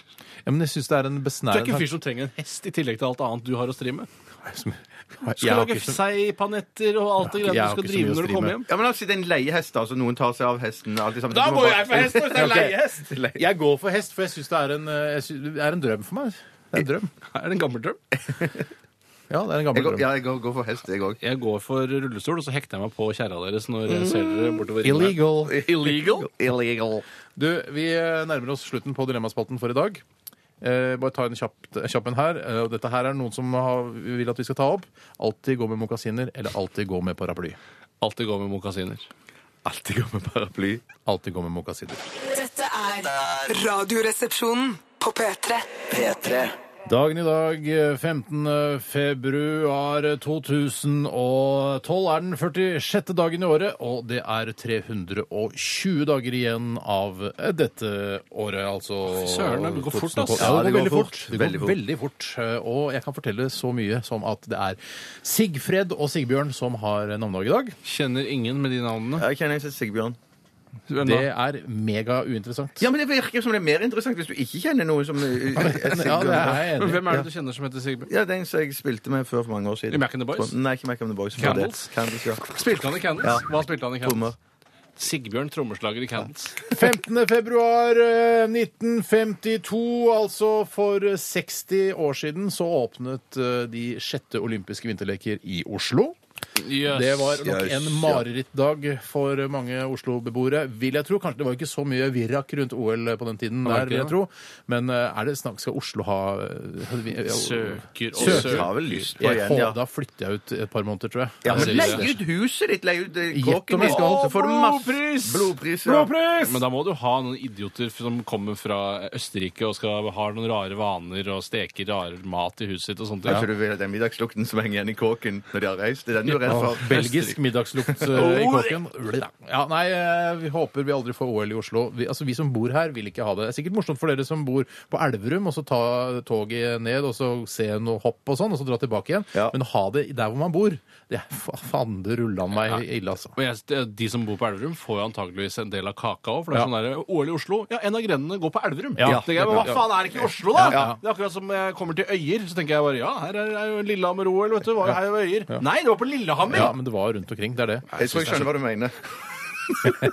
Speaker 3: ja, men jeg syns det er en
Speaker 5: Du er ikke
Speaker 3: besnærende
Speaker 5: en fyr som trenger en hest i tillegg til alt annet du har å stri med.
Speaker 3: tanke.
Speaker 5: Du skal lage seigpanetter og alt det
Speaker 3: Jeg
Speaker 5: greia
Speaker 3: har
Speaker 5: du skal
Speaker 3: ikke så mye
Speaker 5: drive
Speaker 3: å
Speaker 5: når
Speaker 3: stri
Speaker 5: du kommer
Speaker 3: med.
Speaker 5: hjem.
Speaker 4: Ja, men altså, det er en leiehest, altså. Noen tar seg av hesten. alt det samme.
Speaker 5: Da
Speaker 4: Du må
Speaker 5: går
Speaker 4: bare-
Speaker 5: jeg for hest, hvis det er
Speaker 4: Ok.
Speaker 5: leiehest.
Speaker 4: Leie-
Speaker 3: Jeg går for hest, for jeg syns det, er en, eh, jeg sy- det er en drøm for meg. Det er en drøm.
Speaker 5: Er det en gammel drøm?
Speaker 3: Ja, det er en
Speaker 4: Jeg
Speaker 3: gammel
Speaker 4: går,
Speaker 3: drøm.
Speaker 4: ja, jeg går, går for hest, jeg òg.
Speaker 5: Jeg går for rullestol, og så hekter jeg meg på kjerra deres når jeg ser dere bortover.
Speaker 3: Illegal.
Speaker 5: Illegal?
Speaker 4: Illegal.
Speaker 3: Du, vi eh, nærmer oss slutten på Dilemmaspalten for i dag. Eh, bare ta en kjapp, kjapp en her. Eh, og dette her er noen som har, vil at vi skal ta opp. Alltid gå med mokasiner, eller alltid gå med paraply.
Speaker 5: Alltid gå med mokasiner.
Speaker 4: Alltid går med paraply.
Speaker 3: Alltid gå med mokasiner.
Speaker 6: Dette er Radioresepsjonen på P3.
Speaker 2: P3
Speaker 3: Dagen i dag, 15. februar 2012, er den 46. dagen i året, og det er 320 dager igjen av eh, dette året, altså
Speaker 5: søren, det går fort, ass.
Speaker 3: 2012. Ja, det går veldig fort. Det
Speaker 4: Veldig
Speaker 3: går
Speaker 4: fort.
Speaker 3: veldig fort. Eh, Og jeg kan fortelle så mye som at det er Sigfred og Sigbjørn som har navnedag i dag.
Speaker 5: Kjenner ingen med de navnene.
Speaker 4: Jeg kjenner en som heter Sigbjørn.
Speaker 5: Hvem da?
Speaker 3: Det er mega uinteressant.
Speaker 4: Ja, men Det virker som det er mer interessant hvis du ikke kjenner noen som eh,
Speaker 3: Ja, det er jeg
Speaker 5: Men
Speaker 3: enig i.
Speaker 5: hvem er det du kjenner som heter Sigbjørn?
Speaker 4: Ja, den som jeg spilte med før for mange år siden.
Speaker 5: I Mac and the Boys?
Speaker 4: Nei, ikke Mac and the Boys.
Speaker 5: Candles?
Speaker 4: Candles, ja.
Speaker 5: Spilte han i Candles?
Speaker 4: Ja.
Speaker 5: Hva spilte han i
Speaker 4: Trommer.
Speaker 5: Candles? Sigbjørn, trommeslager i Candles.
Speaker 3: 15. februar eh, 1952, altså for eh, 60 år siden, så åpnet eh, de sjette olympiske vinterleker i Oslo.
Speaker 5: Yes.
Speaker 3: Det var nok
Speaker 4: Yes,
Speaker 3: en
Speaker 4: ja.
Speaker 3: marerittdag for mange Oslo-beboere, vil jeg tro. Kanskje det var ikke så mye virak rundt OL på den tiden
Speaker 5: var
Speaker 3: der,
Speaker 5: ikke
Speaker 3: vil jeg
Speaker 5: det.
Speaker 3: tro. Men eh, er det snakk skal Oslo ha eh,
Speaker 5: Søker
Speaker 3: Søker.
Speaker 5: og
Speaker 4: Jeg
Speaker 5: søker.
Speaker 4: har vel lyst på
Speaker 3: Jeg
Speaker 4: igjen, ja.
Speaker 3: håper da flytter jeg ut et par måneder, tror jeg.
Speaker 4: Ja, men
Speaker 5: Jeg ser
Speaker 4: Leie ut huset ditt, leie ut eh,
Speaker 3: om
Speaker 4: kåken
Speaker 3: jeg
Speaker 4: din,
Speaker 3: skal.
Speaker 4: så får du masse
Speaker 5: Blodpris!
Speaker 4: Blodpris, ja.
Speaker 5: Men da må du ha noen idioter som kommer fra Østerrike og skal ha noen rare vaner og steker rar mat i huset sitt og sånt.
Speaker 4: Kanskje du vil at den middagslukten som henger igjen i kåken når de har reist, det er den du er redd for?
Speaker 3: Belgisk middagslukt eh, i kåken. Ja, nei, eh, vi håper vi aldri får OL i Oslo. Vi, altså, vi som bor her, vil ikke ha det. Det er sikkert morsomt for dere som bor på Elverum, og så ta toget ned og så se noe hopp og sånn, og så dra tilbake igjen.
Speaker 4: Ja.
Speaker 3: Men ha det der hvor man bor, det er fa- fande rulla meg ille, altså.
Speaker 5: Men jeg, De som bor på Elverum, får jo antageligvis en del av kaka òg. For det er
Speaker 3: Ja.
Speaker 5: sånn der, OL i Oslo, ja, en av grenene går på Elverum.
Speaker 3: Ja.
Speaker 5: Tenker jeg, men hva faen er det ikke i Oslo, da? Det er akkurat som jeg kommer til Øyer, så tenker jeg bare ja, her er, er jo Lillehammer-OL, vet du. Var jo her i Øyer. Nei, det var på Lillehammer!
Speaker 3: Ja, men det var rundt omkring. Det er det.
Speaker 4: Jeg tror jeg skjønner hva du mener.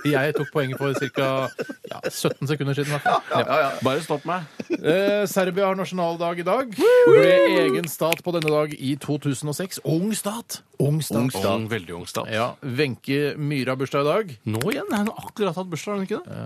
Speaker 3: Jeg tok poenget for ca. Ja, 17 sekunder siden. i hvert fall. Ja.
Speaker 5: Bare stopp meg.
Speaker 3: Eh, Serbia har nasjonaldag i dag. Ble egen stat på denne dag i 2006. Ung stat! Ung stat.
Speaker 5: Ung, veldig ung stat.
Speaker 3: Ja, Wenche Myhre har bursdag i dag.
Speaker 5: Nå igjen? Hun har akkurat hatt bursdag, har hun ikke det?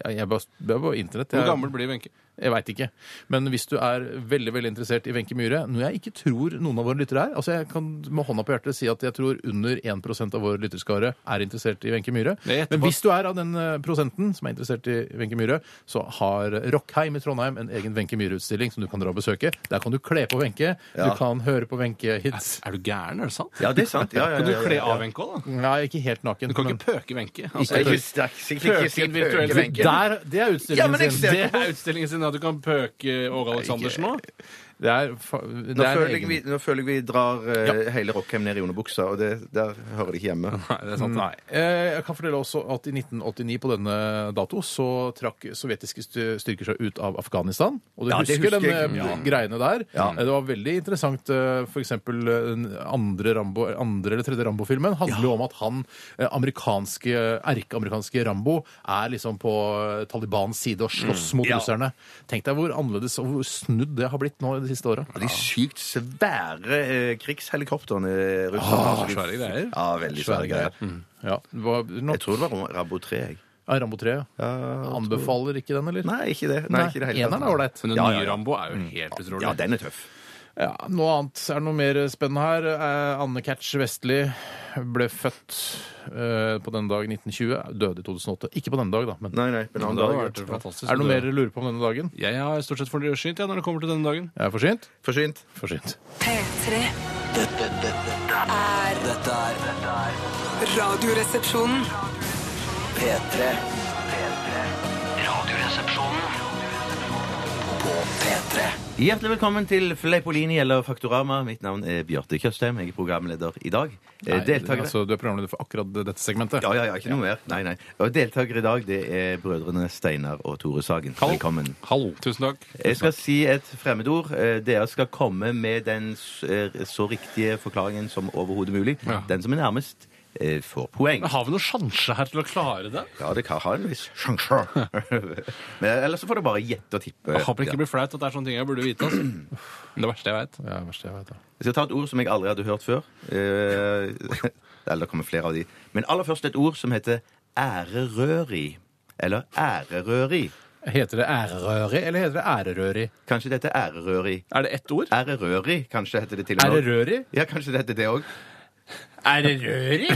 Speaker 3: Jeg, jeg bare jeg er på internett.
Speaker 5: Hvor
Speaker 3: Jeg,
Speaker 5: gammel blir Wenche?
Speaker 3: jeg veit ikke. Men hvis du er veldig veldig interessert i Wenche Myhre, noe jeg ikke tror noen av våre lyttere er altså Jeg kan med hånda på hjertet si at jeg tror under 1 av vår lytterskare er interessert i Wenche Myhre.
Speaker 5: Det er etterpå.
Speaker 3: Men hvis du er av den eh, prosenten som er interessert i Wenche Myhre, så har Rockheim i Trondheim en egen Wenche Myhre-utstilling som du kan dra og besøke. Der kan du kle på Wenche. Du kan høre på Wenche-hits.
Speaker 5: Er du gæren, er det sant?
Speaker 4: Ja, det er sant. Ja, ja,
Speaker 5: Kan du
Speaker 4: ja, ja,
Speaker 5: kle
Speaker 4: ja.
Speaker 5: av Wenche òg, da?
Speaker 3: Nei, ikke helt naken.
Speaker 5: Du kan
Speaker 3: men-
Speaker 5: ikke pøke Wenche.
Speaker 4: Ikke-
Speaker 5: Altså,
Speaker 4: ikke- ikke- ikke- ikke- ikke-
Speaker 5: Pøken virtuelt.
Speaker 4: pøke Wenche.
Speaker 3: Der, det er
Speaker 4: Ja,
Speaker 3: utstillingen
Speaker 4: men jeg
Speaker 3: sin.
Speaker 4: ser-
Speaker 5: det er utstillingen sin at du kan pøke Åge Aleksandersen nå.
Speaker 3: Det er, fa- det
Speaker 4: Nå
Speaker 3: er en
Speaker 4: føler, jeg
Speaker 3: egen-
Speaker 4: vi, nå føler jeg vi drar eh, hele Rockheim ned i underbuksa, og det, der hører det ikke hjemme.
Speaker 3: Nei.
Speaker 5: Mm.
Speaker 3: Eh, Jeg kan fortelle også at i 1989 på denne dato så trakk sovjetiske styr- styrker seg ut av Afghanistan. Og du
Speaker 4: Ja, det
Speaker 3: husker,
Speaker 4: husker
Speaker 3: den
Speaker 4: jeg.
Speaker 3: eh,
Speaker 4: Ja.
Speaker 3: greiene der. Eh, Det var veldig interessant. eh, For eksempel eh, den andre, Rambo, andre eller tredje Rambo-filmen handler jo om at han eh, amerikanske, erkeamerikanske Rambo er liksom på eh, Talibans side og
Speaker 4: Mm.
Speaker 3: slåss mot russerne. Tenk deg hvor annerledes og hvor snudd det har blitt nå de siste åra.
Speaker 4: Og De sykt svære eh, krigshelikoptrene russerne har. så de-
Speaker 5: svære greier.
Speaker 4: Ja, veldig svære greier. Mm.
Speaker 3: Ja, det var nok-
Speaker 4: Jeg tror det var Rabo 3, jeg.
Speaker 3: Ja, Rambo 3. Ja. Anbefaler ikke den, eller?
Speaker 4: Nei, ikke det. Nei, ikke det hele tatt.
Speaker 3: Eneren er ålreit.
Speaker 5: Men den
Speaker 4: Ja, ja,
Speaker 5: nye
Speaker 4: ja.
Speaker 5: Rambo er jo helt utrolig.
Speaker 4: Ja, den er tøff.
Speaker 3: Ja, noe annet. Er det noe mer spennende her? Eh, Anne Catch Vestli ble født eh, på denne dag i 1920. Døde i 2008. Ikke på denne dag, da. Men
Speaker 4: Nei, nei, på en annen
Speaker 5: Det hadde
Speaker 4: dag.
Speaker 5: vært fantastisk.
Speaker 3: er det noe mer du lurer på om denne dagen?
Speaker 5: Jeg har stort sett forsynt jeg, når det kommer til denne dagen.
Speaker 3: Jeg er forsynt?
Speaker 4: Forsynt.
Speaker 3: Forsynt.
Speaker 6: P3
Speaker 2: Dette, dette, dette er Dette er dette er
Speaker 6: Radioresepsjonen
Speaker 2: P3. P3. Radioresepsjonen på P3.
Speaker 4: Hjertelig velkommen til Fleipolini eller Faktorama. Mitt navn er Bjarte Tjøstheim. Jeg er programleder i dag. Eh,
Speaker 3: Nei,
Speaker 4: Deltakere
Speaker 3: altså, du er programleder for akkurat dette segmentet.
Speaker 4: Ja, ja, ja, ikke noe mer. Nei, nei. Og deltakere i dag, det er brødrene Steinar og Tore Sagen.
Speaker 5: Hallo.
Speaker 4: Velkommen.
Speaker 5: Hallo. Tusen takk.
Speaker 4: Jeg skal si et fremmedord. Eh, Dere skal komme med den s- eh, så riktige forklaringen som overhodet mulig.
Speaker 5: Ja.
Speaker 4: Den som er nærmest, eh, får poeng.
Speaker 5: Men har vi noen sjanse her til å klare det?
Speaker 4: Ja, det kan ha en viss sjanse. Men eh, ellers så får du bare gjette og tippe.
Speaker 5: Jeg håper det
Speaker 4: Ja.
Speaker 5: ikke blir flaut at det er sånne ting jeg burde vite. Altså. Det verste jeg vet.
Speaker 3: Det er det verste jeg vet. da.
Speaker 4: Jeg skal ta et ord som jeg aldri hadde hørt før. Eh, Eller det kommer flere av de. Men aller først et ord som heter ærerøri. Eller ærerøri.
Speaker 3: Heter det
Speaker 4: Eh,
Speaker 3: ærerøri, eller heter det ærerøri?
Speaker 4: Kanskje det heter ærerøri.
Speaker 5: Er det ett ord?
Speaker 4: Ærerøri, kanskje heter det til og med.
Speaker 3: Ærerøri?
Speaker 4: Ja, kanskje det heter det òg.
Speaker 3: Ærerøri?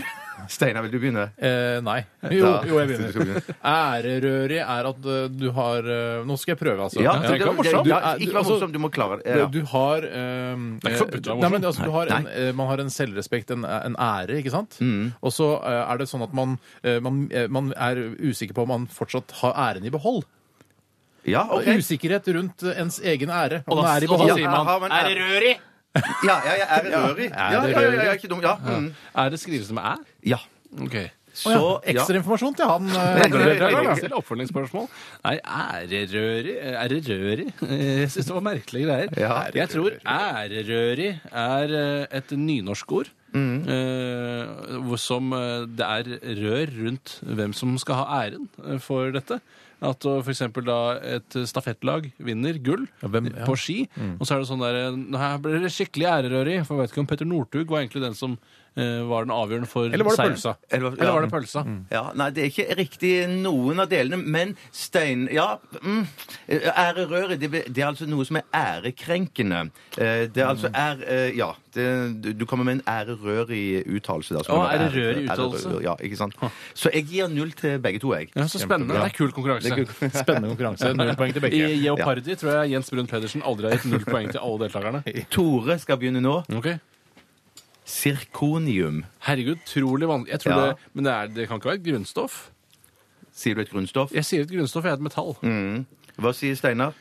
Speaker 4: Steinar, vil du begynne?
Speaker 3: Eh, nei. Jo,
Speaker 4: Da-
Speaker 3: jo, jeg
Speaker 4: Du skal
Speaker 3: begynner.
Speaker 4: begynne.
Speaker 3: Ærerøri er at eh, du har eh, Nå skal jeg prøve, altså.
Speaker 4: Ja,
Speaker 3: Jeg
Speaker 4: det-
Speaker 3: skal være morsom.
Speaker 4: Du,
Speaker 3: Du er- du-
Speaker 4: ikke vær
Speaker 3: altså,
Speaker 4: morsom, du må klare det.
Speaker 3: Du,
Speaker 4: Ja.
Speaker 3: du har ehm,
Speaker 5: Det er ikke
Speaker 3: eh,
Speaker 5: forbudt å være morsom.
Speaker 3: nei, men, altså, du har en,
Speaker 4: Nei.
Speaker 3: eh, Man har en selvrespekt, en, en ære, ikke sant? Og så eh, er det sånn at man, eh, man, eh, man er usikker på om man fortsatt har æren i behold.
Speaker 4: Ja, ok.
Speaker 3: Usikkerhet rundt eh, ens egen ære. Om
Speaker 5: Og da,
Speaker 3: den er i
Speaker 5: og da
Speaker 3: behold.
Speaker 5: sier
Speaker 4: Ja, men
Speaker 5: man
Speaker 4: er-
Speaker 5: Er det røri?
Speaker 4: Ja, ja, ja, ærerøri. Ja, ja, ja, ja, ja, ikke dum. Ja. Mm.
Speaker 5: Er det skrives med æ?
Speaker 4: ja.
Speaker 5: Ok.
Speaker 4: Så
Speaker 3: ja,
Speaker 4: ja.
Speaker 3: ekstra informasjon til han. eh,
Speaker 4: Nei, nei, nei,
Speaker 3: deltakeren, da.
Speaker 4: nei,
Speaker 5: Stille oppfølgingsspørsmål. Nei, ærerøri Ærerøri? Jeg syns det var merkelige greier.
Speaker 4: Ja.
Speaker 5: Jeg tror ærerøri er eh, et nynorsk ord. eh, hvor som eh, det er rør rundt hvem som skal ha æren eh, for dette. At eh, for eksempel da et stafettlag vinner gull
Speaker 3: hvem- ja. Mm.
Speaker 5: på ski, og så er det sånn der eh, "Nå Her ble det skikkelig ærerøri, for jeg vet ikke om Petter Northug var egentlig den som eh, var den avgjørende for
Speaker 3: Eller var det
Speaker 5: seieren."
Speaker 3: pølsa? Mm.
Speaker 4: Eller,
Speaker 5: Eller var det pølsa?
Speaker 4: Ja, nei, det er ikke riktig noen av delene, men stein... Ja, mm, ærerøret, det, be- det er altså noe som er ærekrenkende. Eh, Det er altså ære... eh, Ja, det, du- du kommer med en ærerørig uttalelse. da, som kan
Speaker 5: Å,
Speaker 4: være ære-
Speaker 5: ærerørig uttalelse.
Speaker 4: ærerørig, Ja, ikke sant? Så jeg gir null til begge to, jeg.
Speaker 5: Ja, Så spennende. Det er kul konkurranse.
Speaker 3: Spennende konkurranse. Null poeng til
Speaker 5: I
Speaker 3: begge.
Speaker 5: Jeopardy tror jeg Jens Brun Pedersen aldri har gitt null poeng til alle deltakerne.
Speaker 4: Tore skal begynne nå.
Speaker 5: Ok.
Speaker 4: Sirkonium.
Speaker 5: Herregud, utrolig vanskelig. Jeg tror
Speaker 4: Ja.
Speaker 5: det, men det, er, det kan ikke være et grunnstoff.
Speaker 4: Sier du et grunnstoff?
Speaker 5: Jeg sier et grunnstoff jeg er et metall.
Speaker 4: Hva sier Steinar?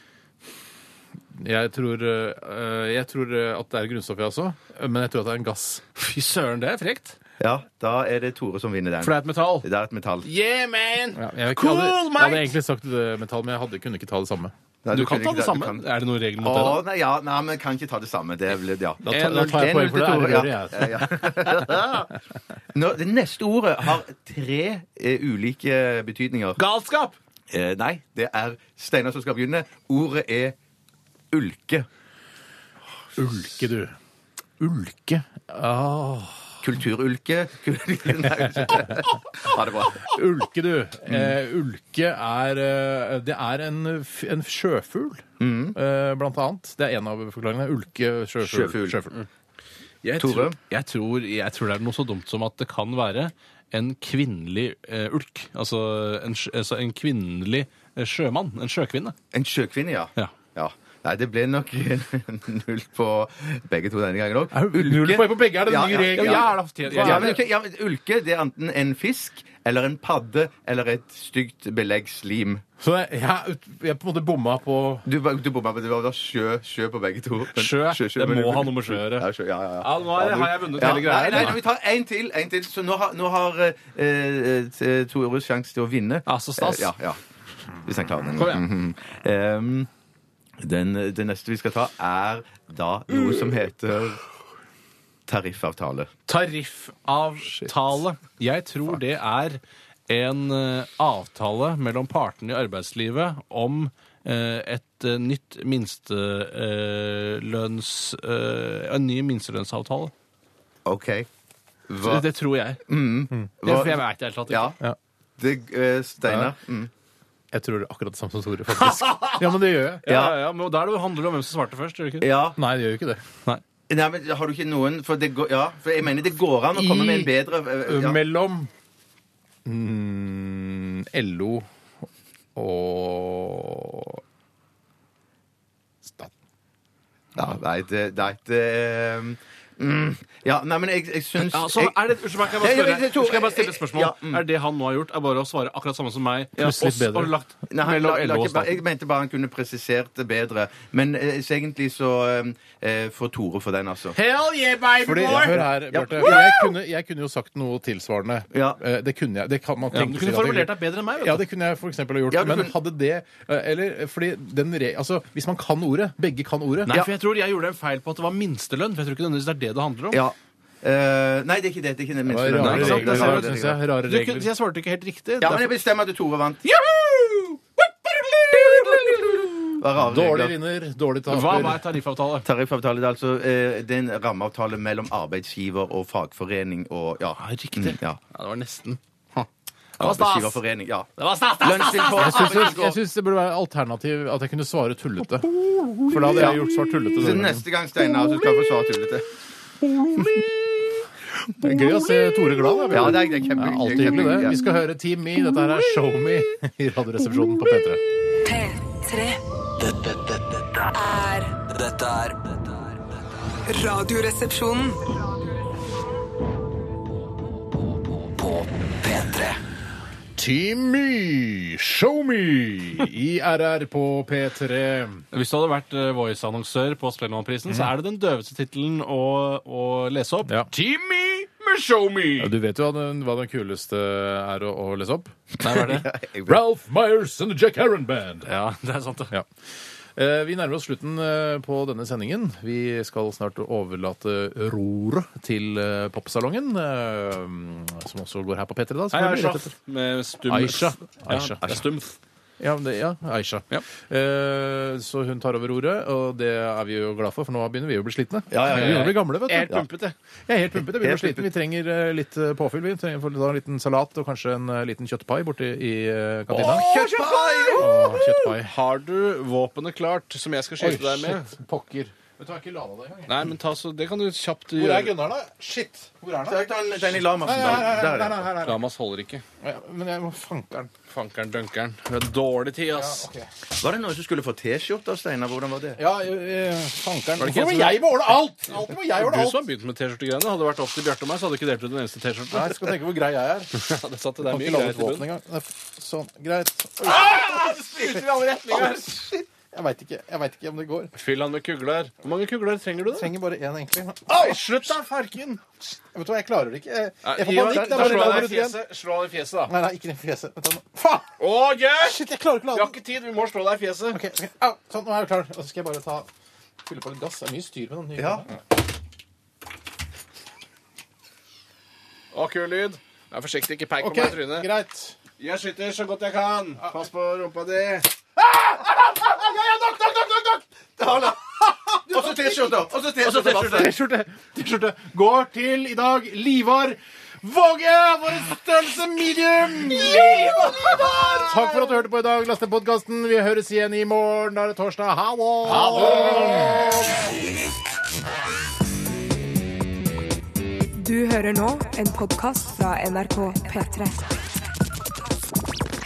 Speaker 3: Jeg tror, eh, jeg tror eh, at det er grunnstoff, jeg også. Men jeg tror at det er en gass.
Speaker 5: Fy søren, det er frekt.
Speaker 4: Ja, da er det Tore som vinner den.
Speaker 5: For det er et metall.
Speaker 4: Det er et metall.
Speaker 5: Yeah, man!
Speaker 3: Ja, jeg,
Speaker 5: Cool,
Speaker 3: hadde, jeg
Speaker 5: mate!
Speaker 3: hadde egentlig sagt eh, metall, men jeg hadde, kunne ikke ta det samme.
Speaker 4: Nei,
Speaker 5: Du kan
Speaker 4: kunne
Speaker 5: ta
Speaker 4: ikke-
Speaker 5: det
Speaker 4: du
Speaker 5: samme.
Speaker 4: kan-
Speaker 5: Er det noen regel
Speaker 4: Å,
Speaker 5: mot det? da?
Speaker 4: nei, ja, nei, men kan ikke ta det samme. Det, er vel- ja.
Speaker 3: Da tar, da tar jeg poeng for det
Speaker 4: Tore,
Speaker 3: ærerøret,
Speaker 4: ja.
Speaker 3: jeg.
Speaker 4: Ja, ja. Nå, det neste ordet har tre eh, ulike betydninger.
Speaker 5: Galskap!
Speaker 4: Eh, nei, det er Steinar som skal begynne. Ordet er ulke.
Speaker 3: Ulke, du. Ulke. Ah.
Speaker 4: Kulturulke. Kul- Nei, ha det bra.
Speaker 3: Ulke, du. Eh, ulke er eh, Det er en, f- en sjøfugl,
Speaker 5: Mm.
Speaker 3: eh, blant annet. Det er en av forklaringene. Ulke, sjøfugl.
Speaker 4: Sjøfugl.
Speaker 5: Mm. Jeg
Speaker 4: Tore?
Speaker 5: Tror, jeg, tror, jeg tror det er noe så dumt som at det kan være en kvinnelig eh, ulk. Altså en, sj- altså en kvinnelig eh, sjømann. En sjøkvinne.
Speaker 4: En sjøkvinne, ja.
Speaker 5: Ja.
Speaker 4: Nei, det ble nok null på begge to denne gangen
Speaker 3: Er
Speaker 4: òg.
Speaker 3: det null poeng på begge? Er det en ny regel?
Speaker 5: Ja, er det fortjent?
Speaker 4: Ja, men, ulke- ja, men ulke det er enten en fisk eller en padde eller et stygt beleggslim.
Speaker 3: Så jeg, jeg, jeg på en måte bomma på
Speaker 4: Du, ba- du bomma på det var da sjø, sjø på begge to. Men-
Speaker 5: Sjø? Det
Speaker 4: men-
Speaker 5: må ha noe med sjø å gjøre.
Speaker 4: Ja, sjø, ja, ja,
Speaker 5: Ja, nå er- har jeg vunnet hele greia,
Speaker 4: Nei, nei,
Speaker 5: da.
Speaker 4: vi tar en til. En til. Så nå har, nå har eh, eh, Tores sjanse til å vinne.
Speaker 5: Ja, så
Speaker 4: Eh,
Speaker 5: stas.
Speaker 4: ja, ja. Hvis han klarer den.
Speaker 5: Kom igjen.
Speaker 4: Mhm. Em, den. Det neste vi skal ta, er da noe som heter tariffavtale.
Speaker 5: Tariffavtale. Jeg tror det er en eh, avtale mellom partene i arbeidslivet om eh, et eh, nytt minstelønns... eh, En ny minstelønnsavtale.
Speaker 4: OK. Hva,
Speaker 5: Det,
Speaker 3: Mm.
Speaker 5: det sånn tror jeg. Det,
Speaker 4: hva,
Speaker 5: for jeg vet det helt tatt ikke.
Speaker 4: ja. Det, eh, Steinar. Mm.
Speaker 3: Jeg tror det er akkurat det samme som Tore, faktisk. Ja, men det gjør jeg.
Speaker 5: Ja, ja, men Da er det jo- handler det om hvem som svarte først. gjør det ikke?
Speaker 4: Ja.
Speaker 3: Nei, det gjør jo ikke det.
Speaker 4: Nei, men har du ikke noen For, det går, ja, for jeg mener det går an å komme med en bedre eh, ja.
Speaker 3: Mellom mm, LO og staten.
Speaker 4: ja, Nei, det, nei, det eh, mm, Ja, nei, men jeg, jeg syns
Speaker 5: Ja, så
Speaker 4: jeg-
Speaker 5: er det, unnskyld meg, kan
Speaker 4: Ja,
Speaker 5: jeg bare
Speaker 4: ja,
Speaker 5: spørre,
Speaker 4: det tror-
Speaker 5: skal jeg bare stille et spørsmål?
Speaker 4: Ja, mm.
Speaker 5: Er det han nå har gjort, er bare å svare akkurat samme som meg?
Speaker 3: Pluss litt
Speaker 5: oss,
Speaker 3: bedre.
Speaker 5: Og lagt
Speaker 4: Nei, han, la,
Speaker 5: mellom
Speaker 4: la,
Speaker 5: LO og
Speaker 4: ikke, bare-
Speaker 5: staten.
Speaker 4: jeg mente bare han kunne presisert det bedre. Men eh, så egentlig så eh, får Tore for den, altså.
Speaker 5: Hell yeah, baby
Speaker 3: Fordi, Hør her,
Speaker 4: Ja.
Speaker 3: Bjarte. Jeg, kunne, jeg kunne jo sagt noe tilsvarende.
Speaker 4: Ja.
Speaker 3: Eh, Det kunne jeg. Det kan man
Speaker 5: Ja, men
Speaker 3: tenke
Speaker 5: du
Speaker 3: seg at jeg
Speaker 5: kunne formulert
Speaker 3: kunne-
Speaker 5: deg bedre enn meg.
Speaker 3: Ja,
Speaker 5: vet du.
Speaker 3: det kunne jeg for eksempel ha gjort.
Speaker 4: Ja, du
Speaker 3: men
Speaker 4: kunne-
Speaker 3: hadde det eh, Eller fordi den re... Altså, hvis man kan ordet, begge kan ordet
Speaker 5: Nei, for jeg tror jeg gjorde en feil på at det var minstelønn. For jeg tror ikke nødvendigvis det er det det handler om.
Speaker 4: Ja. Eh, nei, det er ikke det. det er ikke det
Speaker 3: Det
Speaker 4: minste.
Speaker 3: var
Speaker 4: Nei,
Speaker 3: rare
Speaker 4: det er
Speaker 5: sant,
Speaker 3: regler,
Speaker 4: ikke
Speaker 5: er
Speaker 3: der,
Speaker 4: det.
Speaker 3: synes jeg. Rare
Speaker 5: Du, kunne-
Speaker 3: regler.
Speaker 5: jeg svarte ikke helt riktig.
Speaker 4: Ja, men jeg
Speaker 5: Derfor-
Speaker 4: bestemmer at Tore vant. Hva rare
Speaker 3: Dårlig
Speaker 4: regler.
Speaker 3: vinner, dårlig
Speaker 5: Hva med
Speaker 3: taper.
Speaker 5: tariffavtale?
Speaker 4: Tariffavtale det er altså eh, det er en rammeavtale mellom arbeidsgiver og fagforening og ja.
Speaker 5: Ja, riktig.
Speaker 4: Mm, ja.
Speaker 5: Ja, det var nesten.
Speaker 4: Arbeidsgiverforening. Ja.
Speaker 5: Det var stas, stas, stas, stas.
Speaker 4: Lønnsvilkår.
Speaker 3: Jeg syns- Jeg jeg syns det burde være alternativ at jeg kunne svare tullete. For da hadde jeg gjort svar tullete.
Speaker 4: Så
Speaker 3: denne gangen.
Speaker 4: neste gang, Steinar, så skal du få svare tullete.
Speaker 3: Det er gøy å se Tore glad.
Speaker 4: Ja, det er, det er
Speaker 3: Ja,
Speaker 4: kjempe-
Speaker 3: alltid hyggelig, det.
Speaker 4: kjempe-
Speaker 3: Vi skal høre Team Me. Dette her er Show Me i Radioresepsjonen på P3.
Speaker 6: P3
Speaker 2: Dette, dette, dette,
Speaker 6: er
Speaker 2: dette er dette er-
Speaker 6: Radioresepsjonen.
Speaker 2: på P3.
Speaker 3: Team Me, Show Me i RR på P3.
Speaker 5: Hvis du hadde vært eh, Voice-annonsør på Spellemannprisen, så er det den døveste tittelen å, å lese opp.
Speaker 3: Ja.
Speaker 5: Team me, men show me!
Speaker 3: Ja, du vet jo hva den, hva den kuleste er å, å lese opp?
Speaker 5: Nei, hva er det?
Speaker 3: Ralph Myers and the Jack Herron Band.
Speaker 5: Ja, det er sant, det.
Speaker 3: Ja. Eh, Vi nærmer oss slutten eh, på denne sendingen. Vi skal snart overlate roret til eh, popsalongen, eh, som også går her på P3 da.
Speaker 5: Hei,
Speaker 3: selvfølgelig,
Speaker 5: Aisha.
Speaker 3: rett etter.
Speaker 5: Med stum
Speaker 3: Aisha. Aisha.
Speaker 5: Aisha. Ja, stumf.
Speaker 3: Ja, men det, ja Aisha.
Speaker 5: Ja.
Speaker 3: Eh, så hun tar over roret, og det er vi jo glad for, for nå begynner vi å bli slitne.
Speaker 4: Ja, ja, ja, ja.
Speaker 3: Vi begynner å bli gamle, vet du.
Speaker 5: Jeg er helt pumpet, jeg.
Speaker 3: Jeg er helt pumpet. Jeg begynner å bli
Speaker 4: Helt
Speaker 3: sliten. Vi trenger eh, litt eh, påfyll. Vi trenger for- da en liten salat og kanskje en eh, liten kjøttpai borti i eh, kantina.
Speaker 4: Kjøttpai!
Speaker 3: Åh, kjøttpai.
Speaker 5: Har du våpenet klart, som jeg skal skyte deg med?
Speaker 3: shit. Pokker. Vet du, jeg har ikke lada det engang.
Speaker 5: Nei, men ta så, det kan du kjapt
Speaker 3: Hvor
Speaker 5: gjøre.
Speaker 3: er Gunnar, da? Shit! Hvor er han? da?
Speaker 4: Jeg tar en- den i lamasen,
Speaker 3: Nei,
Speaker 4: da.
Speaker 3: nei, nei,
Speaker 4: Der er
Speaker 3: nei,
Speaker 4: den.
Speaker 3: nei, nei, nei.
Speaker 5: Lamas holder ikke.
Speaker 3: Ja, Men jeg må fanke den.
Speaker 5: Fankeren, dunkeren. Du har dårlig tid, ass.
Speaker 4: Var det noen som skulle få T-skjorte av Steinar? Hvordan var det?
Speaker 3: Ja, eh, fankeren.
Speaker 5: det ikke
Speaker 3: Hvorfor må
Speaker 5: jeg som-
Speaker 3: jeg beholde alt? Alltid må jeg
Speaker 5: Du
Speaker 3: ordne alt.
Speaker 5: som har begynt med T-skjortegreiene. Hadde det vært opp til Bjarte og meg, så hadde du ikke delt ut en eneste T-skjorte.
Speaker 3: Nei, jeg skal tenke hvor grei jeg er.
Speaker 5: Ja, det satt det der
Speaker 3: Kan
Speaker 5: mye
Speaker 3: ikke lade
Speaker 5: greit
Speaker 3: ut
Speaker 5: i
Speaker 3: våpen
Speaker 5: bunnen.
Speaker 3: engang. Nei, f- Sånn, greit. Jeg veit ikke, jeg vet ikke om det går.
Speaker 5: Fyll han med kugler. Hvor mange kugler trenger du, da?
Speaker 3: Trenger bare én, egentlig.
Speaker 5: Oi, slutt da, farken!
Speaker 3: Vet du hva, jeg klarer det ikke. Jeg, jeg får
Speaker 5: Gi han-
Speaker 3: panikk. Det
Speaker 5: da
Speaker 3: er bare
Speaker 5: slår han
Speaker 3: lager
Speaker 5: deg i
Speaker 3: ut igjen.
Speaker 5: fjeset. Slå han i fjeset, da.
Speaker 3: Nei, nei, ikke den fjeset. Vent da nå. Faen!
Speaker 5: Å, yes!
Speaker 3: Shit, jeg klarer ikke å lade
Speaker 5: Vi har
Speaker 3: den.
Speaker 5: ikke tid, vi må slå deg i fjeset.
Speaker 3: Ok, ok. Au, sånn, nå er jeg klar. Og så skal jeg bare ta fylle på litt gass. Det er mye styr med den nye.
Speaker 4: Ja.
Speaker 5: Å, kul lyd. Vær forsiktig, ikke peik på
Speaker 3: Ok,
Speaker 5: meg i trynet.
Speaker 3: greit.
Speaker 5: Jeg skyter så godt jeg kan. Pass på rumpa di.
Speaker 3: Ah!
Speaker 4: Og så T-skjorter! Og så T-skjorter! Basse.
Speaker 3: T-skjorte. T-skjorte går til i dag Livar Våge, vår størrelse medium! Livar! Takk for at du hørte på i dag. Last ned podkasten. Vi høres igjen i morgen. Da er det torsdag. Ha det!
Speaker 1: Du hører nå en podkast fra NRK P3.